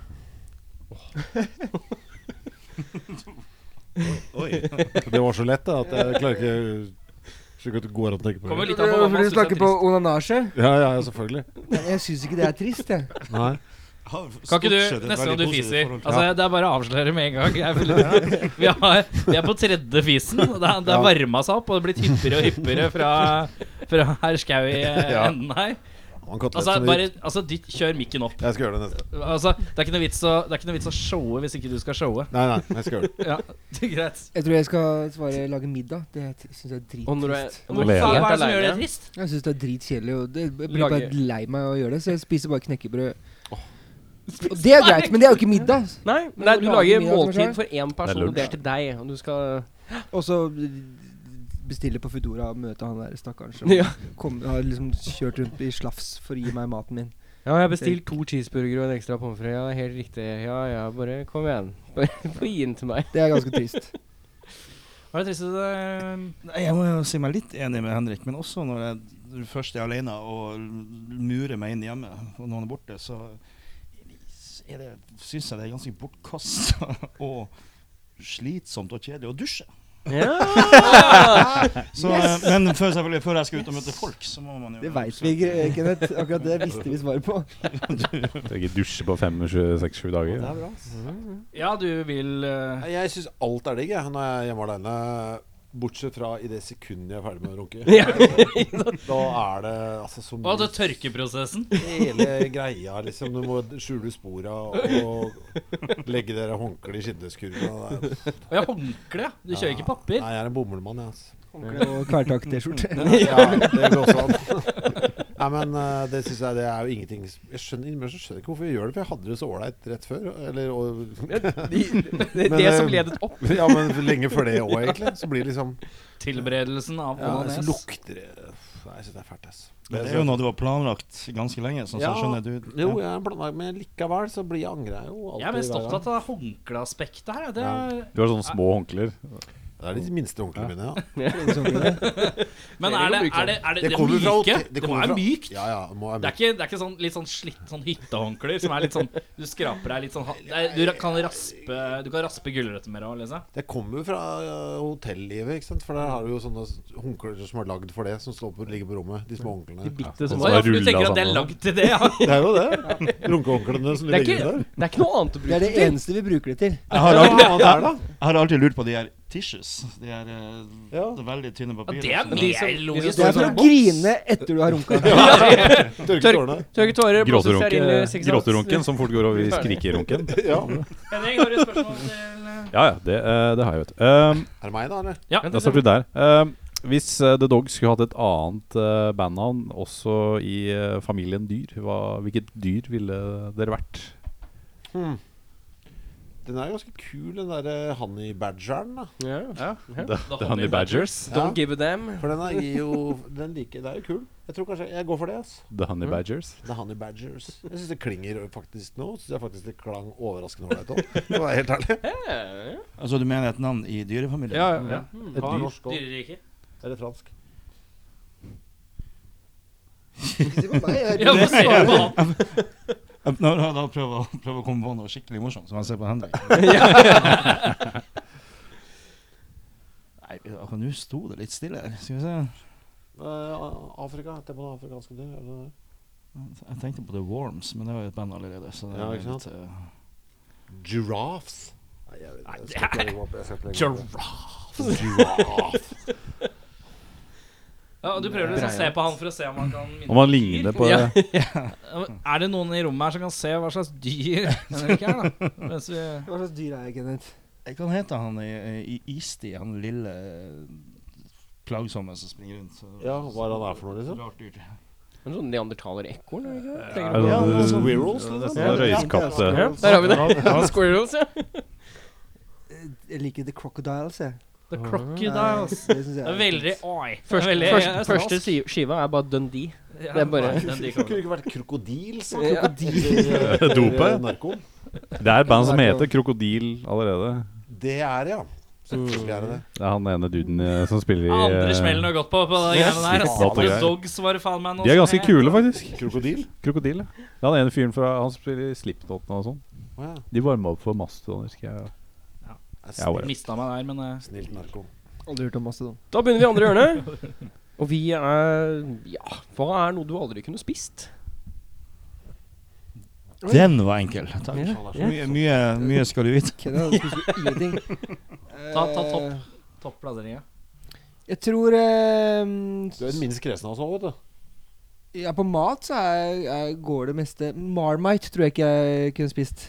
Speaker 5: Det var så lett da, at jeg klarer ikke Slik at du går an å tenke på
Speaker 1: Kommer
Speaker 5: det.
Speaker 1: litt an på hva man
Speaker 6: Fordi
Speaker 1: synes
Speaker 6: du
Speaker 1: er
Speaker 6: snakker på
Speaker 1: trist.
Speaker 6: onanasje?
Speaker 5: Ja, ja, ja, selvfølgelig.
Speaker 6: Nei, Jeg syns ikke det er trist, jeg.
Speaker 5: Nei.
Speaker 1: Kan ikke du, neste gang du fiser altså, Det er bare å avsløre med en gang. Jeg føler, [LAUGHS] vi, har, vi er på tredje fisen. og Det er, det er varma seg opp, og det er blitt hyppigere og hyppigere fra, fra herr Skau i eh,
Speaker 5: Ja.
Speaker 1: enden her.
Speaker 5: Han kan ta
Speaker 1: Altså,
Speaker 5: litt-
Speaker 1: bare, altså dytt, kjør mikken opp.
Speaker 5: Jeg skal gjøre det neste.
Speaker 1: Altså, det, er ikke noe vits å, det er ikke noe vits å showe hvis ikke du skal showe. [LAUGHS]
Speaker 5: Nei, nei, jeg skal gjøre det.
Speaker 1: Ja, det er greit.
Speaker 6: Jeg tror jeg skal svare lage middag. Det syns jeg er
Speaker 2: Og når du er,
Speaker 6: drittrist.
Speaker 2: når
Speaker 1: Hva
Speaker 2: du er
Speaker 1: faen hva er
Speaker 2: helt
Speaker 1: det som
Speaker 2: alene-
Speaker 1: gjør det trist?
Speaker 6: Jeg syns det er dritkjedelig. og det- Jeg blir
Speaker 2: Lage-
Speaker 6: bare lei meg av å gjøre det, så jeg spiser bare knekkebrød. Og det er greit, men det er jo ikke middag.
Speaker 2: Nei,
Speaker 6: Men
Speaker 2: nei,
Speaker 6: når
Speaker 2: du
Speaker 6: du lager
Speaker 2: lager
Speaker 6: middag til
Speaker 2: måltid
Speaker 6: deg
Speaker 2: for én person,
Speaker 8: lunsj.
Speaker 2: og det er til deg. Og du skal
Speaker 6: Og så bestille på Foodora og møte han der stakkaren [LAUGHS] som
Speaker 2: Ja.
Speaker 6: kom, har liksom kjørt rundt i slafs for å gi meg maten min.
Speaker 2: Ja, jeg har bestilt to cheeseburgere og en ekstra pommes frites. Ja, helt riktig. Ja, ja, bare kom igjen. [LAUGHS] Bare få gi den til meg.
Speaker 6: Det er ganske trist.
Speaker 1: Hva er det tristeste eh,
Speaker 7: Nei, Jeg må jo si meg litt enig med Henrik, men også når jeg når du først er alene og l- murer meg inn hjemme, og noen er borte, så er det, syns jeg det er ganske bortkasta [LAUGHS] og slitsomt og kjedelig å dusje. Så, eh, Men før, selvfølgelig, før jeg skal ut og møte folk, så må man jo
Speaker 6: [LAUGHS] Det veit vi ikke, Kenneth. Akkurat det visste vi svaret på.
Speaker 8: Trenger ikke dusje på fem, sju, seks, sju dager.
Speaker 5: er bra.
Speaker 1: Ja, du vil eh,
Speaker 5: Jeg syns alt er digg jeg, når jeg er hjemme aleine. Bortsett fra i det sekundet jeg er ferdig med
Speaker 1: [LAUGHS]
Speaker 5: å runke. Da er det altså
Speaker 1: Å,
Speaker 5: så
Speaker 1: det
Speaker 5: mye
Speaker 1: er tørkeprosessen.
Speaker 5: Hele greia, liksom. Du må skjule spora og legge dere håndkle i skinneskurven. Det er-
Speaker 1: Og jeg håndkle, ja. Du kjører ikke papir.
Speaker 5: Nei, jeg er en bommelmann, jeg, altså.
Speaker 6: [LAUGHS] Og kvelertak-T-skjorte.
Speaker 5: Ja, det går også an. [LAUGHS] Nei, men eh, det synes jeg det er jo ingenting Jeg skjønner, innimellom så skjønner jeg ikke hvorfor vi gjør det, for jeg hadde det så ålreit rett før. Eller og, [LAUGHS]
Speaker 2: Det, det,
Speaker 5: Men,
Speaker 2: det som
Speaker 5: eh,
Speaker 2: ledet opp.
Speaker 5: Ja, men lenge før det òg, egentlig. Så blir det liksom
Speaker 1: Tilberedelsen av
Speaker 5: ja,
Speaker 1: onanes.
Speaker 5: Så lukter det Nei, jeg syns det er fælt, ass.
Speaker 7: Men Det er jo noe du har planlagt ganske lenge, sånn som
Speaker 5: Ja,
Speaker 7: jeg skjønner du.
Speaker 5: Jo, jeg er en planlagt, men likevel så blir jeg angrer jeg jo alltid.
Speaker 1: Jeg er mest
Speaker 5: hver gang.
Speaker 1: opptatt av håndkleaspektet her. ja. Det er,
Speaker 8: Du har sånne små håndklær.
Speaker 5: Det er de minste onklene
Speaker 1: [LAUGHS]
Speaker 5: mine, ja.
Speaker 1: Men
Speaker 2: Dere
Speaker 1: er det,
Speaker 2: kan bruke
Speaker 1: er det, er det, det,
Speaker 5: kommer fra
Speaker 1: myke?
Speaker 5: hotell-
Speaker 1: Det må
Speaker 5: kommer
Speaker 1: være
Speaker 5: fra-
Speaker 1: mykt.
Speaker 5: Ja, ja, det må være
Speaker 1: Det er
Speaker 5: mykt.
Speaker 1: ikke, det er ikke sånn, litt sånn slitt sånn hyttehåndklær som er litt sånn Du skraper deg litt sånn ha- det er, Du ra- kan raspe Du kan raspe gulrøtter med det òg, liksom.
Speaker 5: Det kommer jo fra øh, hotellivet, ikke sant. For der har du jo sånne håndklær som er lagd for det, som står på, ligger på rommet. De
Speaker 1: Mm.
Speaker 5: små håndklærne.
Speaker 2: Bitte
Speaker 8: Som
Speaker 1: Å
Speaker 2: små.
Speaker 8: er
Speaker 1: ja, for du
Speaker 8: rullet
Speaker 1: tenker at det er
Speaker 8: sammen.
Speaker 1: lagd til det, ja.
Speaker 5: Det er jo det. Runkehåndklærne
Speaker 2: Det er,
Speaker 5: som ligger
Speaker 2: ikke,
Speaker 5: der.
Speaker 2: det er ikke noe annet å
Speaker 6: Det
Speaker 2: bruke
Speaker 6: er det
Speaker 2: til.
Speaker 6: eneste vi bruker det til.
Speaker 7: Jeg har,
Speaker 5: Ja,
Speaker 7: alltid,
Speaker 5: hva det er da?
Speaker 7: jeg har alltid lurt på de her tissues. De her eh,
Speaker 5: Ja.
Speaker 7: det er veldig tynne
Speaker 1: Ja,
Speaker 7: papirer.
Speaker 1: Det er
Speaker 7: som-
Speaker 2: de som-
Speaker 1: mer
Speaker 2: de
Speaker 1: logisk.
Speaker 6: Det er for å grine etter du har [LAUGHS] runka.
Speaker 5: Tørke
Speaker 2: Tørk-
Speaker 5: tårene.
Speaker 2: Tørke tårer, blåses her inn i
Speaker 8: Gråterunke-
Speaker 2: seks-
Speaker 8: Gråterunken som fort går over i skrikerunken.
Speaker 5: [LAUGHS]
Speaker 1: Henning, har du et spørsmål til
Speaker 3: [LAUGHS]
Speaker 1: eh,
Speaker 8: Ja ja, det, eh, det har jeg, vet du. Um,
Speaker 5: Er det meg, da? eller?
Speaker 1: Ja,
Speaker 8: Da starter vi der. Ehm, hvis eh, The Dog skulle hatt et annet eh, bandnavn også i eh, familien dyr, hva, hvilket dyr ville dere vært?
Speaker 2: Hmm.
Speaker 5: Den er jo ganske kul, den derre honey badgeren. da.
Speaker 2: Ja.
Speaker 1: The
Speaker 8: The Honey Badgers.
Speaker 5: Ja,
Speaker 2: Don't give a damn.
Speaker 5: for den er gir jo Den liker Det er jo kul. Jeg tror kanskje jeg går for det. ass
Speaker 8: The Honey Badgers.
Speaker 5: The honey badgers. Jeg syns det klinger faktisk nå. Synes jeg faktisk det klang overraskende ålreit [LAUGHS] òg, for å være helt ærlig.
Speaker 7: Altså du mener et navn i dyrefamilien?
Speaker 8: ja. Et
Speaker 5: Ta
Speaker 8: dyr.
Speaker 5: norsk også.
Speaker 1: Dyreriket.
Speaker 5: Eller fransk.
Speaker 1: [LAUGHS] Ja, hva ser du på han?
Speaker 7: Jeg- Nå, [LAUGHS] nå, da prøver jeg å- prøver jeg å komme på noe skikkelig morsomt, som jeg ser på Henrik. Og altså, nå sto det litt stille her. Skal vi se.
Speaker 5: Eh, Afrika. Det må afrikanske dyr.
Speaker 7: Jeg tenkte på The Worms, men det var jo et band allerede. Så det
Speaker 5: Ja,
Speaker 7: er
Speaker 5: ikke
Speaker 7: litt,
Speaker 5: sant?
Speaker 7: eh,
Speaker 5: Giraffes. Nei, jeg, jeg skal ikke legge meg opp.
Speaker 2: [LAUGHS]
Speaker 5: Jeg skal ikke legge meg opp.
Speaker 1: Ja, du prøver liksom å se på han for å se om han kan minne
Speaker 8: Om han ligner på
Speaker 2: Ja.
Speaker 1: [LAUGHS] Er det noen i rommet her som kan se hva slags dyr [LAUGHS] Henrik er, da? Mens vi
Speaker 6: Hva slags dyr er jeg, Kenneth?
Speaker 7: Jeg kan hete han i, i Isti, han lille eh, plagsomme som springer rundt. så-
Speaker 5: Ja, hva er han her for noe, liksom?
Speaker 7: Rart dyr.
Speaker 2: En sånn neandertalerekorn, er det ikke det?
Speaker 8: Er
Speaker 2: Tenker
Speaker 8: det
Speaker 2: du på?
Speaker 7: Ja,
Speaker 8: noe-
Speaker 7: sånn-
Speaker 5: Squirrels, liksom?
Speaker 8: Sånn Røyskatte
Speaker 2: Ja,
Speaker 5: eh.
Speaker 2: der har vi det. [LAUGHS] Squirrels, ja.
Speaker 6: Jeg liker The Crocodiles, jeg.
Speaker 1: The Crocodiles.
Speaker 6: Det synes jeg
Speaker 1: Det er veldig Oi. det er
Speaker 2: Først,
Speaker 1: veldig
Speaker 2: først,
Speaker 1: australsk.
Speaker 2: første si- skiva er bare Dundee.
Speaker 1: Ja,
Speaker 2: det er bare-
Speaker 1: den de
Speaker 5: Kunne
Speaker 1: kommer.
Speaker 5: det ikke vært krokodils?
Speaker 2: Ja.
Speaker 8: [LAUGHS] Dope?
Speaker 5: [LAUGHS] Narko?
Speaker 8: Det er et band som heter Krokodil allerede.
Speaker 5: Det er det, ja. Selvfølgelig er det det.
Speaker 8: Det er han ene duden eh, som spiller i
Speaker 1: [LAUGHS] Ja, Andre
Speaker 8: eh,
Speaker 1: smellen har gått på på de greiene der. ass.
Speaker 8: Slitt
Speaker 1: The
Speaker 8: greier.
Speaker 1: Dogs var det faen meg noe
Speaker 8: De er
Speaker 1: som
Speaker 8: ganske
Speaker 1: het.
Speaker 8: kule, faktisk.
Speaker 5: Krokodil?
Speaker 8: Krokodil. ja. Det er han ene fyren fra Han spiller i Slipknot og sånn.
Speaker 5: Å ja.
Speaker 8: De varma opp for Mastodon, husker jeg. Ja,
Speaker 5: Snilt,
Speaker 8: whatever.
Speaker 1: Mista meg der, men eh,
Speaker 5: snilt narko.
Speaker 6: Aldri hørt om sånn. Mastodon.
Speaker 2: Da begynner vi i andre hjørne. Og vi er Ja, hva er noe du aldri kunne spist?
Speaker 7: Den var enkel. Takk.
Speaker 2: Ja,
Speaker 5: Han er så
Speaker 7: Mye, mye, mye skal du vite.
Speaker 6: Kenneth spiser jo ingenting.
Speaker 1: Ta- ta topp.
Speaker 6: Eh,
Speaker 1: topp plasseringa.
Speaker 6: Jeg tror eh,
Speaker 5: Du er den minst kresne av oss òg, vet du.
Speaker 6: Ja, på mat så er, er, går det meste Marmite tror jeg ikke jeg kunne spist.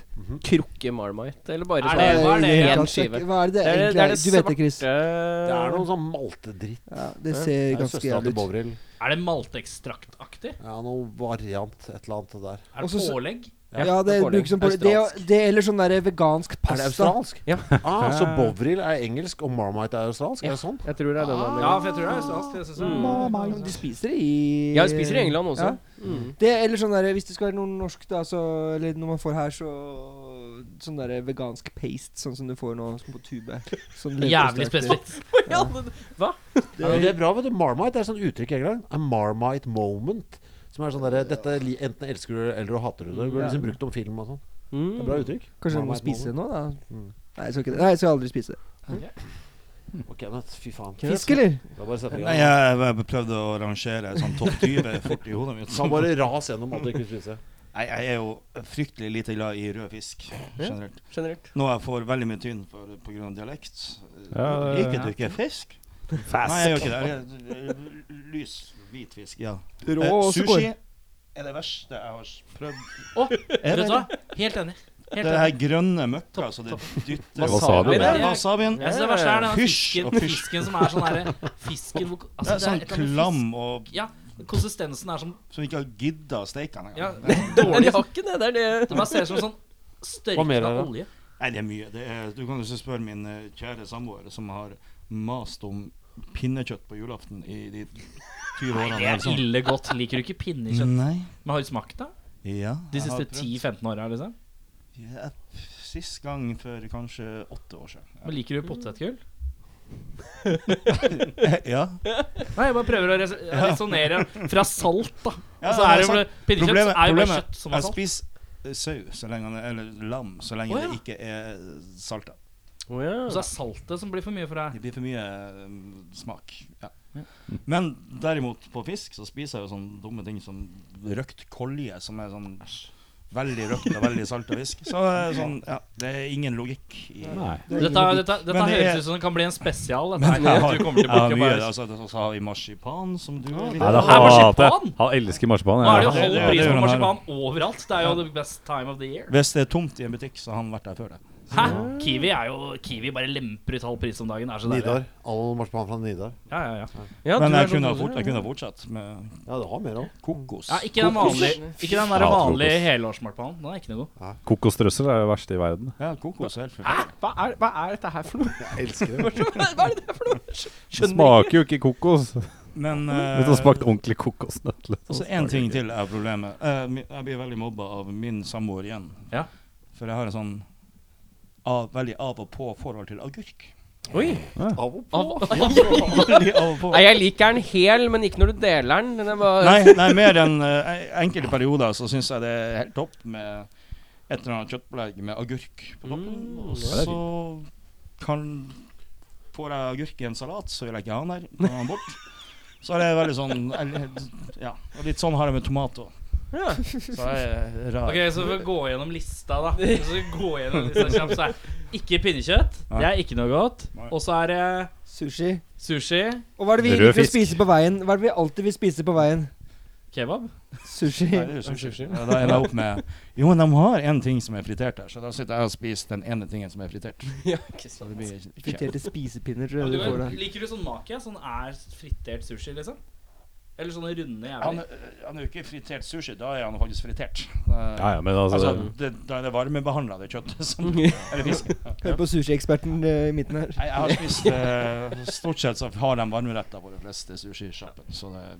Speaker 2: Krukke Marmite, eller bare
Speaker 1: Er
Speaker 2: sånn?
Speaker 1: hva det
Speaker 6: Eh,
Speaker 2: en
Speaker 6: ganske-
Speaker 2: skive?
Speaker 6: Hva er det det
Speaker 2: Det er det, det,
Speaker 6: egentlig er?
Speaker 2: er det
Speaker 6: Du vet det, Chris.
Speaker 5: Det er
Speaker 2: svarte
Speaker 5: noe sånn maltedritt.
Speaker 6: Ja, det ser
Speaker 5: Det er
Speaker 6: ganske
Speaker 5: søstera
Speaker 6: jævlig
Speaker 5: til
Speaker 6: ut.
Speaker 5: Bovril.
Speaker 1: Er det maltekstraktaktig?
Speaker 5: Ja, noe variant, et eller annet der.
Speaker 1: Er det
Speaker 6: Også så-
Speaker 1: pålegg?
Speaker 2: Ja,
Speaker 6: Ja, det
Speaker 2: det er
Speaker 6: brukes som pålegg. Det,
Speaker 2: australsk.
Speaker 6: det eller sånn der vegansk pasta.
Speaker 5: Er det australsk? [LAUGHS]
Speaker 2: Ja.
Speaker 5: Ah, så Bovril er engelsk, og Marmite er australsk? Er det sånn?
Speaker 2: Jeg tror det er den.
Speaker 1: Ja,
Speaker 2: Ah,
Speaker 1: for jeg tror det er australsk. det synes jeg.
Speaker 6: De spiser det i
Speaker 2: jeg spiser i England også. Mm.
Speaker 6: Ja. Det, eller sånn der, Hvis det skal være noe norsk, da, så Eller når man får her, så Sånn der vegansk paste, sånn som du får nå som på tube. Sånn
Speaker 1: Jævlig
Speaker 6: leverpostei-aktig.
Speaker 1: spesifikt.
Speaker 5: Ja, men det er bra, vet du. Marmite er sånn uttrykk i England. A Marmite moment. Som er sånn derre Dette li- enten elsker du det, eller du hater du det. Det blir liksom brukt om film og sånn. Det er
Speaker 2: Mm.
Speaker 5: bra uttrykk.
Speaker 6: Kanskje du må
Speaker 5: Marmite
Speaker 6: spise det
Speaker 5: moment.
Speaker 6: nå, da? Nei, jeg skal ikke det. Nei, jeg skal aldri spise det.
Speaker 5: Ok, Kenneth, fy faen.
Speaker 6: Fisk, eller?
Speaker 5: Da bare setter vi i
Speaker 7: Nei,
Speaker 5: gang.
Speaker 7: jeg, jeg prøvde å rangere sånn topp 20 fort i hodet mitt.
Speaker 5: Så han bare ras gjennom alt du ikke vil [LAUGHS] spise.
Speaker 7: Nei, jeg er jo fryktelig lite glad i rød fisk generelt.
Speaker 2: Generelt.
Speaker 7: Nå jeg får veldig mye tynn for- på grunn av dialekt.
Speaker 8: Ja, det-
Speaker 7: Liker du ikke fisk? Nei, jeg gjør ikke det. Jeg- jeg- Lys, hvit fisk. Ja.
Speaker 6: Rå
Speaker 7: Eh,
Speaker 6: også går.
Speaker 7: sushi er det verste jeg har prøvd.
Speaker 1: Å,
Speaker 7: er
Speaker 1: Vet
Speaker 7: det
Speaker 1: du hva? Helt enig.
Speaker 7: det
Speaker 1: Helt
Speaker 7: Det
Speaker 1: enig.
Speaker 7: her grønne møkka som det dytter
Speaker 8: Wasabi.
Speaker 7: Det er
Speaker 1: Ja.
Speaker 7: Wasabien.
Speaker 1: Jeg synes det verste er den
Speaker 7: Hysj og
Speaker 1: fisken,
Speaker 7: pysj.
Speaker 1: fisken som er sånn derre Fisken hvor
Speaker 7: Det
Speaker 1: altså,
Speaker 7: er sånn
Speaker 1: et eller annet med
Speaker 7: klam og
Speaker 1: fisk- Ja, konsistensen er som
Speaker 7: som ikke har gidda å steike den [LAUGHS]
Speaker 1: Ja,
Speaker 7: engang.
Speaker 2: Men
Speaker 1: dårlig.
Speaker 2: jeg har ikke det. Det er det
Speaker 1: Det bare ser ut som sånn
Speaker 5: Hva mer er
Speaker 1: størkna
Speaker 5: det?
Speaker 1: olje.
Speaker 7: Nei, det er mye. Det er, du kan jo så spørre min eh, kjære samboer, som har mast om pinnekjøtt på julaften i de 20 årene.
Speaker 1: Det
Speaker 7: eller
Speaker 1: er
Speaker 7: sånn.
Speaker 1: ille godt. Liker du ikke pinnekjøtt?
Speaker 7: Nei.
Speaker 1: Men har du smakt det
Speaker 7: Ja.
Speaker 1: de
Speaker 7: Mm. jeg har
Speaker 1: siste 10-15
Speaker 7: prøvd.
Speaker 1: åra? Liksom.
Speaker 7: Ja, sist gang for kanskje åtte år siden.
Speaker 1: Men liker du potetgull?
Speaker 7: [LAUGHS] Ja. Mm.
Speaker 1: Nei, jeg bare prøver å res-
Speaker 7: [LAUGHS]
Speaker 1: resonnere fra salt, da.
Speaker 7: Ja,
Speaker 1: Og så er det jo
Speaker 7: sant.
Speaker 1: pinnekjøtt er jo
Speaker 7: Problemet-
Speaker 1: bare
Speaker 7: problemet-
Speaker 1: kjøtt som er
Speaker 7: Jeg
Speaker 1: salt.
Speaker 7: spiser eh, sau så lenge han er, eller lam så lenge
Speaker 1: Å, ja.
Speaker 7: det ikke er salta.
Speaker 2: Å ja.
Speaker 1: Og så er saltet som blir for mye for deg.
Speaker 7: Det blir for mye eh, smak. Ja. Men derimot, på fisk så spiser jeg jo sånne dumme ting som røkt kolje, som er sånn veldig røkt og veldig salta fisk. Så eh, sånn, ja, det er ingen logikk i
Speaker 8: Nei.
Speaker 1: Dette, dette, dette
Speaker 7: Men det er-
Speaker 1: høres ut som det kan bli en spesial. Dette
Speaker 7: Men jeg
Speaker 1: her,
Speaker 7: har-
Speaker 1: at du kommer
Speaker 7: jeg har
Speaker 1: tilbake og
Speaker 7: mye,
Speaker 1: bare
Speaker 7: altså, det- Så har vi marsipan, som du er
Speaker 8: Nei,
Speaker 7: litt-
Speaker 8: det
Speaker 1: Her er
Speaker 8: hater jeg.
Speaker 1: marsipan!
Speaker 8: Han elsker marsipan.
Speaker 1: Nå er det jo
Speaker 8: jeg.
Speaker 1: halv
Speaker 7: det- det
Speaker 1: pris
Speaker 7: gjør
Speaker 1: på
Speaker 7: den her.
Speaker 1: marsipan overalt. Det er jo the best time of the year.
Speaker 7: Hvis det er tomt i en butikk, så har han vært der før det.
Speaker 1: Hæ? Kiwi er jo Kiwi bare lemper ut halv pris om dagen. Det er så deilig.
Speaker 5: Nidar. All marsipan fra Nidar.
Speaker 1: Ja, ja, ja.
Speaker 2: ja
Speaker 7: Men
Speaker 2: du er
Speaker 7: jeg
Speaker 2: sånn
Speaker 7: kunne ha
Speaker 2: som
Speaker 7: fort,
Speaker 2: du
Speaker 7: jeg
Speaker 2: er.
Speaker 7: kunne ha fortsatt med
Speaker 5: Ja, det har mer òg.
Speaker 7: kokos.
Speaker 1: ja ikke den vanlige, ikke den der
Speaker 8: Kokos.
Speaker 1: vanlige helårsmarsipanen. Den er ikke noe god.
Speaker 8: Kokosstrøssel er det verste i verden.
Speaker 7: Ja, kokos er helt
Speaker 2: Hæ?
Speaker 7: forferdelig.
Speaker 2: Hva er, hva er dette her for noe?
Speaker 5: Jeg elsker [LAUGHS] det.
Speaker 2: Hva er det der for noe?
Speaker 8: Det
Speaker 2: Skjønner ikke.
Speaker 8: smaker jo ikke
Speaker 7: [LAUGHS]
Speaker 8: kokos.
Speaker 7: Men eh,
Speaker 8: Dette har smakt ordentlig kokosnøtt.
Speaker 7: Og så Altså, en ting til er problemet. Eh, mi- Jeg blir veldig mobba av min samboer igjen.
Speaker 1: Ja.
Speaker 7: For jeg har en sånn av, veldig av og på forhold til agurk.
Speaker 2: Oi.
Speaker 5: Av og
Speaker 2: Av,
Speaker 7: Veldig [LAUGHS] av og på.
Speaker 2: Nei, jeg liker den hel, men ikke når du deler den. den er bare,
Speaker 7: Nei, nei, mer enn eh, enkelte perioder så syns jeg det er helt topp med et Mm, eller annet kjøttbelegg med agurk på toppen.
Speaker 2: Mm,
Speaker 7: Og
Speaker 8: det er
Speaker 7: så kan Får jeg agurk i en salat, så vil jeg ikke ha [LAUGHS] den der. Da er den bort. Så er det veldig sånn Ja. Og litt sånn har jeg med tomat òg.
Speaker 2: Ja.
Speaker 7: Så jeg er rar.
Speaker 1: Ok, Så for å gå gjennom lista, da. Hvis vi går gjennom lista kjapt, så er Ikke pinnekjøtt. Det er ikke noe godt.
Speaker 7: Nei.
Speaker 1: Og så er det
Speaker 6: Sushi.
Speaker 1: sushi,
Speaker 6: Og hva er det vi
Speaker 3: Rød
Speaker 6: liker å
Speaker 3: fisk.
Speaker 6: spise på veien? Hva er det vi alltid vil spise på veien?
Speaker 1: kebab.
Speaker 6: Sushi.
Speaker 7: Nei, det er jo sushi. Ja, Da ender jeg opp med Jo, men de har en ting som er fritert her, så da sitter jeg og spiser den ene tingen som er fritert. Så det blir ikke
Speaker 6: Friterte spisepinner.
Speaker 1: Ja, men
Speaker 6: Røde
Speaker 1: du kan,
Speaker 6: kål.
Speaker 1: liker du sånn maki? Sånn er fritert sushi, liksom? Eller sånne runde
Speaker 7: han,
Speaker 1: jævler?
Speaker 7: han er jo ikke fritert sushi, da er han faktisk fritert. Da-
Speaker 3: Ja, ja, men altså,
Speaker 7: Altså, det, da er det varmebehandla, det kjøttet [LAUGHS] som Eller fisken.
Speaker 6: Hør på sushieksperten eh, i midten her.
Speaker 7: Nei, jeg har spist eh, Stort sett så har de varmeretter på de fleste sushisjappene, så det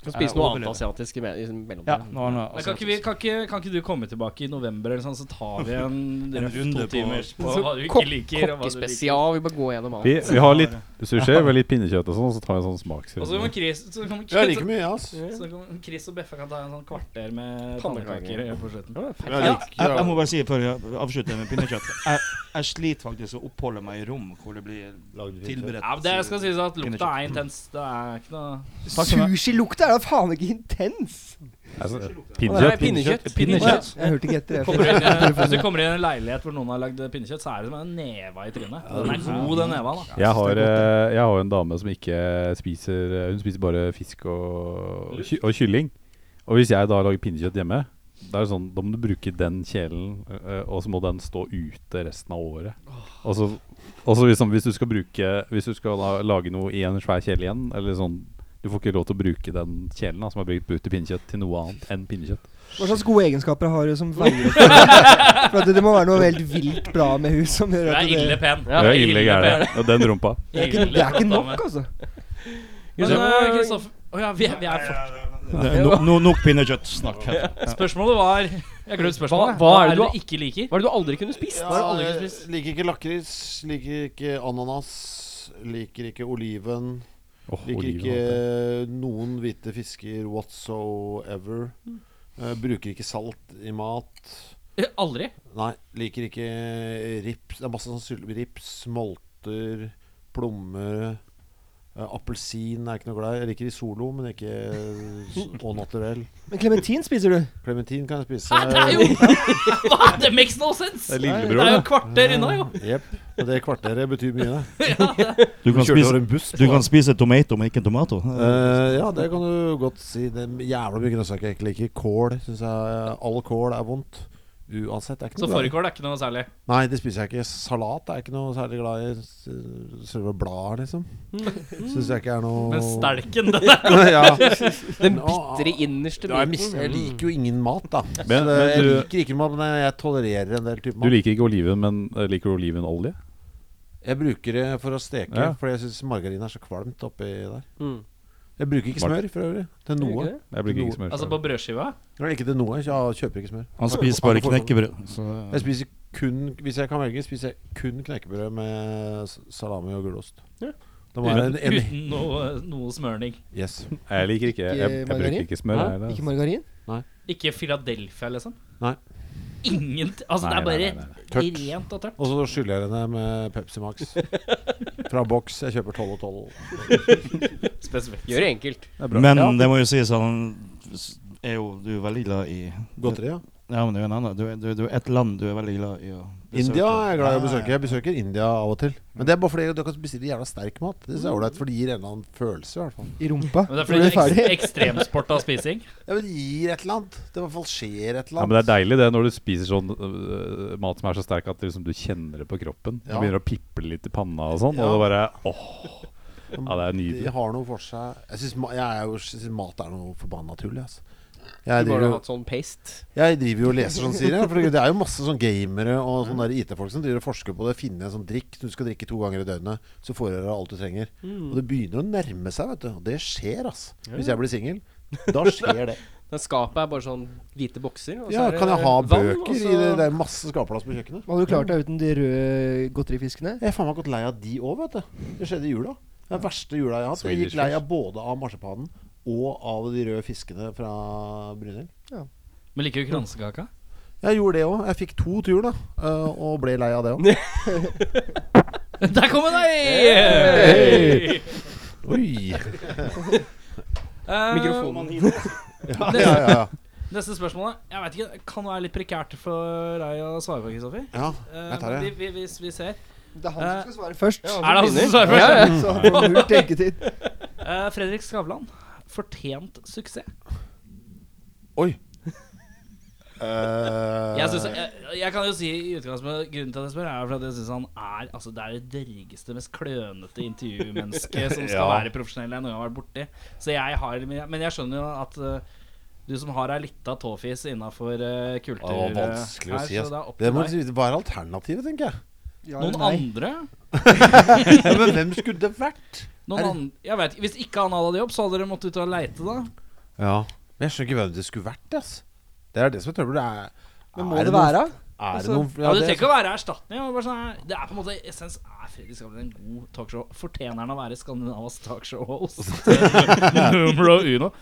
Speaker 2: Kan
Speaker 7: jeg
Speaker 2: spise noe annet altså.
Speaker 7: overlever.
Speaker 2: asiatisk i me- i mellom
Speaker 7: Ja, altså.
Speaker 2: der.
Speaker 7: nå har
Speaker 1: Men kan, ikke vi, kan, ikke, kan ikke du komme tilbake i november, eller sånn, så tar vi en,
Speaker 7: En
Speaker 1: røff
Speaker 7: runde
Speaker 1: to
Speaker 7: på-
Speaker 1: timers på,
Speaker 2: Så
Speaker 1: hva du ikke
Speaker 2: kokk-
Speaker 1: liker? Og hva du liker.
Speaker 2: Kokkespesial. Vi bare går gjennom alt.
Speaker 3: vi, vi har litt sushi, vi har litt pinnekjøtt og sånn, og så tar vi en sånn
Speaker 1: Og så
Speaker 3: smaksrunde.
Speaker 1: kommer Chris, så kommer
Speaker 5: Jeg
Speaker 1: Chris,
Speaker 5: liker mye, ja, ass.
Speaker 1: så kommer Chris og Beffa kan ta en sånn kvarter med
Speaker 2: Pannekaker.
Speaker 1: pannekaker på slutten.
Speaker 5: Jeg
Speaker 7: Ja,
Speaker 5: liker,
Speaker 7: jeg, jeg må bare si før jeg avslutter med pinnekjøtt Jeg, jeg sliter faktisk å oppholde meg i rom hvor det blir tilberedt
Speaker 1: Ja, men det skal sies at lukta
Speaker 7: Pinnekjøtt.
Speaker 1: er intens. Det er ikke noe
Speaker 6: Sushilukta er da faen ikke intens!
Speaker 3: Altså,
Speaker 2: Nei,
Speaker 3: pinnekjøtt.
Speaker 2: pinnekjøtt.
Speaker 1: Pinnekjøtt.
Speaker 6: Jeg hørte ikke etter. jeg.
Speaker 1: Kommer [LAUGHS] du inn, i- hvis du kommer inn i en leilighet hvor noen har lagd pinnekjøtt, så er det som en neve i trynet. Den er god, den neva. da
Speaker 3: Jeg har, eh, jeg har jo en dame som ikke spiser eh, Hun spiser bare fisk og, og, ky og kylling. Og hvis jeg da lager pinnekjøtt hjemme, Da er det sånn, da må du bruke den kjelen, eh, og så må den stå ute resten av året. Og så, og så liksom, hvis du skal bruke Hvis du skal la, lage noe i en svær kjele igjen, eller sånn du får ikke lov til å bruke den kjelen da, som er brukt brukt til pinnekjøtt, til noe annet enn pinnekjøtt.
Speaker 6: Hva slags gode egenskaper har du som veier opp for det? For at det må være noe helt vilt bra med hus som
Speaker 1: Du
Speaker 6: gjør
Speaker 1: er
Speaker 6: at
Speaker 1: ille
Speaker 6: det
Speaker 1: pen.
Speaker 2: Ja,
Speaker 3: det er ille gærent. Og den rumpa.
Speaker 6: det er ikke, det er ikke nok, altså.
Speaker 1: Men eh, Kristoffer Å ja, vi, vi er for...
Speaker 7: no, no, Nok pinnekjøtt snakk herfra.
Speaker 1: Spørsmålet var Jeg glemte spørsmålet.
Speaker 2: Hva- hva er det du har-
Speaker 1: ikke liker?
Speaker 2: Hva er det du aldri kunne spist?
Speaker 5: Ja, jeg liker ikke lakris, liker ikke ananas, liker ikke oliven.
Speaker 3: Åh,
Speaker 5: Liker
Speaker 3: oliven,
Speaker 5: ikke
Speaker 3: alt det.
Speaker 5: noen hvite fisker whatsoever. Eh, bruker ikke salt i mat.
Speaker 1: Eh, Aldri. [LAUGHS]
Speaker 5: Nei, liker ikke rips. Det er masse sånn syl- rips, smolter, plommer. eh, Appelsin er jeg ikke noe glad i. Jeg liker Isolo, men ikke [LAUGHS] s- au naturel.
Speaker 6: Men klementin spiser du.
Speaker 5: Klementin kan jeg spise.
Speaker 1: Nei, Ah, det er jo [LAUGHS] Hva? Det makes no sense!
Speaker 3: Det er
Speaker 1: Det
Speaker 3: lillebror,
Speaker 1: er jo
Speaker 3: da.
Speaker 1: et kvarter unna, jo.
Speaker 5: Jepp. Eh, Og det kvarteret betyr mye, det.
Speaker 7: Du kan
Speaker 5: Kjørte over
Speaker 7: spise,
Speaker 5: en buss.
Speaker 7: du kan spise tomato, men ikke en tomato.
Speaker 5: Eh, ja, det kan du godt si. Det er jævla mye grønnsaker jeg ikke liker. Kål synes jeg All kål er vondt. Uansett. Det er ikke
Speaker 1: Så
Speaker 5: noe glad i.
Speaker 1: fårikål er ikke noe særlig.
Speaker 5: Nei, det spiser jeg ikke. Salat er jeg ikke noe særlig glad i. S- Selve blader, liksom. Syns jeg ikke er noe
Speaker 1: Men stelken, den er
Speaker 5: [LAUGHS] ja.
Speaker 2: Den
Speaker 5: Nå,
Speaker 2: bitre Mm. innerste
Speaker 5: ja, jeg, mis- jeg
Speaker 2: biten.
Speaker 5: liker jo ingen mat, da. Så
Speaker 3: Men-
Speaker 5: det,
Speaker 3: men
Speaker 5: jeg
Speaker 3: du-
Speaker 5: liker ikke mat, men jeg tolererer en del
Speaker 3: Du
Speaker 5: type mat.
Speaker 3: liker ikke oliven, men eh, liker du olivenolje?
Speaker 5: Jeg bruker det for å steke,
Speaker 3: Ja.
Speaker 5: fordi jeg syns margarin er så kvalmt oppi der.
Speaker 2: Mm.
Speaker 5: Jeg bruker ikke
Speaker 3: Mar-
Speaker 5: smør for øvrig. Til
Speaker 2: Gjør
Speaker 5: noe.
Speaker 2: ikke det?
Speaker 3: Jeg bruker ikke smør.
Speaker 1: Altså på brødskiva?
Speaker 5: Nei, Ikke til noe. Jeg kjøper ikke smør.
Speaker 7: Han spiser bare knekkebrød. så-
Speaker 5: Jeg spiser kun, Hvis jeg kan velge, spiser jeg kun knekkebrød med s- salami og gulost.
Speaker 2: Ja.
Speaker 5: Det må være en, en,
Speaker 1: Uten noe, noe smørning.
Speaker 5: yes.
Speaker 3: Jeg liker ikke Jeg, jeg,
Speaker 6: Ikke margarin?
Speaker 3: bruker ikke smør.
Speaker 2: Hæ?
Speaker 3: jeg, altså- da.
Speaker 6: Ikke margarin?
Speaker 1: Ikke Philadelphia, liksom?
Speaker 5: Nei.
Speaker 1: Ingen Altså, det
Speaker 3: Nei,
Speaker 1: er
Speaker 3: nei,
Speaker 1: bare
Speaker 3: nei, nei, nei.
Speaker 5: Tørt.
Speaker 1: rent og tørt.
Speaker 5: Og så skyller jeg henne med Pepsi [LAUGHS] Max. Fra boks. Jeg kjøper 12 og 12.
Speaker 1: Spesifikt.
Speaker 2: Gjør det enkelt.
Speaker 7: Men det må jo sies at han s- er jo Du er veldig glad i
Speaker 5: Godteri, ja.
Speaker 7: Ja, men det er jo en annen. Du, er- du, du er et land du er veldig glad i å besøke.
Speaker 5: India er jeg glad i å besøke. Jeg besøker India av og til. Men det er bare fordi du kan bestille jævla sterk mat. Det synes jeg er ålreit, for det gir en eller annen følelse, i hvert fall.
Speaker 6: I rumpa.
Speaker 1: Men det er
Speaker 6: Når du er
Speaker 1: fordi det
Speaker 6: ferdig.
Speaker 1: er ekstremsport av spising.
Speaker 5: Ja, men det gir et eller annet. Det i hvert fall skjer et
Speaker 3: Ja,
Speaker 5: eller
Speaker 3: men Det
Speaker 5: annet.
Speaker 3: er deilig det når du spiser sånn øh, mat som er så sterk at liksom, du kjenner det på kroppen. Du
Speaker 5: Ja.
Speaker 3: begynner å piple litt i panna og sånn,
Speaker 5: Ja.
Speaker 3: og det bare åh. Ja, det er
Speaker 5: De
Speaker 3: nydelig.
Speaker 5: har noe for seg. Jeg syns ma jeg er jo- synes mat er noe forbanna tull, jeg, altså. Jeg
Speaker 2: Du burde
Speaker 5: driver, jo-
Speaker 2: hatt sånn paste.
Speaker 5: jeg driver jo og leser sånn, sier jeg. For det er jo masse sånn gamere og sånne der IT-folk som driver og forsker på det. Finne en sånn drikk du skal drikke to ganger i døgnet, så får du deg alt du trenger.
Speaker 2: Mm.
Speaker 5: Og det begynner å nærme seg, vet du. Og det skjer, altså. Hvis jeg blir
Speaker 2: [LAUGHS]
Speaker 5: singel, da skjer det.
Speaker 2: Den skapet er bare sånn hvite bokser. og så
Speaker 5: Ja,
Speaker 2: er det
Speaker 5: kan jeg ha
Speaker 2: vann,
Speaker 5: bøker
Speaker 2: og så-
Speaker 5: i det? Det er masse skapplass på kjøkkenet.
Speaker 6: Hva hadde du klart deg uten de røde godterifiskene?
Speaker 5: Jeg er faen meg gått lei av de òg, vet du. Det skjedde i jula. Det er den verste jula jeg har hatt. Jeg
Speaker 3: Swedish
Speaker 5: gikk lei av både av marsipanen og av de røde fiskene fra Brynhild.
Speaker 1: Men liker du kransekaka?
Speaker 2: [LAUGHS]
Speaker 5: Jeg gjorde det òg. Jeg fikk to til jul, da. eh, Og ble lei av det òg.
Speaker 1: Der kom hun, ei!
Speaker 3: Oi!
Speaker 1: Eh,
Speaker 2: Mikrofonen.
Speaker 5: Ja, ja, ja, ja.
Speaker 1: Neste spørsmål. da. Jeg vet ikke, det kan være litt prekært for deg å svare på, Kristoffer.
Speaker 5: ja
Speaker 1: Eh,
Speaker 5: jeg tar
Speaker 1: men vi,
Speaker 5: det.
Speaker 1: vi, vi, vi ser.
Speaker 6: Det er han
Speaker 1: Eh.
Speaker 6: som skal svare først.
Speaker 1: Er det han som svarer først?
Speaker 2: Ja, ja.
Speaker 6: Så han får null tenketid.
Speaker 1: Eh, Fredrik Skavlan. Fortjent suksess.
Speaker 5: Eh. Oi. Eh,
Speaker 1: Jeg, synes, jeg, jeg kan jo si i utgangspunktet Grunnen til at jeg spør, er for at jeg syns han er Altså det er det dørgeste, mest klønete
Speaker 5: [LAUGHS]
Speaker 1: intervjumennesket som skal være profesjonell jeg noen gang har vært borti. Så jeg har Men jeg skjønner jo at eh, du som har ei lita tåfis innafor eh, kultur
Speaker 5: det var vanskelig å si. Altså. Det må
Speaker 1: må
Speaker 5: si- hva er alternativet,
Speaker 1: [LAUGHS]
Speaker 5: tenker jeg.
Speaker 6: Ja,
Speaker 1: Noen
Speaker 6: nei.
Speaker 1: andre?
Speaker 5: Ja, men hvem skulle det vært? Er
Speaker 1: Noen
Speaker 5: det-
Speaker 1: andre jeg vet, ikke, Hvis ikke han hadde jobb, så hadde dere måttet ut og leite, da?
Speaker 5: Ja, Men jeg skjønner ikke hvem det skulle vært. Ass. Det er det som er trøbbel. Er,
Speaker 6: Men
Speaker 5: er
Speaker 6: må det være?
Speaker 5: Noen, er
Speaker 6: Altså,
Speaker 5: det noen,
Speaker 1: Ja, det
Speaker 5: det-
Speaker 1: trenger ikke å være erstatning. Det er, bare sånn, her- det er på en måte i essens Er Fredrik Skavlan en god talkshow? Fortjener han å være Skandinavas
Speaker 5: [LAUGHS]
Speaker 1: [LAUGHS] talkshow-host? Numero uno.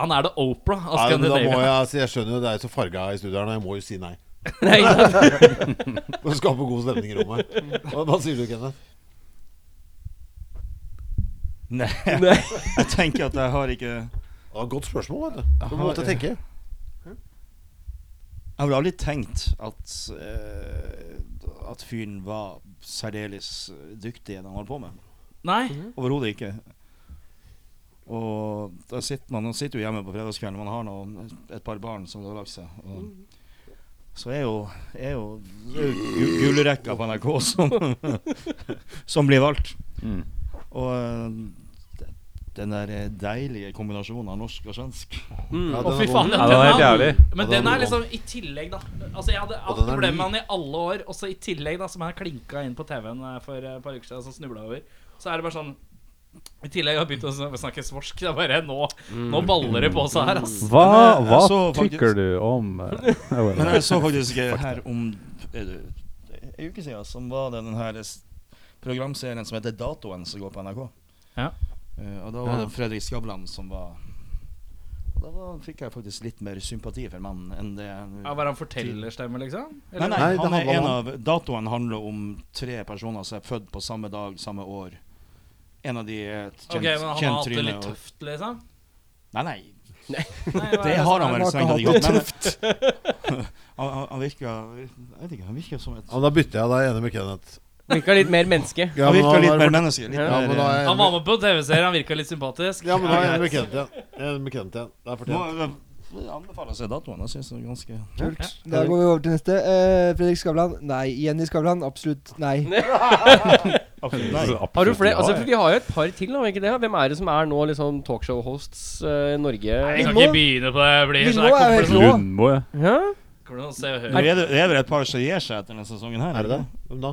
Speaker 1: Han er det Opera av
Speaker 5: Ja, men da
Speaker 1: [LAUGHS]
Speaker 5: må
Speaker 1: Skandinavia.
Speaker 5: jeg, altså, jeg skjønner jo det er så farga i studioet her, og jeg må jo si nei. [LAUGHS]
Speaker 2: Nei, ikke sant?
Speaker 5: For å skape god stemning i rommet. Hva, hva sier du, Kenneth?
Speaker 7: Nei,
Speaker 2: Nei.
Speaker 7: [LAUGHS] jeg tenker at jeg har ikke
Speaker 5: Det var et godt spørsmål, vet du. Du måtte tenke.
Speaker 7: Jeg har vel aldri tenkt at eh, At fyren var særdeles eh, dyktig i det han holdt på med.
Speaker 1: Nei,
Speaker 7: Overhodet ikke. Og da sitter man, man sitter jo hjemme på fredagskvelden, man har noe, et par barn som har lagt seg. Og så er jo, er jo, er jo gu- gullrekka på NRK som, [LAUGHS] som blir valgt.
Speaker 8: Mm.
Speaker 7: Og eh, d- den der deilige kombinasjonen av norsk og svensk.
Speaker 5: Ja,
Speaker 1: Mm. å
Speaker 5: den
Speaker 1: fy
Speaker 5: er
Speaker 1: faen.
Speaker 5: god.
Speaker 1: Den,
Speaker 8: Ja, det var helt
Speaker 1: den er-
Speaker 8: jævlig.
Speaker 1: Men
Speaker 5: Ja, den
Speaker 1: den er
Speaker 5: er god.
Speaker 1: liksom i tillegg, da. Altså Jeg hadde hatt
Speaker 5: den er
Speaker 1: problemer med
Speaker 5: ny.
Speaker 1: han i alle år, og så i tillegg, da, som jeg klinka inn på TV-en eh, for et par uker siden, som snubla over, så er det bare sånn i tillegg har jeg begynt å sn- snakke svorsk. Det er bare nå,
Speaker 5: Mm.
Speaker 1: nå baller det på seg her, ass.
Speaker 8: Hva,
Speaker 7: Men, eh,
Speaker 8: hva
Speaker 7: så faktisk-
Speaker 8: tykker du om
Speaker 3: øh,
Speaker 8: eh,
Speaker 7: Men jeg så faktisk eh, her om eh, en uke siden, som var det den her s- programserien som heter Datoen, som går på NRK.
Speaker 1: Ja.
Speaker 7: Eh, og da var det Fredrik Skavlan som var Og da var, fikk jeg faktisk litt mer sympati for mannen enn det
Speaker 1: Ja, bare han fortellerstemme, liksom?
Speaker 7: Nei, nei,
Speaker 5: Nei, det
Speaker 7: han er
Speaker 5: handler om
Speaker 7: en av Datoen handler om tre personer som er født på samme dag, samme år. En av de er et
Speaker 1: Ok,
Speaker 7: kjent,
Speaker 1: men han har
Speaker 7: kjent
Speaker 1: hatt det
Speaker 7: tryne.
Speaker 1: litt
Speaker 7: og-
Speaker 1: tøft, liksom?
Speaker 7: Nei, nei.
Speaker 1: Nei, hva er
Speaker 7: Det har han
Speaker 1: som er-
Speaker 7: vel
Speaker 6: Han
Speaker 7: strengt
Speaker 6: har
Speaker 7: tatt
Speaker 6: ikke
Speaker 7: gjort. men- Han, han- han virker Jeg vet ikke, han virker som et
Speaker 5: Ja, men da bytter jeg. Da er jeg enig med Kenneth.
Speaker 2: Virka litt mer menneske.
Speaker 5: Ja,
Speaker 7: Han
Speaker 5: men da
Speaker 7: virker litt
Speaker 5: er det-
Speaker 7: mer menneske. Litt
Speaker 5: Ja,
Speaker 7: mer,
Speaker 5: men da er jeg
Speaker 1: Han var
Speaker 5: enig
Speaker 1: med
Speaker 5: med-
Speaker 1: på TV-serien, han virka litt sympatisk.
Speaker 5: Ja, men da er jeg enig med Kenneth igjen. Jeg er enig med Kenneth igjen. Det er
Speaker 7: Nå,
Speaker 5: fortjent.
Speaker 7: eh, jeg anbefaler å se datoen. Jeg synes det er ganske
Speaker 6: Kult. Da går vi over til neste. Eh, Fredrik Skavlan. Nei. Jenny Skavlan. Absolutt nei.
Speaker 7: eh,
Speaker 8: Absolutt,
Speaker 2: Har du flere?
Speaker 8: ja,
Speaker 2: Altså,
Speaker 8: jeg.
Speaker 2: for vi har jo et par til, har vi ikke det? Hvem er det som er nå liksom talkshow-hosts eh, i Norge?
Speaker 1: Nei, Jeg
Speaker 6: Nei,
Speaker 1: kan ikke
Speaker 6: nå-
Speaker 1: begynne på det. Jeg blir
Speaker 6: Vi
Speaker 1: sånn
Speaker 6: nå er
Speaker 1: her kommer
Speaker 6: helt
Speaker 1: det sånn-
Speaker 6: rå.
Speaker 8: Lundmo, ja.
Speaker 2: Ja?
Speaker 1: kommer det sånn se og
Speaker 7: Nå
Speaker 1: hør.
Speaker 7: er det, det er vel et par som gir seg etter denne sesongen her?
Speaker 5: Er det det?
Speaker 7: ikke?
Speaker 5: Hvem da?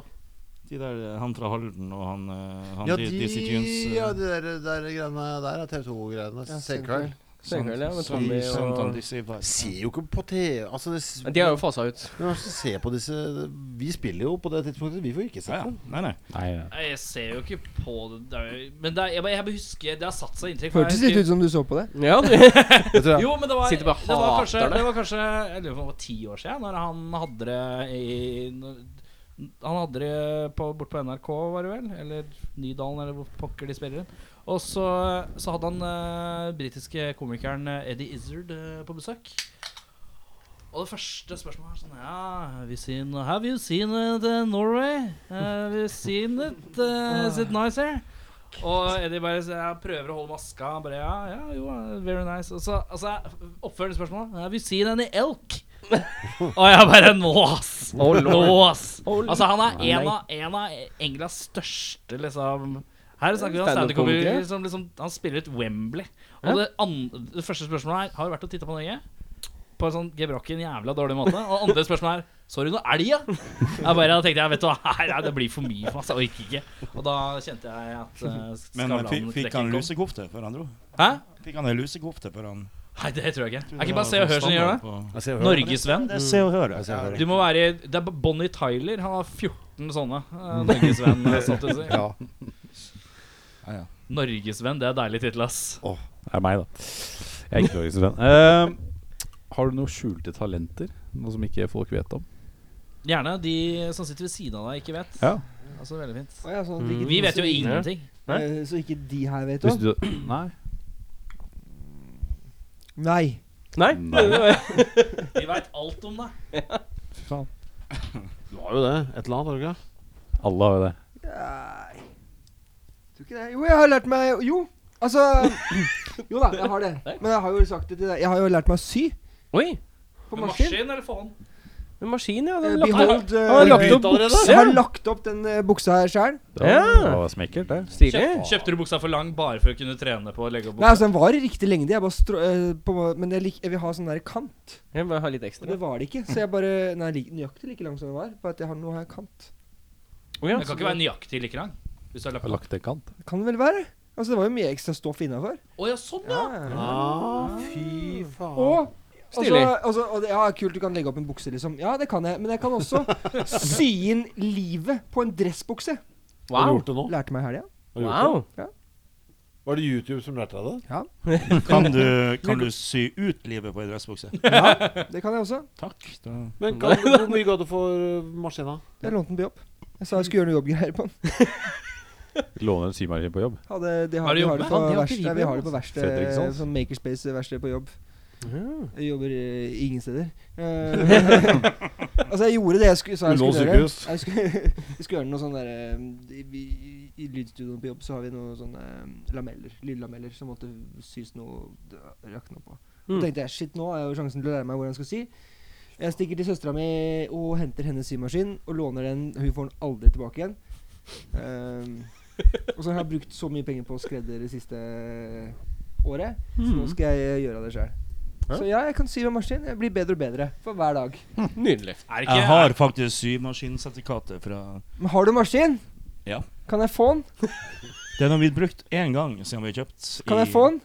Speaker 7: De der, eh, han fra Halden og han, eh, han
Speaker 5: Ja,
Speaker 7: de,
Speaker 5: de,
Speaker 7: Dizzy Tunes eh,
Speaker 5: ja, de der, der greiene der er TV 2-greiene.
Speaker 6: Ja,
Speaker 5: Senkveld.
Speaker 7: sant-
Speaker 2: Senkveld, ja, med
Speaker 7: sant-
Speaker 2: Tommy og-
Speaker 7: sant han Dizzy var.
Speaker 5: Ser jo ikke på TV altså, det, s-
Speaker 2: De er jo fasa
Speaker 5: [LAUGHS]
Speaker 2: ut.
Speaker 5: Men altså, se på disse Vi spiller jo på det tidspunktet. Vi får ikke
Speaker 7: Ja,
Speaker 5: sett
Speaker 7: ja.
Speaker 5: dem.
Speaker 7: Nei, nei.
Speaker 8: Nei, nei.
Speaker 1: Nei, Jeg ser jo ikke på det det er jo- Men det er, jeg, bare- jeg bare husker Det har satt seg inntrykk. for
Speaker 6: Hørtes
Speaker 1: jeg
Speaker 6: litt ut
Speaker 1: husker-
Speaker 6: som du så på det.
Speaker 2: Ja, det-
Speaker 1: Jo, men det var, det
Speaker 2: Sitter
Speaker 1: var
Speaker 2: bare hater
Speaker 1: kanskje
Speaker 2: det.
Speaker 1: Det var kanskje Jeg lurer på om det var ti år siden, når han hadde det i når- Han hadde det på, bort på NRK, var det vel? Eller Nydalen, eller hvor pokker de spiller den. Og så, så hadde han uh, britiske komikeren eh, Eddie Izzard eh, på besøk. Og det første spørsmålet er sånn Ja, have you seen, have you seen it, eh, Norway? Have you seen it? eh, is it nice here? Og Eddie bare så jeg prøver å holde maska. Han Bare, ja, ja, jo, eh, very nice Og så altså, oppfører spørsmålet Have you seen any elk? Og jeg bare Nå, ass!
Speaker 2: Oh, lord.
Speaker 1: nå, ass!
Speaker 2: Oh,
Speaker 1: Altså, han er en
Speaker 2: nei.
Speaker 1: av, en av Englands største, liksom Her snakker vi om
Speaker 2: Stand-up
Speaker 1: standup-komikere
Speaker 2: komikere.
Speaker 1: som liksom Han spiller ut Wembley.
Speaker 2: Ja.
Speaker 1: Og det, an det første spørsmålet her Har du vært og titta på Norge? På en sånn gebrokken jævla dårlig måte. Og andre spørsmål er Sorry, noe elg, ja? Jeg bare da tenkte jeg, vet du hva, [LAUGHS] her er- det blir for mye for meg, så jeg orker ikke. Og da kjente jeg at uh,
Speaker 7: Men eh, fikk, fikk
Speaker 1: kom.
Speaker 7: han lusekofte før han dro?
Speaker 1: Hæ?
Speaker 7: Fikk han ei lusekofte før han
Speaker 1: Nei, det tror jeg ikke. Er ikke bare Se og Hør som gjør det? Norgesvenn.
Speaker 7: Det er Se og Hør.
Speaker 5: Jeg ser og Hør.
Speaker 1: Du må være i- Det er Bonnie Tyler. Han har 14 sånne. eh, Norgesvenn, eh, sånn til å si.
Speaker 5: Ja.
Speaker 1: Norgesvenn, det er deilig tittel, ass.
Speaker 8: Det er meg, da. Jeg er ikke norgesvenn.
Speaker 3: Ehm,
Speaker 8: Uh, har du noen skjulte talenter? Noe som ikke folk vet om?
Speaker 1: Gjerne de som sitter ved siden av deg, ikke vet.
Speaker 8: Ja.
Speaker 1: Altså, veldig fint.
Speaker 6: Å ja, sånn at
Speaker 2: Mm.
Speaker 6: ikke-
Speaker 1: Vi vet jo
Speaker 6: så ikke-
Speaker 1: ingenting.
Speaker 2: Hæ?
Speaker 6: eh, Så ikke de her vet
Speaker 8: Hvis
Speaker 6: om?
Speaker 8: du, nei.
Speaker 6: Nei.
Speaker 2: Nei?
Speaker 8: Nei.
Speaker 1: Vi veit alt om deg.
Speaker 8: Fy faen.
Speaker 5: Du har jo det. Et eller annet, har du ikke?
Speaker 8: Alle har jo det.
Speaker 6: Nei. Tror ikke det. Jo, jeg har lært meg Jo, altså Jo da, jeg har det. Men jeg har jo sagt det til deg. Jeg har jo lært meg å sy
Speaker 2: Oi!
Speaker 6: på
Speaker 1: Med
Speaker 6: maskin.
Speaker 1: maskin eller faen?
Speaker 2: En maskin, ja.
Speaker 6: Eh,
Speaker 2: Den lagt opp.
Speaker 6: Behold eh,
Speaker 2: Han har lagt opp
Speaker 6: Jeg har
Speaker 2: bukse.
Speaker 6: lagt opp den eh, buksa her sjøl.
Speaker 8: Det var,
Speaker 2: Ja.
Speaker 8: det var smekkert, det.
Speaker 2: Stilig.
Speaker 1: Kjøp, kjøpte du buksa for lang bare for å kunne trene på å legge opp
Speaker 6: Nei,
Speaker 1: buksa?
Speaker 6: altså, den var i riktig lengde. Jeg bare strå... eh, på, men jeg, lik, jeg vil ha sånn der kant.
Speaker 2: Jeg må ha litt
Speaker 6: Og det
Speaker 2: ekstra.
Speaker 6: var det ikke. Så jeg bare Nei, li, nøyaktig like lang som den var. Bare at jeg har noe her kant.
Speaker 2: Å ja.
Speaker 1: Den kan ikke være nøyaktig like lang. Hvis du har lagt den.
Speaker 8: Lagt til kant.
Speaker 6: Kan det vel være? Altså, det var jo mye ekstra stoff innafor.
Speaker 1: Å ja, sånn, ja!
Speaker 6: Ja.
Speaker 5: Ah, fy faen.
Speaker 6: Og
Speaker 2: Stilig.
Speaker 6: Altså, altså, og det, ja, kult, du kan legge opp en bukse, liksom. Ja, det kan jeg. Men jeg kan også sy inn livet på en
Speaker 5: Har
Speaker 6: dressbukse.
Speaker 5: du
Speaker 2: Wow.
Speaker 5: gjort det nå?
Speaker 6: Lærte meg i helga.
Speaker 5: Har du gjort
Speaker 2: wow.
Speaker 5: det? Var det YouTube som lærte deg det?
Speaker 7: Kan du, kan du sy ut livet på en dressbukse?
Speaker 6: Ja, det kan jeg også.
Speaker 7: Takk. Da.
Speaker 5: Men kan, hvor mye ga du for øh, maskina?
Speaker 6: Jeg lånte den på jobb. Jeg sa jeg skulle gjøre noe jobbgreier på den.
Speaker 8: Låner en symaskin på jobb.
Speaker 6: Ja, det, det
Speaker 1: Har
Speaker 6: har,
Speaker 1: du
Speaker 6: vi har
Speaker 1: jobbet?
Speaker 6: det på
Speaker 2: Faen, de har ikke
Speaker 6: verksted.
Speaker 2: vi på
Speaker 6: Vi har det
Speaker 2: jobb, altså.
Speaker 6: på verksted,
Speaker 8: Fredrikssons.
Speaker 6: sånn Makerspace-verksted på jobb. Jeg jobber eh,
Speaker 5: [LAUGHS]
Speaker 6: ingen steder. Eh, [LAUGHS] altså, jeg gjorde det jeg skulle, sa jeg
Speaker 5: Ullevål
Speaker 6: skulle gjøre.
Speaker 5: sykehus.
Speaker 6: Jeg skulle, [LAUGHS] jeg skulle gjøre noe sånn derre I, i- i lydstudioet på jobb så har vi noen sånne eh, lameller, lydlameller som måtte sys noe d- Rakne opp på. Da
Speaker 2: Mm.
Speaker 6: tenkte jeg shit, nå har jeg jo sjansen til å lære meg hvordan jeg skal sy. Jeg stikker til søstera mi og henter hennes symaskin og låner den. Hun får den aldri tilbake igjen. Ehm, og så har jeg brukt så mye penger på skredder det siste året, så
Speaker 2: Mm.
Speaker 6: nå skal jeg gjøre det sjøl. Så ja, jeg kan sy med maskin. Jeg blir bedre og bedre for hver dag.
Speaker 2: Nydelig.
Speaker 1: Er det ikke
Speaker 7: Jeg har faktisk symaskinsertifikatet fra
Speaker 6: Men har du maskin?
Speaker 7: Ja.
Speaker 6: Kan jeg få den?
Speaker 7: Den har blitt brukt én gang siden vi har kjøpt.
Speaker 6: Kan
Speaker 7: [LAUGHS]
Speaker 6: jeg få den?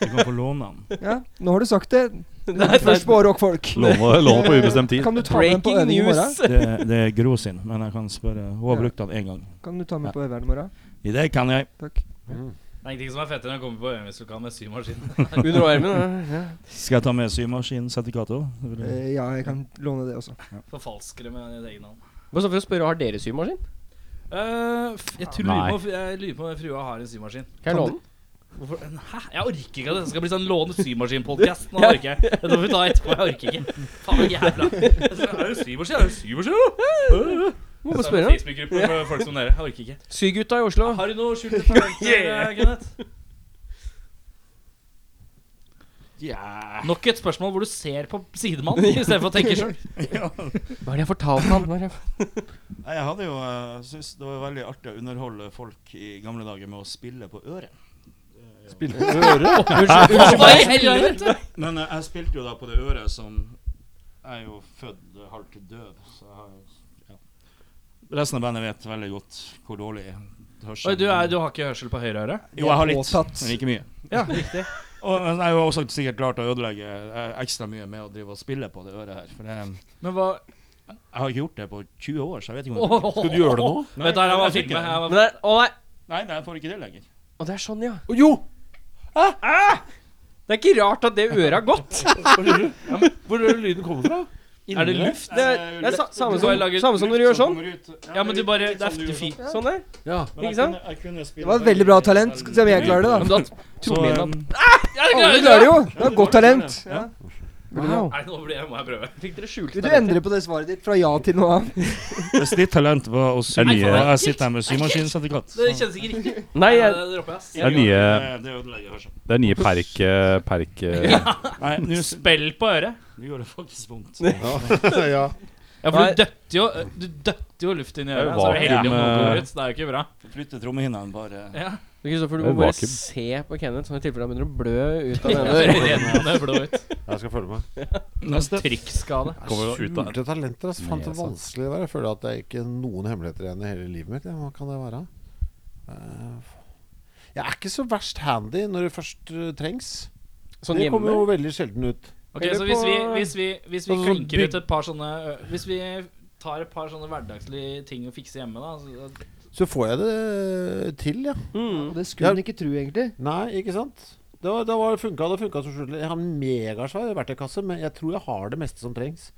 Speaker 7: Du kan få låne den.
Speaker 6: Ja, nå har du sagt det.
Speaker 2: [LAUGHS] Nei,
Speaker 6: Først på rockfolk.
Speaker 3: [LAUGHS]
Speaker 8: Låne, låne på ubestemt tid.
Speaker 6: Kan du ta med den på
Speaker 2: Breaking
Speaker 6: øving i morgen?
Speaker 2: news.
Speaker 7: Det, det er Gro sin, men jeg kan spørre. Hun har
Speaker 6: Ja.
Speaker 7: brukt den én gang.
Speaker 6: Kan du ta med på øveren i morgen?
Speaker 7: I det kan jeg.
Speaker 6: Takk.
Speaker 1: Det er ingenting som er fettere enn å komme på øvingslokalet med symaskin.
Speaker 2: Under armen. ja.
Speaker 7: Skal jeg ta med symaskinsertifikatet
Speaker 2: Mm.
Speaker 7: òg?
Speaker 6: Eh, ja, jeg kan låne det også.
Speaker 1: Forfalskere med ditt eget navn.
Speaker 2: Hva så for å spørre, har dere symaskin?
Speaker 1: Eh, f- jeg tror
Speaker 8: Nei.
Speaker 1: på- jeg lurer på om frua har en symaskin.
Speaker 2: Kan jeg låne den?
Speaker 1: Hvorfor? Hæ? Jeg orker ikke at dette skal bli sånn låne symaskin-podkast. [LAUGHS] Nå orker jeg Dette får vi ta etterpå. Jeg orker ikke. Faen, jævla. [LAUGHS] Jeg tror, Er det symaskin? Er det symaskin? da?
Speaker 2: Må
Speaker 1: Så er
Speaker 2: bare
Speaker 1: det en
Speaker 2: spørre.
Speaker 1: Facebook-gruppe for folk som dere. Jeg orker ikke.
Speaker 2: Sygutta i Oslo.
Speaker 1: Har du noe skjulte
Speaker 2: [LAUGHS]
Speaker 1: talenter, eh, Kenneth? Nok et spørsmål hvor du ser på
Speaker 2: [LAUGHS]
Speaker 1: sidemannen istedenfor å tenke sjøl.
Speaker 7: Ja.
Speaker 2: Hva er det jeg fortalte han? Hva er det jeg-
Speaker 7: Nei, Jeg hadde jo eh, syntes det var veldig artig å underholde folk i gamle dager med å spille på øret.
Speaker 1: Hva i
Speaker 2: [LAUGHS]
Speaker 1: helvete?
Speaker 7: Men eh, jeg spilte jo da på det øret som Jeg er jo født eh, halvt døv, så jeg har jo ja. Resten av bandet vet veldig godt hvor dårlig hørsel
Speaker 1: Oi, du, er, du har ikke hørsel på høyre øre?
Speaker 7: Jo, jeg har litt,
Speaker 6: Påtatt.
Speaker 7: men ikke mye.
Speaker 1: Ja, riktig.
Speaker 7: [LAUGHS] Og men jeg har jo også sikkert klart å ødelegge eh, ekstra mye med å drive og spille på det øret her. For det,
Speaker 1: Men hva
Speaker 7: jeg har ikke gjort det på 20 år, så jeg vet ikke om det
Speaker 1: Skal
Speaker 5: du gjøre det nå?
Speaker 1: Vet du, her jeg var
Speaker 7: jeg fikk
Speaker 1: filmet.
Speaker 7: det.
Speaker 1: Jeg var
Speaker 2: Men det er, å nei.
Speaker 7: Nei, nei, jeg får ikke det lenger.
Speaker 2: Å, det er sånn, ja. Ah!
Speaker 5: Å, jo!
Speaker 2: Det er ikke rart at det øret har gått.
Speaker 5: Hvor er det lyden kommer fra?
Speaker 1: Er det luft?
Speaker 2: Det er, det er sa, samme, som, samme som når du gjør sånn.
Speaker 1: Ja, men du bare Det er fint.
Speaker 2: Sånn der.
Speaker 5: Ja.
Speaker 2: Ikke sant?
Speaker 6: Det var et veldig bra talent. Skal vi se om jeg klarer det,
Speaker 2: Ja,
Speaker 6: da.
Speaker 2: men da tror jeg
Speaker 7: um,
Speaker 2: den
Speaker 6: Alle klarer det jo. Det var godt talent. Ja.
Speaker 2: Wow.
Speaker 1: Nei, nå blir jeg, må jeg prøve.
Speaker 2: Fikk dere skjult
Speaker 6: Vil du endre på det svaret ditt fra ja til noe annet?
Speaker 7: Hvis ditt talent var å sy,
Speaker 8: Det er nye-
Speaker 7: og jeg sitter her med symaskinsertifikat
Speaker 1: Det kjennes ikke riktig.
Speaker 2: Nei,
Speaker 1: Det
Speaker 2: jeg,
Speaker 1: dropper jeg, ass.
Speaker 8: Det er nye,
Speaker 7: Det ødelegger hørselen.
Speaker 8: det er nye perk...
Speaker 3: eh,
Speaker 8: perk
Speaker 7: Nei, nå s-
Speaker 1: Spill på øret.
Speaker 7: nå gjør det faktisk vondt.
Speaker 5: ja.
Speaker 1: Ja, for du døtter jo Du døtter jo luft inn i øret.
Speaker 8: Det er jo
Speaker 1: Så er du
Speaker 8: vakuum,
Speaker 1: heldig om noe
Speaker 8: eh.
Speaker 1: går ut. Det er jo ikke bra.
Speaker 7: Flytte trommehinnene bare
Speaker 1: [LAUGHS] Ja.
Speaker 2: Eh, Kristoffer, du
Speaker 8: Det er
Speaker 2: må bare
Speaker 8: vakuum.
Speaker 2: se på Kenneth, sånn i tilfelle han begynner å blø [LAUGHS] ut av det ene øret.
Speaker 1: Det er blå ut.
Speaker 5: Jeg skal følge med.
Speaker 7: Neste.
Speaker 1: Trykkskade.
Speaker 5: Skjulte talenter. Altså, fant det
Speaker 8: Nesa.
Speaker 5: vanskelig å være. Jeg føler at det er ikke noen hemmeligheter igjen i hele livet mitt. Ja, hva kan det være? Eh, Jeg er ikke så verst handy når det først eh, trengs.
Speaker 2: Sånn
Speaker 5: det kommer
Speaker 2: hjemme.
Speaker 5: jo veldig sjelden ut.
Speaker 1: Ok, så hvis vi, hvis vi, hvis vi
Speaker 5: Altså, sånn
Speaker 1: klinker
Speaker 5: bygg-
Speaker 1: ut et par sånne ø, Hvis vi tar et par sånne hverdagslige ting å fikse hjemme, da så-
Speaker 5: Så får jeg det eh, til, ja.
Speaker 2: Mm.
Speaker 6: Det skulle hun ikke tro, egentlig.
Speaker 5: Nei, ikke sant? Det, var, det var, funka, det funka som skjult. Jeg har en megasvær verktøykasse, men jeg tror jeg har det meste som trengs.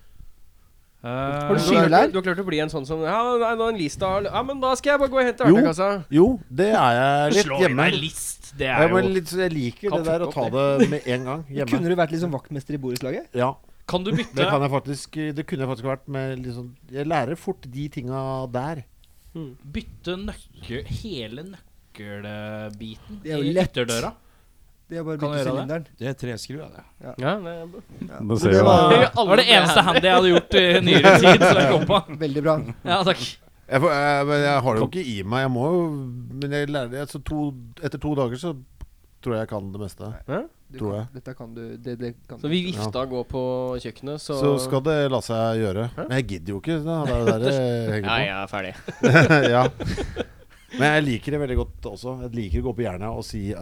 Speaker 1: Har
Speaker 6: Har du
Speaker 2: Du har,
Speaker 6: skylær?
Speaker 2: klart, du har klart å bli en sånn som Ja, nei, nå er en lista Ja, men da skal jeg bare gå og hente
Speaker 5: Jo.
Speaker 2: verktøykassa.
Speaker 5: Jo, det er
Speaker 1: [LAUGHS]
Speaker 5: jeg litt
Speaker 1: Slå inn
Speaker 5: hjemme.
Speaker 1: ei list! Det
Speaker 5: Jeg,
Speaker 1: er
Speaker 5: bare
Speaker 1: jo
Speaker 5: litt, jeg liker det
Speaker 2: Kan
Speaker 5: der å
Speaker 2: fort
Speaker 5: ta
Speaker 2: opp
Speaker 5: det med en gang hjemme.
Speaker 6: Kunne du vært liksom vaktmester i borettslaget?
Speaker 5: Ja,
Speaker 1: Kan du
Speaker 5: det
Speaker 1: bytte
Speaker 5: kan jeg faktisk Det kunne jeg faktisk vært med liksom Jeg lærer fort de tinga der.
Speaker 1: Bytte nøkkel Hele nøkkelbiten
Speaker 6: Det er jo
Speaker 1: i
Speaker 6: lett.
Speaker 1: ytterdøra?
Speaker 6: Det er bare å
Speaker 1: Kan
Speaker 6: bytte
Speaker 1: du gjøre
Speaker 6: sylinderen.
Speaker 7: Det er tre skruer, det.
Speaker 2: Ja, det er bra.
Speaker 3: Nå ser jeg hva-
Speaker 1: Det var det eneste handy jeg hadde gjort i nyere tid. Som jeg kom på
Speaker 6: Veldig bra.
Speaker 1: Ja, takk
Speaker 5: Jeg, får- jeg, men jeg har det jo ikke i meg. Jeg må jo Men jeg lærer det. Så to, etter to dager så tror jeg jeg kan det meste.
Speaker 6: Du
Speaker 5: Tror
Speaker 6: kan,
Speaker 5: jeg.
Speaker 6: dette kan du. Det, det kan du.
Speaker 2: Så vi vifta går på kjøkkenet, så,
Speaker 5: Så skal det la seg gjøre. Men jeg gidder jo ikke. Da. Det er jo der det
Speaker 2: Ja,
Speaker 5: henger
Speaker 2: jeg er ferdig.
Speaker 5: på. [LAUGHS] ja. Men jeg liker det veldig godt også. Jeg liker å gå på jernet og si eh,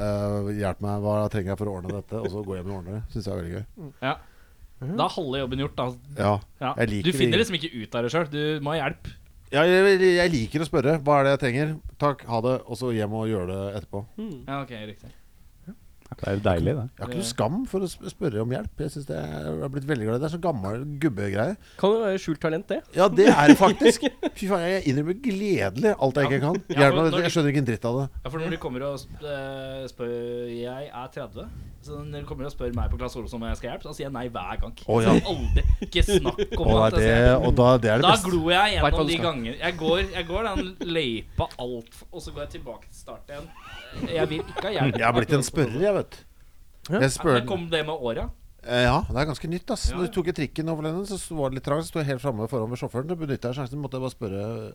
Speaker 5: 'hjelp meg, hva trenger jeg for å ordne dette?' Og så går jeg hjem og ordner det. Syns jeg er veldig gøy.
Speaker 1: Da er halve jobben gjort. da
Speaker 5: Ja.
Speaker 1: ja.
Speaker 5: Mm. Jeg liker
Speaker 1: Du finner
Speaker 5: det.
Speaker 1: liksom ikke ut av det sjøl. Du må ha hjelp.
Speaker 5: Ja, jeg, jeg liker å spørre. Hva er det jeg trenger? Takk, ha det. Og så hjem og gjøre det etterpå.
Speaker 1: Ja, ok, riktig
Speaker 3: Det er jo deilig, det.
Speaker 5: Jeg har ikke noe skam for å sp- spørre om hjelp. Jeg synes det er, jeg har blitt veldig glad i det. Det er så gammel gubbegreie.
Speaker 2: Kan jo være skjult talent, det.
Speaker 5: Ja, det er det faktisk. Fy faen, jeg innrømmer gledelig alt jeg ikke kan.
Speaker 1: Ja,
Speaker 5: Hjelp
Speaker 1: for
Speaker 5: meg med
Speaker 1: når-
Speaker 5: dette. Jeg skjønner ikke en dritt av det.
Speaker 1: Ja, for når du kommer og sp- eh, spør Jeg er 30. Så når du kommer og spør meg på Claes Olsson om jeg skal hjelpe, så sier jeg nei hver gang.
Speaker 5: Å, ja.
Speaker 1: Så Aldri. Ikke snakk om
Speaker 5: Og,
Speaker 1: at
Speaker 5: det,
Speaker 1: jeg skal-
Speaker 5: og da, det er det
Speaker 1: Da
Speaker 5: beste.
Speaker 1: glor jeg
Speaker 2: Vet hva
Speaker 1: gjennom
Speaker 2: du
Speaker 1: de
Speaker 2: skal.
Speaker 1: gangene. Jeg går, jeg går den løypa alt for- Og så går jeg tilbake til start igjen. Jeg vil ikke ha hjelp.
Speaker 5: Jeg har blitt en spørrer, jeg, vet du. Jeg
Speaker 1: Ja, men
Speaker 5: spør,
Speaker 1: kom det med åra?
Speaker 5: Eh, ja, det er ganske nytt. ass
Speaker 1: Ja,
Speaker 5: Når
Speaker 1: ja.
Speaker 5: jeg tok jeg trikken over Lennon, så sto- var det litt trang. Så sto jeg helt framme foran ved sjåføren. Så benytta jeg sjansen. Måtte jeg bare spørre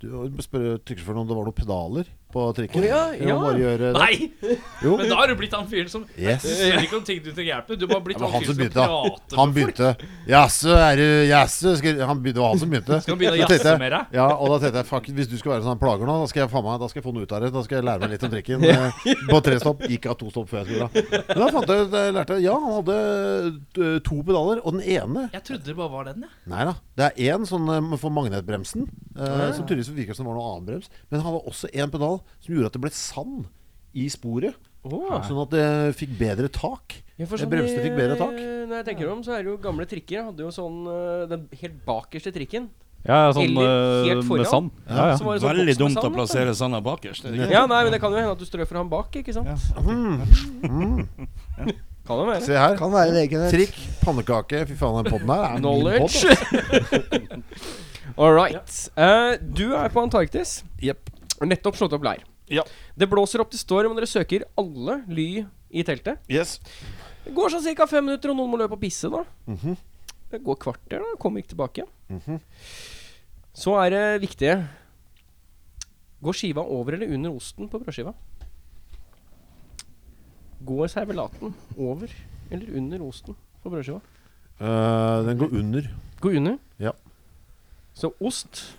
Speaker 5: du, spørre trikkesjåføren om det var noen pedaler på trikken.
Speaker 2: Å, ja,
Speaker 5: Jeg må
Speaker 2: ja.
Speaker 5: Bare gjøre det.
Speaker 1: Nei!
Speaker 5: Jo.
Speaker 1: Men da har du blitt han fyren som
Speaker 5: Yes.
Speaker 1: Du spør ikke om ting du trenger hjelp med. Du har bare blitt
Speaker 5: Det var
Speaker 1: han
Speaker 5: han som
Speaker 1: fyren som
Speaker 5: begynte.
Speaker 1: prater
Speaker 5: Han begynte Jaså, er du Jaså? skal- Han begynte, det var han som begynte.
Speaker 1: Skal han
Speaker 2: [LAUGHS]
Speaker 1: begynne å
Speaker 5: Da tenkte
Speaker 1: jazze
Speaker 5: jeg-
Speaker 1: med deg?
Speaker 5: Ja, og da tenkte jeg fuck, hvis du skal være en sånn plager nå, da skal jeg faen meg, da skal jeg få noe ut av det. Da skal jeg lære meg litt om
Speaker 2: [LAUGHS]
Speaker 5: trikken. eh, På tre stopp. Gikk av to stopp før jeg skulle da. Men da fant jeg ut, jeg lærte Ja, han hadde eh, to pedaler, og den ene
Speaker 1: Jeg trodde det bare var den, jeg.
Speaker 5: Nei da. Det er én sånn eh, for magnetbremsen, eh, som tydeligvis virker som det var noe annen brems. Men han hadde også én pedal som gjorde at det ble sand i sporet.
Speaker 2: Åh.
Speaker 5: Sånn at det fikk bedre tak.
Speaker 2: Ja, for
Speaker 5: Eh,
Speaker 2: sånn
Speaker 5: Bremsene
Speaker 2: i-
Speaker 5: fikk bedre tak.
Speaker 2: Når jeg tenker om, så er det jo gamle trikker. Hadde jo sånn eh, Den helt bakerste trikken.
Speaker 3: Ja, sånn
Speaker 2: Eller helt
Speaker 3: eh,
Speaker 2: foran.
Speaker 3: med sand. Ja, ja.
Speaker 2: Så var det sånn boks
Speaker 7: Veldig
Speaker 2: med
Speaker 7: dumt å
Speaker 2: sand, da.
Speaker 7: plassere sanda bakerst. er det ikke?
Speaker 2: Ja, nei, men det kan jo hende at du strør for han bak, ikke sant? Kan jo være.
Speaker 5: Mhm. Se her.
Speaker 6: Kan være det, Kenneth.
Speaker 5: Trikk, pannekake Fy faen, den podden her er min podd,
Speaker 2: Knowledge.
Speaker 5: altså.
Speaker 2: All right. Eh, du er på Antarktis.
Speaker 7: Jepp.
Speaker 2: Nettopp slått opp leir.
Speaker 7: Ja.
Speaker 2: Det blåser opp til storm, og dere søker alle ly i teltet.
Speaker 7: Yes.
Speaker 2: Det går sånn ca. fem minutter, og noen må løpe og pisse, da.
Speaker 5: Mhm.
Speaker 2: Det går kvarter, da. Kommer ikke tilbake. Så er det viktige Går skiva over eller under osten på brødskiva? Går servelaten over eller under osten på brødskiva?
Speaker 5: Eh, Den går under
Speaker 2: Gå under?
Speaker 5: Ja.
Speaker 2: Så ost,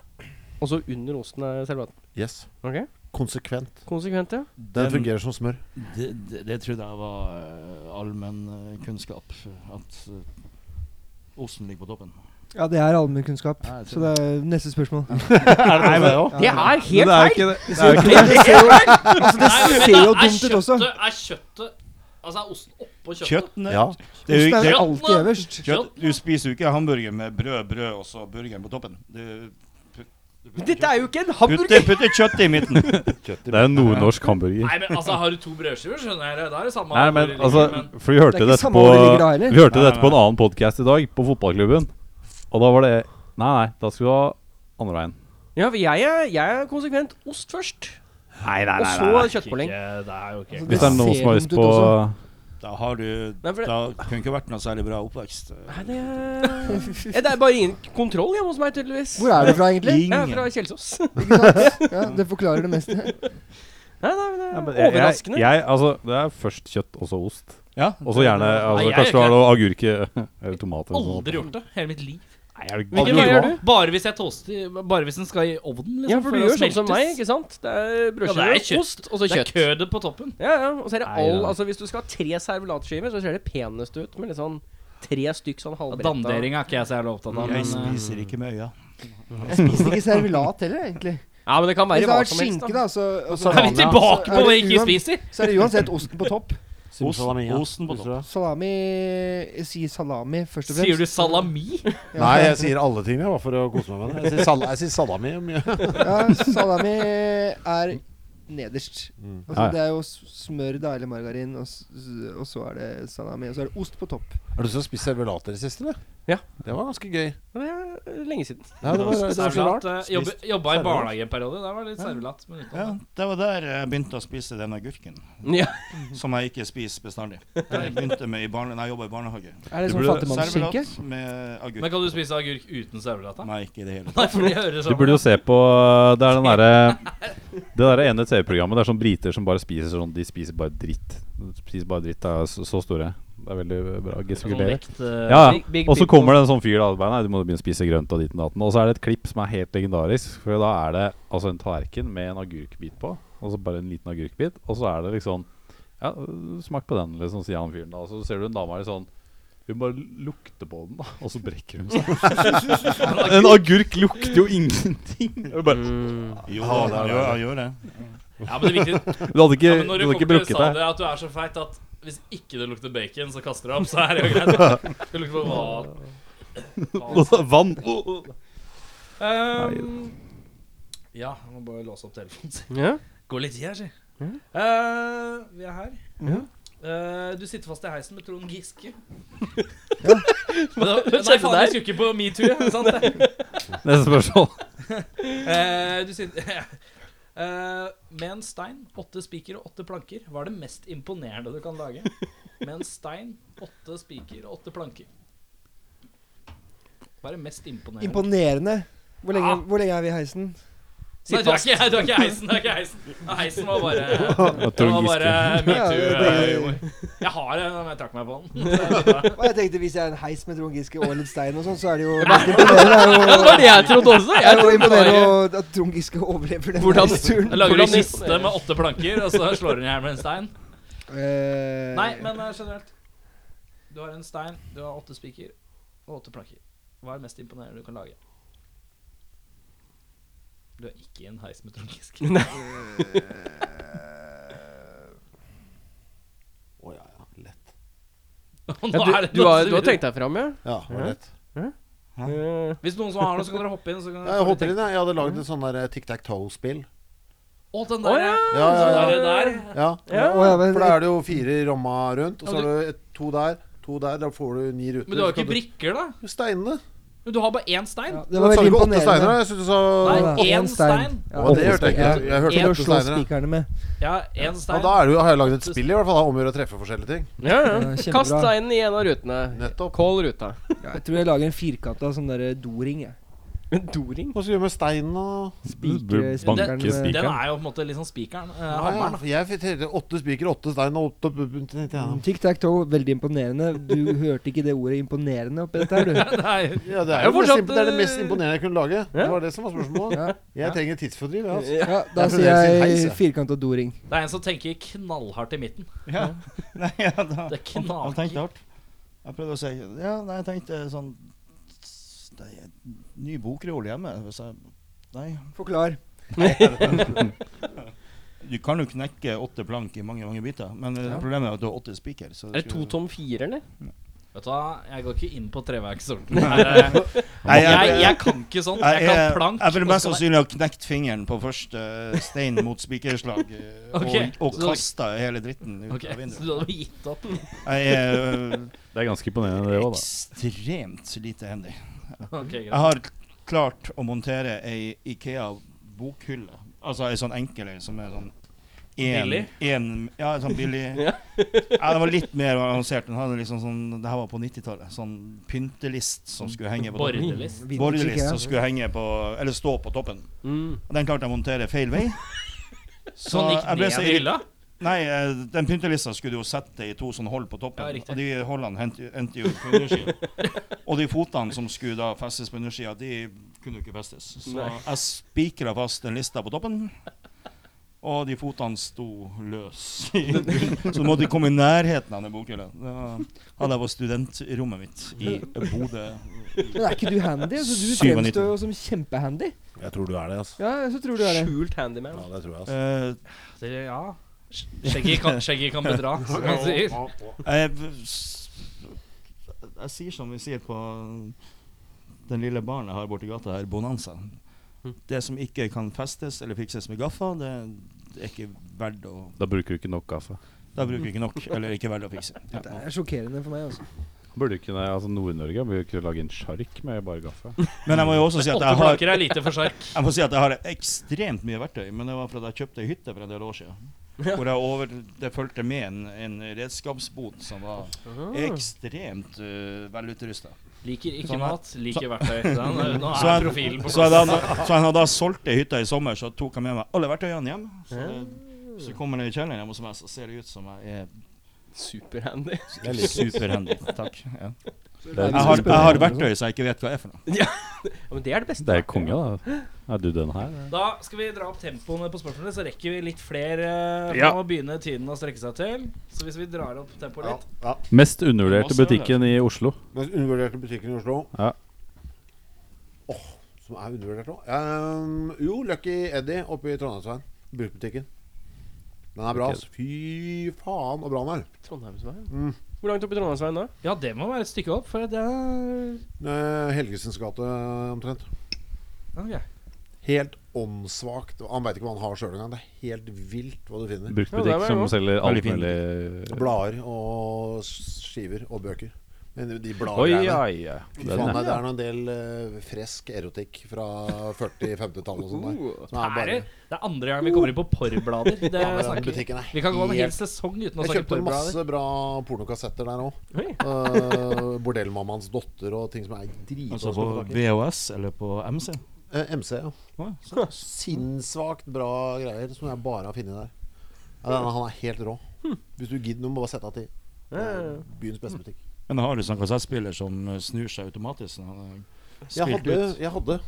Speaker 2: og så under osten er servelaten.
Speaker 5: Yes
Speaker 2: Ok,
Speaker 5: Konsekvent
Speaker 2: Konsekvent, ja.
Speaker 5: Den fungerer som smør
Speaker 7: Det, det, det trodde jeg var uh, allmennkunnskap. At eh, osten ligger på toppen.
Speaker 6: Ja, det er allmennkunnskap.
Speaker 7: Ja, jeg tror
Speaker 6: Så det er neste spørsmål.
Speaker 3: Nei, men,
Speaker 2: Det er
Speaker 3: men det
Speaker 2: helt
Speaker 3: er jo
Speaker 2: feil!
Speaker 3: ikke det. det, er jo ikke det.
Speaker 6: Det ser jo, altså, det
Speaker 1: Nei, men
Speaker 6: ser
Speaker 1: da
Speaker 6: jo
Speaker 1: er
Speaker 6: dumt ut også.
Speaker 1: kjøttet- Er kjøttet Altså, er osten oppå kjøttet?
Speaker 7: Kjøttene
Speaker 5: Ja
Speaker 7: det er jo,
Speaker 6: Osten
Speaker 7: det
Speaker 6: er
Speaker 7: er,
Speaker 6: jo alltid øverst.
Speaker 7: kjøtt, Du spiser jo ikke hamburger med brød, brød og så burgeren på toppen. Du,
Speaker 2: [LAUGHS] Dette er jo ikke en
Speaker 7: putter,
Speaker 2: hamburger!
Speaker 7: putter kjøttet i midten.
Speaker 2: [LAUGHS]
Speaker 3: det er en nordnorsk hamburger.
Speaker 1: Nei, men altså, har du to brødskiver, skjønner jeg det. Da er det samme.
Speaker 3: Nei, men
Speaker 1: hvor
Speaker 3: altså,
Speaker 1: det ligger, men-
Speaker 3: for vi hørte
Speaker 6: Det er
Speaker 3: det
Speaker 6: ikke
Speaker 3: dette
Speaker 6: samme
Speaker 3: på
Speaker 6: hvor det ligger da heller.
Speaker 3: Vi hørte
Speaker 7: Nei,
Speaker 3: dette på
Speaker 7: nei.
Speaker 3: en annen podkast i dag, på fotballklubben. Og da var det Nei, nei, da skal vi ha andre veien.
Speaker 2: Ja, for jeg er, jeg er konsekvent ost først,
Speaker 3: Nei, nei,
Speaker 2: og så kjøttpålegg.
Speaker 1: Ikke- Det er jo
Speaker 2: Altså,
Speaker 1: ikke
Speaker 3: Hvis det er noen
Speaker 6: ser
Speaker 3: som har lyst
Speaker 6: dumt ut
Speaker 3: på
Speaker 6: også.
Speaker 7: Da har du
Speaker 2: Nei, for det-
Speaker 7: Da kunne ikke vært noe særlig bra oppvekst.
Speaker 2: Nei, det er Ja, Det er bare ingen kontroll hjemme hos meg, tydeligvis.
Speaker 6: Hvor er du fra, egentlig?
Speaker 2: Jeg er
Speaker 7: Ingen.
Speaker 2: fra Kjelsås.
Speaker 6: Ikke sant? Ja, det forklarer det meste.
Speaker 2: Nei, nei, men det
Speaker 3: Ja, men eh,
Speaker 2: er
Speaker 3: jeg, jeg,
Speaker 2: overraskende.
Speaker 3: jeg, altså, Det er først kjøtt, og så ost.
Speaker 7: Ja,
Speaker 3: Og så gjerne altså,
Speaker 1: Nei, jeg gjør
Speaker 3: Kanskje du har
Speaker 1: ikke
Speaker 3: noe agurk i- eller tomat. Eller
Speaker 1: Aldri
Speaker 3: noe sånt.
Speaker 1: gjort det. Hele mitt liv.
Speaker 3: Nei, er du
Speaker 2: Hvilken
Speaker 3: gal?
Speaker 2: vei er du?
Speaker 1: Bare hvis jeg toaster Bare hvis den skal i ovnen, liksom.
Speaker 2: Ja, for du
Speaker 1: å
Speaker 2: gjør sånn som
Speaker 1: smeltes.
Speaker 2: meg, ikke sant? Det er
Speaker 1: Ja,
Speaker 2: brødskive,
Speaker 1: det er kjøtt.
Speaker 2: ost, og så
Speaker 1: Det er
Speaker 2: kjøtt.
Speaker 1: kødet på toppen.
Speaker 2: Ja, ja, og så er det
Speaker 3: Nei,
Speaker 2: all
Speaker 3: nei.
Speaker 2: Altså, hvis du skal ha tre servelatskiver, så ser det penest ut med litt sånn tre stykk sånn
Speaker 1: Ja,
Speaker 2: halvbretta.
Speaker 1: Dandering er ikke jeg så jævlig opptatt av.
Speaker 7: Jeg
Speaker 1: Men, eh,
Speaker 7: spiser ikke med øya.
Speaker 6: Jeg spiser ikke servelat heller, egentlig.
Speaker 2: Ja, men det kan
Speaker 6: Hvis
Speaker 2: være
Speaker 6: det
Speaker 2: hva
Speaker 6: har vært
Speaker 2: som helst,
Speaker 6: skinke,
Speaker 2: da.
Speaker 6: da, så og
Speaker 1: eh,
Speaker 6: så-
Speaker 1: er vi tilbake
Speaker 6: så er
Speaker 1: på hva
Speaker 6: det
Speaker 1: jeg ikke
Speaker 6: uan-
Speaker 1: spiser?
Speaker 6: Så er det uansett osten på topp.
Speaker 9: Simsalabim, ja.
Speaker 7: Osten på topp.
Speaker 6: Salami Jeg sier salami først og fremst.
Speaker 1: Sier du salami?
Speaker 5: Nei, jeg sier alle ting, jeg, bare for å kose meg med det. Jeg sier, sal jeg sier salami mye.
Speaker 6: Ja, salami er nederst. Altså,
Speaker 3: Ja, ja.
Speaker 6: Det er jo s- smør, da, eller margarin, og, s- s- og så er det salami. Og så er det ost på topp.
Speaker 5: Er du som har spist servelater i det siste, eller?
Speaker 2: Ja.
Speaker 5: Det var ganske gøy.
Speaker 2: Det er lenge siden.
Speaker 5: Ja, det var, det var så rart.
Speaker 1: Servelat, eh, jobbe- Jobba i barnehage en periode. Der var det litt servelat. men
Speaker 7: Ja,
Speaker 1: utenom det.
Speaker 7: det var der jeg begynte å spise den agurken,
Speaker 2: Ja.
Speaker 7: som jeg ikke spiser
Speaker 2: [LAUGHS]
Speaker 7: bestandig. Jeg begynte med i barne, nei, jeg jobba i barnehage.
Speaker 6: Er det
Speaker 7: Du
Speaker 6: sånn
Speaker 7: burde-
Speaker 6: fattigmannsskinke?
Speaker 7: Servelat med agurk.
Speaker 1: Men kan du spise agurk uten servelat? da?
Speaker 7: Nei, ikke i det hele tatt.
Speaker 1: [LAUGHS] Nei, for det høres sånn
Speaker 8: Du burde jo se på eh, Det er den [LAUGHS] derre Det derre ene TV-programmet Det er sånn briter som bare spiser sånn De spiser bare dritt. De spiser bare dritt. Det er så, så store. Det er sånn veldig bra gestikulert.
Speaker 1: eh,
Speaker 8: Ja, ja.
Speaker 2: Big- big
Speaker 8: Og så
Speaker 2: people.
Speaker 8: kommer det en sånn fyr da og bare, Nei, du må begynne å spise grønt og ditt og datten. Og så er det et klipp som er helt legendarisk. For da er det altså en tallerken med en agurkbit på. Og så bare en liten agurkbit. Og så er det liksom Ja, smak på den, liksom, sier han fyren da. Og så ser du en dame er litt sånn hun bare lukter på den, da, og så brekker hun seg.
Speaker 1: [LAUGHS]
Speaker 8: En agurk lukter jo ingenting.
Speaker 1: Mm.
Speaker 8: Hun bare
Speaker 2: Mm.
Speaker 7: Jo, han gjør, han gjør det.
Speaker 1: Ja, men det er
Speaker 8: [LAUGHS]
Speaker 1: viktig
Speaker 8: Du hadde ikke,
Speaker 1: ja, men
Speaker 8: du
Speaker 1: Når
Speaker 8: hadde
Speaker 1: du
Speaker 8: ikke
Speaker 1: kommer til
Speaker 8: brukket
Speaker 1: USA,
Speaker 8: deg.
Speaker 1: det er at du er så feit at hvis ikke det lukter bacon, så kaster du opp, så er det jo
Speaker 8: [LAUGHS]
Speaker 1: greit. Det lukter på hval.
Speaker 8: Vann.
Speaker 1: Ehm, ja, jeg må bare låse opp telefonen sin.
Speaker 2: Ja.
Speaker 1: Gå litt i her, si. Eh, vi er her. Eh, du sitter fast i heisen med Trond Giske. [LAUGHS] Men da- Nei, faen, jeg skulle ikke på metoo. ja, sant det?
Speaker 8: Neste spørsmål.
Speaker 1: Eh, du sitter [LAUGHS] Eh, Med en stein, åtte spiker og åtte planker, hva er det mest imponerende du kan lage? Med en stein, åtte spiker og åtte planker. Hva er det mest imponerende?
Speaker 6: Imponerende. Hvor lenge,
Speaker 1: Ja.
Speaker 6: hvor lenge er vi i heisen?
Speaker 1: Nei, du er ikke, du er ikke heisen. Du er ikke heisen. [LAUGHS] Ja, heisen var bare Det var
Speaker 8: Trond
Speaker 1: bare
Speaker 6: Ja, det-
Speaker 1: metoo-humor. Jeg har en, men jeg trakk meg på [LAUGHS] den.
Speaker 6: Og jeg tenkte Hvis jeg er en heis med Trond Giske og litt stein og sånn, så er det jo mest imponerende. er jo-
Speaker 2: Ja, det var det jeg trodde også.
Speaker 6: er
Speaker 2: Jeg
Speaker 6: jo
Speaker 2: trodde
Speaker 6: imponerende
Speaker 2: bare
Speaker 6: å- at Trond Giske overlever den
Speaker 2: Hvordan-
Speaker 6: turen.
Speaker 1: Jeg lager en
Speaker 2: Hvordan-
Speaker 1: kiste med åtte planker, og så slår hun i hjel med en stein.
Speaker 6: Eh,
Speaker 1: Nei, men eh, generelt. Du har en stein, du har åtte spiker og åtte planker. Hva er det mest imponerende du kan lage? Du er ikke i en heis med Trond Giske.
Speaker 5: Å, ja, ja, lett.
Speaker 1: Og nå
Speaker 2: ja,
Speaker 1: er
Speaker 2: du,
Speaker 1: det
Speaker 2: du, har,
Speaker 1: noen
Speaker 2: du har
Speaker 1: som-
Speaker 2: tenkt deg fram, ja?
Speaker 5: Ja, det var lett.
Speaker 2: Eh,
Speaker 1: Hvis noen som har noe, så kan dere hoppe inn. Så kan
Speaker 5: Ja, jeg hopper inn, jeg. Jeg hadde lagd et sånn der tic-tac-toe-spill.
Speaker 1: Å, den
Speaker 2: Å,
Speaker 1: der,
Speaker 2: ja.
Speaker 5: Ja, ja,
Speaker 1: Den
Speaker 5: ja.
Speaker 1: der, der.
Speaker 5: Ja.
Speaker 2: Ja.
Speaker 6: Å, ja, men-
Speaker 5: For da er det jo fire i ramma rundt, og så
Speaker 1: Ja,
Speaker 5: er det et, to der, to der. Da får du ni ruter.
Speaker 1: Men du har jo
Speaker 5: Så
Speaker 1: ikke brikker, da.
Speaker 5: skal du- Steinene.
Speaker 1: Men du har bare én stein.
Speaker 6: ja,
Speaker 5: Det
Speaker 6: det var
Speaker 5: sa du ikke
Speaker 6: veldig
Speaker 5: åtte steiner?
Speaker 6: imponerende.
Speaker 5: Jeg synes du sa
Speaker 1: Nei,
Speaker 6: Ja,
Speaker 1: én
Speaker 6: en
Speaker 1: stein.
Speaker 6: Ja,
Speaker 5: Å, Det hørte jeg ikke. Jeg hørte
Speaker 1: En
Speaker 6: Én å
Speaker 5: åtte
Speaker 6: slå
Speaker 5: steiner.
Speaker 6: spikerne med.
Speaker 1: Ja, én
Speaker 5: Ja,
Speaker 1: stein.
Speaker 5: da er det jo, har jeg lagd et spill i hvert fall. da, Om å gjøre å treffe forskjellige ting.
Speaker 2: ja, ja.
Speaker 6: kjempebra.
Speaker 2: Kast steinen i en av rutene.
Speaker 5: Nettopp.
Speaker 2: Kål ruta.
Speaker 6: Ja, jeg tror jeg lager en firkanta sånn derre doring, jeg.
Speaker 2: Men doring?
Speaker 5: Hva skal du gjøre med steinen og
Speaker 6: Spiker-
Speaker 8: Banke
Speaker 6: spikeren med-
Speaker 1: Den
Speaker 8: spikeren.
Speaker 1: er jo på en måte liksom spikeren. eh,
Speaker 5: ja,
Speaker 1: hammeren. da. [LAUGHS]
Speaker 5: Jeg fikk hele åtte spiker, åtte stein og åtte Ja,
Speaker 6: Tic tac toe, veldig
Speaker 5: [LAUGHS]
Speaker 6: imponerende. Du hørte ikke det ordet 'imponerende' oppi dette her, du.
Speaker 1: Nei,
Speaker 5: det er
Speaker 2: Jeg
Speaker 5: jo det,
Speaker 2: fortsatt,
Speaker 5: simple, det er det mest
Speaker 2: eh,
Speaker 5: imponerende jeg kunne lage. Det var det som var spørsmålet.
Speaker 6: Ja,
Speaker 5: Jeg trenger tidsfordriv. jeg, Altså.
Speaker 6: ja
Speaker 5: Jeg
Speaker 6: Da
Speaker 5: tror det er sin
Speaker 6: sier
Speaker 5: heis, jeg.
Speaker 6: jeg firkanta doring.
Speaker 1: det er en som tenker knallhardt i midten.
Speaker 7: Ja. [LAUGHS] Nei, ja, da.
Speaker 1: Det knaker.
Speaker 7: Han tenkte hardt. Jeg prøvde å si Ja, nei, jeg tenkte sånn s- Det er en ny bokreol hjemme. Hvis jeg, nei.
Speaker 6: Forklar.
Speaker 7: Du kan jo knekke åtte plank i mange mange biter, men eh, problemet er at du har åtte spiker. så
Speaker 2: Er
Speaker 7: det
Speaker 2: det
Speaker 7: skulle-
Speaker 2: to tom fire, eller?
Speaker 1: Vet du hva, jeg går ikke inn på treverksorten. Her, eh,
Speaker 7: Nei,
Speaker 1: Jeg, jeg kan ikke sånn. Jeg kan
Speaker 7: er-
Speaker 1: plank.
Speaker 7: jeg vil mest
Speaker 1: og så kan jeg-
Speaker 7: sannsynlig ha knekt fingeren på første eh, stein mot spikerslag eh,
Speaker 1: [LAUGHS] Ok,
Speaker 7: og, og
Speaker 1: så-
Speaker 7: kasta hele dritten ut
Speaker 1: Ok, Så
Speaker 7: av
Speaker 1: du
Speaker 7: vinduet.
Speaker 1: hadde gitt opp?
Speaker 7: Jeg er
Speaker 8: Det er ganske imponerende, det
Speaker 7: eh,
Speaker 8: òg, da.
Speaker 7: ekstremt lite hendig.
Speaker 1: [LAUGHS] Ok,
Speaker 7: Jeg
Speaker 1: greit.
Speaker 7: har klart å montere ei Ikea-bokhylle. Altså ei sånn enkel ei som er sånn en-
Speaker 1: Billig?
Speaker 7: en- ja, en sånn
Speaker 1: [LAUGHS]
Speaker 7: billig ja. Den var litt mer avansert. Den hadde liksom sånn Det her var på 90-tallet. Sånn pyntelist som skulle henge på toppen.
Speaker 1: Bordelist.
Speaker 7: Bordelist
Speaker 5: altså.
Speaker 7: som skulle henge på Eller stå på toppen.
Speaker 2: Mm.
Speaker 7: Og Den klarte jeg å montere feil
Speaker 1: [LAUGHS]
Speaker 7: vei.
Speaker 1: Så han Sånn gikk
Speaker 7: jeg ble
Speaker 1: ned
Speaker 7: så
Speaker 1: i
Speaker 7: irri-
Speaker 1: hylla?
Speaker 7: Nei, eh, den pyntelista skulle du jo sette i to sånne hold på toppen.
Speaker 1: Ja, riktig.
Speaker 7: og de holdene hent- endte jo
Speaker 1: [LAUGHS]
Speaker 7: på undersida. og de fotene som skulle da festes på undersida, de kunne jo ikke festes. Så jeg spikra fast den lista på toppen. Og de fotene sto løs. [LAUGHS] Så du måtte komme i nærheten av den bokhylla. Da hadde jeg på studentrommet mitt i Bodø.
Speaker 6: Men er ikke du handy? Altså, du
Speaker 7: 97.
Speaker 6: fremstår jo som kjempehandy.
Speaker 5: Jeg tror du er det, altså.
Speaker 6: Ja, så tror du er det.
Speaker 2: Skjult handyman.
Speaker 5: Ja, det tror jeg, altså.
Speaker 7: Eh,
Speaker 1: Det- Ja. Skjegget
Speaker 7: [LAUGHS]
Speaker 1: kan, skjegget kan bedra, som man sier.
Speaker 7: Jeg, jeg sier som vi sier på den lille baren jeg har borti gata her, Bonanza. Det som ikke kan festes eller fikses med gaffa, det, det er ikke verdt å
Speaker 8: Da bruker du ikke nok kaffe.
Speaker 7: Da bruker vi ikke nok, eller ikke verdt å fikse. Ja.
Speaker 6: Det er sjokkerende for meg, altså.
Speaker 8: Burde ikke det, altså Nord-Norge burde ikke lage en sjark med bare gaffe.
Speaker 7: Men jeg må jo også si at
Speaker 1: Åtte
Speaker 7: jeg har,
Speaker 1: flaker er lite for sjark.
Speaker 7: jeg må si at jeg har ekstremt mye verktøy, men det var fordi jeg kjøpte ei hytte for en del år siden. Hvor jeg over, det fulgte med en, en redskapsbot som var ekstremt uh, velutrusta.
Speaker 1: Liker ikke
Speaker 7: Sånn er-
Speaker 1: mat, liker verktøy. Den er- Nå
Speaker 7: [LAUGHS] Så
Speaker 1: er
Speaker 7: jeg-
Speaker 1: profilen på
Speaker 7: Så jeg
Speaker 1: plass.
Speaker 7: da, så jeg da solgte hytta i sommer, så tok jeg med meg alle verktøyene hjem. Så, det, så kommer jeg ned i kjelleren hjemme hos meg, så ser det ut som jeg
Speaker 2: Superhandy.
Speaker 7: er superhandy. Takk. Ja.
Speaker 8: Det
Speaker 7: Jeg,
Speaker 8: er,
Speaker 7: har, jeg har verktøy så jeg ikke vet hva er for noe.
Speaker 2: Ja, men det er det beste.
Speaker 8: det er konge, da. Er du den her?
Speaker 1: Da skal vi dra opp tempoene på spørsmålene, så rekker vi litt flere. eh,
Speaker 8: Ja.
Speaker 1: Nå begynner tiden å strekke seg til. Så hvis vi drar opp tempoet litt
Speaker 5: ja.
Speaker 8: Mest undervurderte butikken i Oslo.
Speaker 5: Mest undervurderte butikken i Oslo.
Speaker 8: Ja.
Speaker 5: Åh, som er undervurdert nå? Ehm, jo, Lucky Eddie oppe i Trondheimsveien. Bruktbutikken. Den er bra.
Speaker 8: Lucky
Speaker 5: ass. Fy faen, så bra den er.
Speaker 2: Trondheimsveien.
Speaker 6: Mm.
Speaker 2: Hvor langt opp i Trondheimsveien da?
Speaker 1: Ja, det må være et stykke opp, for det er
Speaker 5: Eh, Helgesens gate, omtrent.
Speaker 1: Ok.
Speaker 5: Helt åndssvakt. Han veit ikke hva han har sjøl engang. Det er helt vilt hva du finner.
Speaker 2: Ja, det
Speaker 8: Bruktbutikk
Speaker 2: er
Speaker 8: som
Speaker 2: jo-
Speaker 8: selger
Speaker 7: Veldig
Speaker 8: alt
Speaker 7: fin.
Speaker 8: mulig
Speaker 5: Blader og skiver og bøker. Men de
Speaker 8: Oi,
Speaker 5: bladgreiene
Speaker 8: oi, oi.
Speaker 5: Fy
Speaker 8: Den
Speaker 5: faen,
Speaker 8: er-
Speaker 5: nei, Det er nå en del eh, fresk erotikk fra 40-50-tallet og sånn der.
Speaker 2: Oh.
Speaker 5: Som er
Speaker 1: Uh, Her
Speaker 5: bare
Speaker 1: er- Det er andre gang vi kommer inn på
Speaker 7: [LAUGHS]
Speaker 1: porrblader. Det
Speaker 5: Ja, men den
Speaker 1: snakker vi.
Speaker 5: butikken er
Speaker 1: Vi kan gå en hel
Speaker 5: helt
Speaker 1: sesong uten å
Speaker 5: Jeg
Speaker 1: snakke
Speaker 5: kjøpte
Speaker 1: porrblader.
Speaker 5: masse bra pornokassetter der òg.
Speaker 2: Oi.
Speaker 5: Uh, Bordellmammaens datter og ting som er drita
Speaker 7: Altså på VHS eller på MC.
Speaker 5: Eh, MC, ja. Sånn
Speaker 7: Å, så-
Speaker 5: Sinnssvakt bra greier som jeg bare har funnet der. Ja, den, han er helt rå.
Speaker 1: Hm.
Speaker 5: Hvis du gidder, nå må du bare sette deg til. Det er Byens beste butikk.
Speaker 7: Men har du sånn kassettspiller som eh, snur seg automatisk når han er
Speaker 5: Jeg hadde.
Speaker 7: spilt ut?
Speaker 5: Jeg, hadde.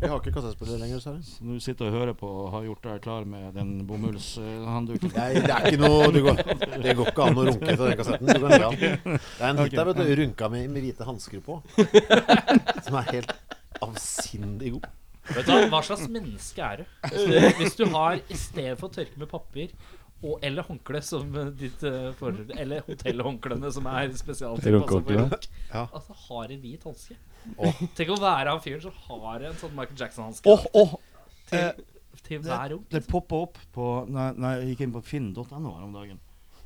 Speaker 5: jeg har ikke kassettspiller lenger, dessverre.
Speaker 7: Så når du sitter og hører på og har gjort deg klar med den bomullshandduken
Speaker 5: Nei, det er ikke noe det går, det går ikke an å runke til den kassetten. Du kan le av den. Det er en hit der, vet du. Runka med, med hvite hansker på. [LAUGHS] Som er helt avsindig god.
Speaker 1: Vet du hva, Hva slags menneske er du? Hvis du har i stedet for å tørke med papir og, eller håndkle, som eh, ditt eh, forhold, eller hotellhåndklene som er spesialtilpasset for
Speaker 8: Runkehåndkle.
Speaker 1: runk.
Speaker 5: Ja.
Speaker 1: Altså, har en hvit hanske.
Speaker 5: Åh.
Speaker 1: Tenk å være han fyren som har en sånn Michael Jackson-hanske
Speaker 7: Åh, åh! Eh,
Speaker 1: til
Speaker 7: det-
Speaker 1: hver ung.
Speaker 7: Det poppa opp på Nei, nei jeg gikk inn på finn.no her om dagen.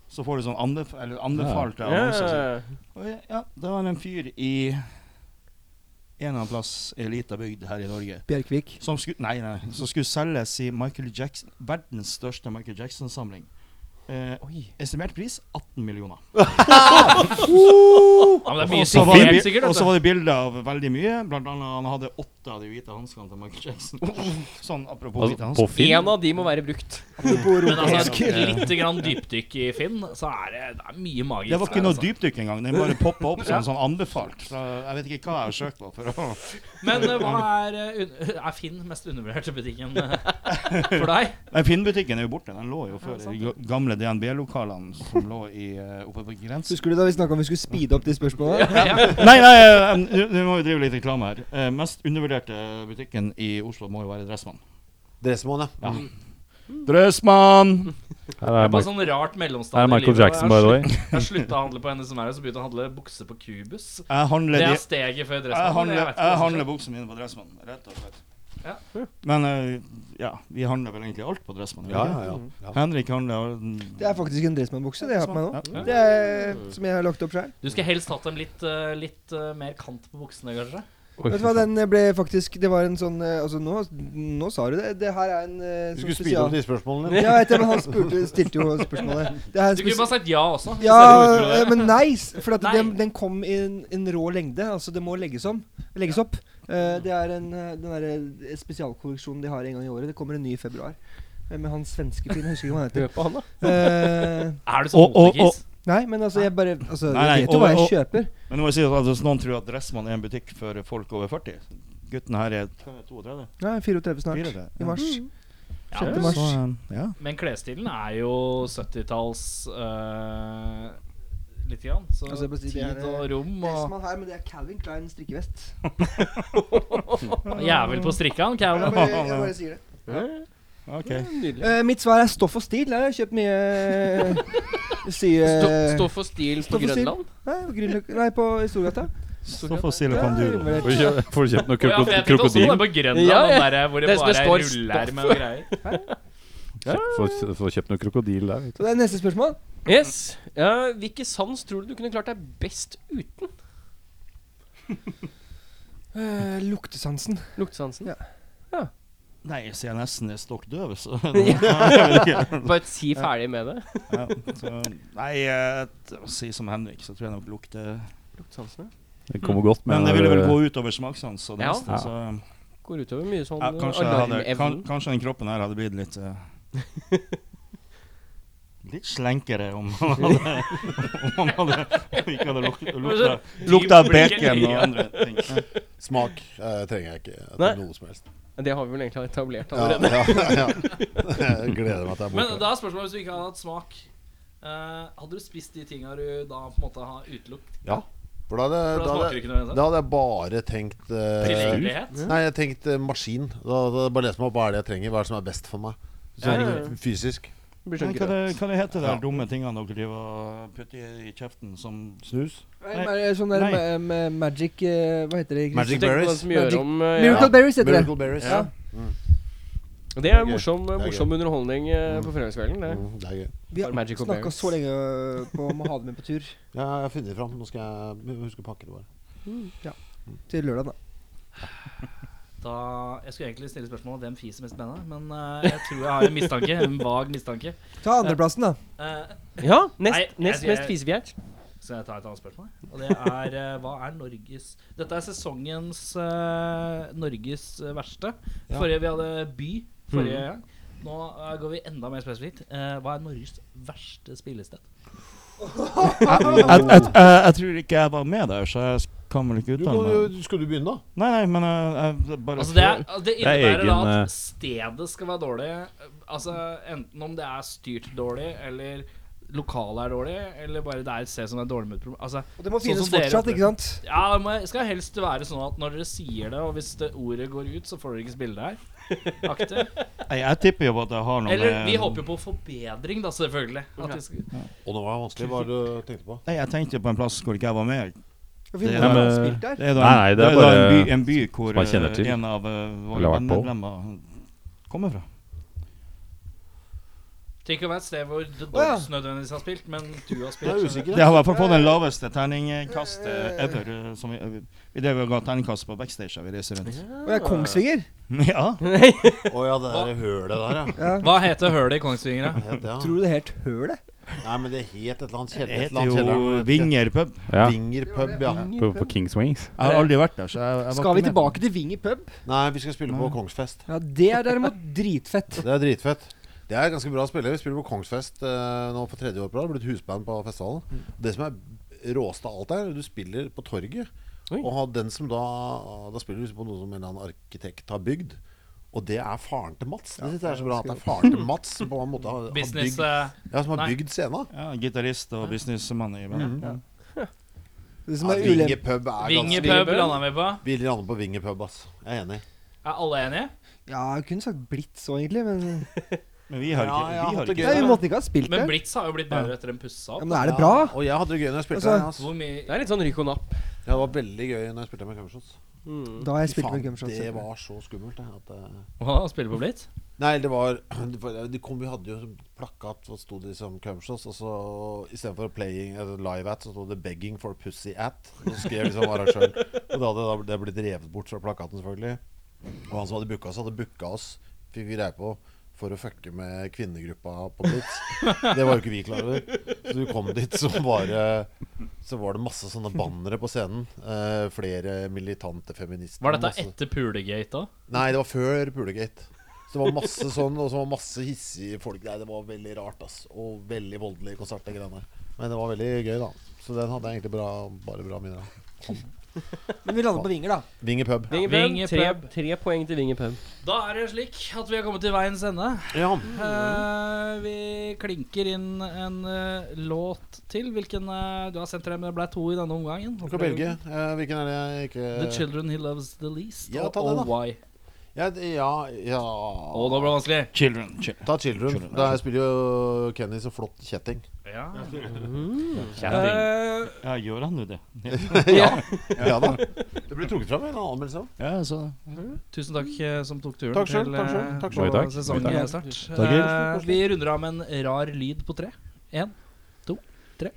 Speaker 7: Så får du sånn anbef eller anbefalte annonser. så-
Speaker 6: sånn.
Speaker 7: Og ja, ja, det var en fyr i en eller annen plass i ei lita bygd her i Norge
Speaker 6: Bjerkvik.
Speaker 7: som skulle, nei, nei, som skulle selge si Michael Jackson, verdens største Michael Jackson-samling. Eh, estimert pris 18 millioner.
Speaker 1: Ja, men det er
Speaker 7: Og
Speaker 1: mye
Speaker 7: så var det
Speaker 1: sikkert,
Speaker 7: bil-
Speaker 1: sikkert. altså.
Speaker 7: og
Speaker 1: vet du.
Speaker 7: så var det bilder av veldig mye. Blant annet han hadde åtte av de hvite hanskene til Michael Jackson.
Speaker 1: [LAUGHS]
Speaker 7: Sånn apropos hvite
Speaker 8: Altså,
Speaker 7: hansker.
Speaker 8: på Finn?
Speaker 2: En av de må være brukt. [LAUGHS]
Speaker 1: Men altså, litt grann dypdykk i Finn, så er det, det er mye magisk.
Speaker 7: Det var ikke
Speaker 1: der,
Speaker 7: noe
Speaker 1: altså.
Speaker 7: dypdykk engang. Den bare poppa opp som en sånn anbefalt. Så jeg vet ikke hva jeg har søkt på. For å
Speaker 1: Men eh, hva er, eh, un- [LAUGHS] er Finn mest undervurderte butikken eh, for deg?
Speaker 7: Nei, Finnbutikken er jo borte. Den lå jo før
Speaker 1: sant
Speaker 7: i de gamle DNB-lokalene som lå i, eh, oppe på grensen.
Speaker 6: Husker du da vi snakka om vi skulle speede opp de spørsmålene?
Speaker 1: Ja.
Speaker 7: Nei, nei, eh, nå nå må vi drive litt reklame her. Eh, mest undervurderte butikken i Oslo må jo være Dressmann.
Speaker 5: Dressmann, ja.
Speaker 1: Mm.
Speaker 7: Dressmann!
Speaker 8: Her er
Speaker 1: På
Speaker 8: Mark-
Speaker 1: sånn rart
Speaker 8: her er
Speaker 1: mellomstadium. i
Speaker 8: Michael
Speaker 1: livet,
Speaker 8: Jackson,
Speaker 1: og
Speaker 8: by the way.
Speaker 1: jeg slutt- Jeg slutta å handle på henne som er, og så begynte jeg å handle bukser på Cubus.
Speaker 7: Jeg
Speaker 1: Det
Speaker 7: handler
Speaker 1: er
Speaker 7: de
Speaker 1: steget før
Speaker 7: jeg
Speaker 1: dressmannen.
Speaker 7: handler,
Speaker 1: vet ikke hva
Speaker 7: jeg
Speaker 1: som skjer.
Speaker 7: handler buksene mine på Dressmann, rett og slett.
Speaker 1: Ja.
Speaker 7: Men eh, ja, vi handler vel egentlig alt på Dressmann.
Speaker 5: Ja, ja, ja. ja.
Speaker 7: Henrik handler mm,
Speaker 6: Det er faktisk en Dressmann-bukse det jeg har på meg nå.
Speaker 7: Ja.
Speaker 6: Det er, som jeg har lagt opp sjøl.
Speaker 1: Du skulle helst hatt dem litt, eh, litt eh, mer kant på buksene, kanskje?
Speaker 6: Vet du hva, den eh, ble faktisk Det var en sånn eh, Altså, nå, nå sa du det. Det her er en eh,
Speaker 5: Du
Speaker 6: sånn
Speaker 5: skulle speede opp de spørsmålene.
Speaker 6: Ja, jeg vet det, men han spurte, stilte jo
Speaker 7: [LAUGHS]
Speaker 6: spørsmålet. Det er en
Speaker 1: Du kunne
Speaker 6: spesial...
Speaker 1: bare sagt ja også. hvis
Speaker 6: Ja,
Speaker 1: det er
Speaker 6: eh,
Speaker 1: utfordrende.
Speaker 6: men nei, s- for at
Speaker 1: Nei.
Speaker 6: Den, den kom i en, en rå lengde. Altså, det må legges om. Legges opp. Eh, det er en, eh, den derre spesialkolleksjonen de har en gang i året. Det kommer en ny i februar. Eh, Med han svenske fyren, jeg husker ikke hva han
Speaker 1: [LAUGHS]
Speaker 6: heter.
Speaker 2: Hør på han, da.
Speaker 6: Eh,
Speaker 1: Er du sånn
Speaker 7: Og- og-
Speaker 1: motekiss?
Speaker 6: nei, men altså, jeg bare Altså,
Speaker 7: Nei, nei,
Speaker 6: jeg vet jo
Speaker 7: og-
Speaker 6: hva jeg
Speaker 7: og-
Speaker 6: kjøper.
Speaker 7: Men nå må jeg si at altså, hvis noen tror at Dressmann er en butikk for folk over 40 Gutten her er 32.
Speaker 6: Nei, 34 snart.
Speaker 7: 34.
Speaker 6: I mars.
Speaker 1: Ja,
Speaker 6: 6.
Speaker 1: men-
Speaker 6: mars.
Speaker 7: Så, eh, ja.
Speaker 1: Men klesstilen er jo 70-talls uh, lite grann. Så
Speaker 6: Altså, jeg bare sier, det er-
Speaker 1: tid og rom og
Speaker 6: Dressmann her, men det er Calvin Klein strikkevest.
Speaker 1: Jævel på strikka, han
Speaker 6: Jeg
Speaker 1: Calvin.
Speaker 6: bare, jeg bare sier det.
Speaker 7: Ok.
Speaker 2: Nydelig.
Speaker 6: Eh, mitt svar er stoff og stil. Jeg har kjøpt mye eh, sy...
Speaker 2: Stå,
Speaker 6: eh,
Speaker 2: stå for stil på
Speaker 6: Stå for stil.
Speaker 2: Grønland?
Speaker 6: Nei, på Grünerløkka- nei, på Storgata.
Speaker 7: Så får Silicon
Speaker 6: Ja,
Speaker 7: Duo.
Speaker 6: jeg
Speaker 8: Får du kjøpt, får du kjøpt noe
Speaker 9: Å [LAUGHS] ja, for jeg
Speaker 8: kroko-
Speaker 9: tenkte også på det
Speaker 8: krokodil?
Speaker 9: på Grønland,
Speaker 2: Ja, ja.
Speaker 9: den der, eh, hvor det,
Speaker 2: Det som
Speaker 9: bare
Speaker 2: det
Speaker 9: er
Speaker 2: står
Speaker 9: ruller med og greier.
Speaker 8: Får får kjøpt noe krokodil der.
Speaker 6: Så det er neste spørsmål.
Speaker 2: Yes. Ja, hvilke sans tror du du kunne klart deg best [LAUGHS] uten?
Speaker 6: Eh, luktesansen.
Speaker 2: Luktesansen.
Speaker 6: Ja.
Speaker 7: Nei, jeg ser nesten jeg er stokk døv, så
Speaker 2: [LAUGHS] Bare si ferdig med det.
Speaker 7: [LAUGHS] Ja, så, Nei, eh, t- å si som Henrik, så tror jeg nok lukter
Speaker 2: Luktesansene
Speaker 8: Det kommer godt med
Speaker 7: Men det ville vel
Speaker 8: den der-
Speaker 7: gå utover smakssans. så det
Speaker 2: Ja.
Speaker 7: neste, så
Speaker 2: går utover mye sånn
Speaker 7: ja,
Speaker 2: eh,
Speaker 7: kanskje, jeg hadde, kan,
Speaker 2: alarmevnen.
Speaker 7: kanskje den kroppen her hadde blitt litt eh,
Speaker 2: [LAUGHS]
Speaker 7: Litt slenkere om han hadde Om han hadde om ikke hadde lukta, lukta, lukta bacon og andre ting.
Speaker 5: Smak eh, trenger jeg ikke til
Speaker 2: Nei.
Speaker 5: noe som helst.
Speaker 2: Det har vi vel egentlig etablert
Speaker 5: Ja,
Speaker 2: allerede.
Speaker 5: ja, ja. [LAUGHS] Jeg gleder meg til jeg er
Speaker 1: Men
Speaker 5: borte.
Speaker 1: da er spørsmålet hvis du ikke hadde hatt smak. eh, hadde du spist de tinga du da på en måte har utelukket?
Speaker 5: Ja. For da hadde,
Speaker 1: For da smaker
Speaker 5: da,
Speaker 1: det
Speaker 5: hadde,
Speaker 1: ikke noe
Speaker 5: da
Speaker 1: ennå.
Speaker 5: hadde jeg bare tenkt eh,
Speaker 9: Tilgjengelighet.
Speaker 5: Nei, jeg tenkte maskin. Da hadde jeg bare lest meg opp hva er det jeg trenger, hva er det som er best for meg. Sånn fysisk.
Speaker 2: Det Blir sånn
Speaker 7: Men Hva, det,
Speaker 2: grøt.
Speaker 7: hva det heter de dumme tingene dere driver og putter i- i kjeften som
Speaker 5: Snus.
Speaker 6: Nei, ma- Sånn der
Speaker 7: Nei.
Speaker 6: ma- ma- magic eh, Hva heter det? Chris?
Speaker 5: Magic
Speaker 2: Tenk på den
Speaker 5: berries.
Speaker 2: som gjør
Speaker 6: Magic-
Speaker 2: om eh, ja.
Speaker 6: Miracle Berries heter det.
Speaker 5: Miracle berries.
Speaker 6: Ja.
Speaker 2: Det er
Speaker 5: gøy.
Speaker 2: morsom,
Speaker 5: er
Speaker 2: morsom underholdning eh, på fredagskvelden. Det.
Speaker 5: Mm, det er gøy.
Speaker 6: Vi har
Speaker 2: Magical
Speaker 6: snakka
Speaker 2: berries.
Speaker 6: så lenge ø, på om å ha det med på tur
Speaker 5: Ja, jeg har funnet det fram. Nå skal jeg huske å pakke det bare.
Speaker 6: til lørdag, da.
Speaker 1: Da, jeg skulle egentlig stille spørsmål om hvem fiser mest med deg, men eh, jeg tror jeg har en mistanke. En vag mistanke.
Speaker 6: Ta andreplassen, da.
Speaker 1: Eh,
Speaker 2: Ja, nest,
Speaker 1: Nei, jeg-
Speaker 2: nest
Speaker 1: jeg-
Speaker 2: mest fisefjert.
Speaker 1: så jeg tar et annet spørsmål. Og det er eh, hva er Norges Dette er sesongens eh, Norges verste.
Speaker 5: Ja.
Speaker 1: Forrige vi hadde by. Forrige gang. Nå eh, går vi enda mer spesifikt. Eh, hva er Norges verste spillested?
Speaker 6: [LAUGHS]
Speaker 7: jeg, jeg, jeg, jeg tror ikke jeg var med der, så jeg kan vel ikke
Speaker 5: Du
Speaker 7: uttale meg.
Speaker 5: skal du begynne, da?
Speaker 7: Nei, nei, men jeg, jeg bare
Speaker 1: Altså det, er, altså det
Speaker 8: Det er
Speaker 1: innebærer da
Speaker 8: egen, eh,
Speaker 1: at stedet skal være dårlig. Altså Enten om det er styrt dårlig, eller lokalet er dårlig, eller bare det er et sted som er dårlig med et problem. Altså,
Speaker 6: Og det må
Speaker 1: Sånn
Speaker 6: finnes
Speaker 1: som dere
Speaker 6: fortsatt,
Speaker 1: opplever.
Speaker 6: ikke sant?
Speaker 1: ja, det må- skal helst være sånn at når dere sier det, og hvis det ordet går ut, så får dere ikke spille det her. Aktig.
Speaker 7: jeg, jeg tipper jo på at jeg har noe
Speaker 1: Eller vi håper jo på forbedring, da, selvfølgelig. At vi skal,
Speaker 5: Og det var vanskelig, hva er det du tenkte på?
Speaker 7: Nei, jeg tenkte på en plass hvor ikke jeg var med.
Speaker 6: Og vi
Speaker 7: Det-
Speaker 6: må
Speaker 7: Ja,
Speaker 6: ha
Speaker 8: men-
Speaker 6: spilt der.
Speaker 7: Det er da,
Speaker 8: Nei, nei, det er
Speaker 7: da
Speaker 8: bare
Speaker 7: en, by, en by hvor
Speaker 8: som jeg kjenner
Speaker 7: eh,
Speaker 8: til.
Speaker 7: en av eh,
Speaker 8: Eller
Speaker 7: våre
Speaker 8: har vært på.
Speaker 7: medlemmer kommer fra.
Speaker 1: Tenk å være et sted hvor The
Speaker 6: Å, ja.
Speaker 1: Dogs nødvendigvis har spilt, men du har
Speaker 5: Jeg er
Speaker 1: spilt.
Speaker 5: usikker.
Speaker 7: Det har i hvert fall fått den laveste terningkastet ever. eh, Som vi, vi drev og ga terningkast på backstage da vi reiser rundt.
Speaker 6: Og det er Kongsvinger.
Speaker 7: Ja,
Speaker 5: Å ja, det der hølet der, ja.
Speaker 6: Ja.
Speaker 1: Hva heter hølet i Kongsvinger, da?
Speaker 5: Het det, ja.
Speaker 6: Tror du det het Hølet?
Speaker 5: Nei, men det het et eller annet
Speaker 7: det
Speaker 5: kjeller. et eller
Speaker 7: heter
Speaker 5: annet
Speaker 7: jo
Speaker 5: kjeller.
Speaker 7: Vinger pub.
Speaker 8: Ja,
Speaker 5: Vinger pub, ja.
Speaker 8: på, på Kings Wings.
Speaker 7: Jeg har aldri vært der, så jeg, jeg var
Speaker 6: Skal vi
Speaker 7: ikke med.
Speaker 6: tilbake til Vinger pub?
Speaker 5: Nei, vi skal spille
Speaker 6: Mm.
Speaker 5: på Kongsfest.
Speaker 6: Ja, Det er derimot dritfett.
Speaker 5: Det er dritfett. Det er ganske bra å spille. Vi spiller på Kongsfest eh, nå for tredje år på rad. Blitt husband på festivalen. Det som er råeste av alt er du spiller på torget.
Speaker 2: Oi.
Speaker 5: Og har den som da Da spiller du liksom på noe som en eller annen arkitekt har bygd. Og det er faren til Mats. Det synes jeg er så bra at det er faren til Mats som på en måte har, har,
Speaker 1: Business
Speaker 5: bygd,
Speaker 1: eh,
Speaker 5: ja, som har
Speaker 1: nei.
Speaker 5: bygd scena.
Speaker 7: Ja, Gitarist og businessmann i bandet. Ja.
Speaker 6: Det som
Speaker 5: Ja,
Speaker 6: er
Speaker 5: Vinge
Speaker 6: ulempe
Speaker 5: pub er
Speaker 1: Vinger
Speaker 5: ganske
Speaker 1: pub landa vi på.
Speaker 5: Vi lander på Vinge pub, ass. Jeg er enig.
Speaker 1: Er alle enige?
Speaker 6: Ja, jeg kunne sagt Blitz òg, egentlig, men
Speaker 7: Men vi har
Speaker 5: Ja, jeg
Speaker 7: ikke, vi
Speaker 5: har
Speaker 7: har
Speaker 5: hatt det
Speaker 7: ikke
Speaker 5: gøy.
Speaker 6: Nei, vi måtte ikke ha spilt
Speaker 1: Men
Speaker 6: der.
Speaker 1: Blitz har jo blitt bedre etter en pussa
Speaker 6: Ja,
Speaker 1: opp.
Speaker 6: men er det
Speaker 5: Ja,
Speaker 6: bra?
Speaker 5: Og jeg hadde det gøy når jeg spilte
Speaker 6: Altså-
Speaker 5: der. ass.
Speaker 1: Hvor mye
Speaker 2: Det er litt sånn rykk og napp.
Speaker 5: Ja, det var veldig gøy når jeg spilte med Gumshots.
Speaker 6: Da har jeg
Speaker 5: Fy
Speaker 6: spilt med
Speaker 5: faen,
Speaker 6: Gumshot.
Speaker 5: det var så skummelt. det, At, eh,
Speaker 1: Hva spiller på Blitz?
Speaker 5: Nei, det var [CLEARS THROAT] det var- de kom, Vi hadde jo sånn plakat hvor det sto det som Cumshots, og så istedenfor playing eller live at, så sto det 'Begging for pussy at'. Og så skrev liksom arrangøren. Og da hadde det blitt revet bort fra plakaten, selvfølgelig. Og han som hadde booka oss, hadde booka oss, fikk vi greie på, for å fucke med kvinnegruppa på Blitz. Det var jo ikke vi klar over. Så du kom dit, så var det, så var det masse sånne bannere på scenen. Eh, flere militante feminister.
Speaker 1: Var dette
Speaker 5: masse-
Speaker 1: etter Pulegate da?
Speaker 5: Nei, det var før Pulegate. Så det var masse sånn, og så var masse hissige folk der. Det var veldig rart, ass. Og veldig voldelig konsert, det greiene der. Men det var veldig gøy, da. Så den hadde jeg egentlig bra, bare bra minner av.
Speaker 6: Men vi lander på Vinger, da.
Speaker 5: Vinger pub.
Speaker 2: Vinger pub.
Speaker 1: Vinger
Speaker 2: Tre,
Speaker 1: pub.
Speaker 2: tre poeng til Vinger pub.
Speaker 1: Da er det slik at vi har kommet til veiens ende.
Speaker 5: Ja.
Speaker 1: Eh, vi klinker inn en eh, låt til. Hvilken eh, du har sendt til dem? Det ble to i denne omgangen.
Speaker 5: Du kan velge. Eh, hvilken er det jeg ikke
Speaker 1: The Children He Loves The Least.
Speaker 5: Ja,
Speaker 1: og
Speaker 5: ta den,
Speaker 1: Oh Why.
Speaker 5: Jeg Ja, det- ja, ja.
Speaker 1: Å, da ble det vanskelig.
Speaker 7: Children. children.
Speaker 5: Ta Children. Der spiller jo Kenny så flott kjetting.
Speaker 1: Ja. Mhm.
Speaker 7: Kjetting.
Speaker 1: Eh,
Speaker 7: Ja, gjør han jo [LAUGHS] det? Ja,
Speaker 5: [LAUGHS] ja. ja da. Det blir trukket fram i en annen anmeldelse.
Speaker 7: jeg så det.
Speaker 1: Tusen takk eh, som tok turen
Speaker 5: Takk selv,
Speaker 1: til
Speaker 5: takk selv,
Speaker 1: eh,
Speaker 5: takk
Speaker 8: selv. Mye takk.
Speaker 1: sesongstart. Eh, vi runder av med en rar lyd på tre. Én, to, tre.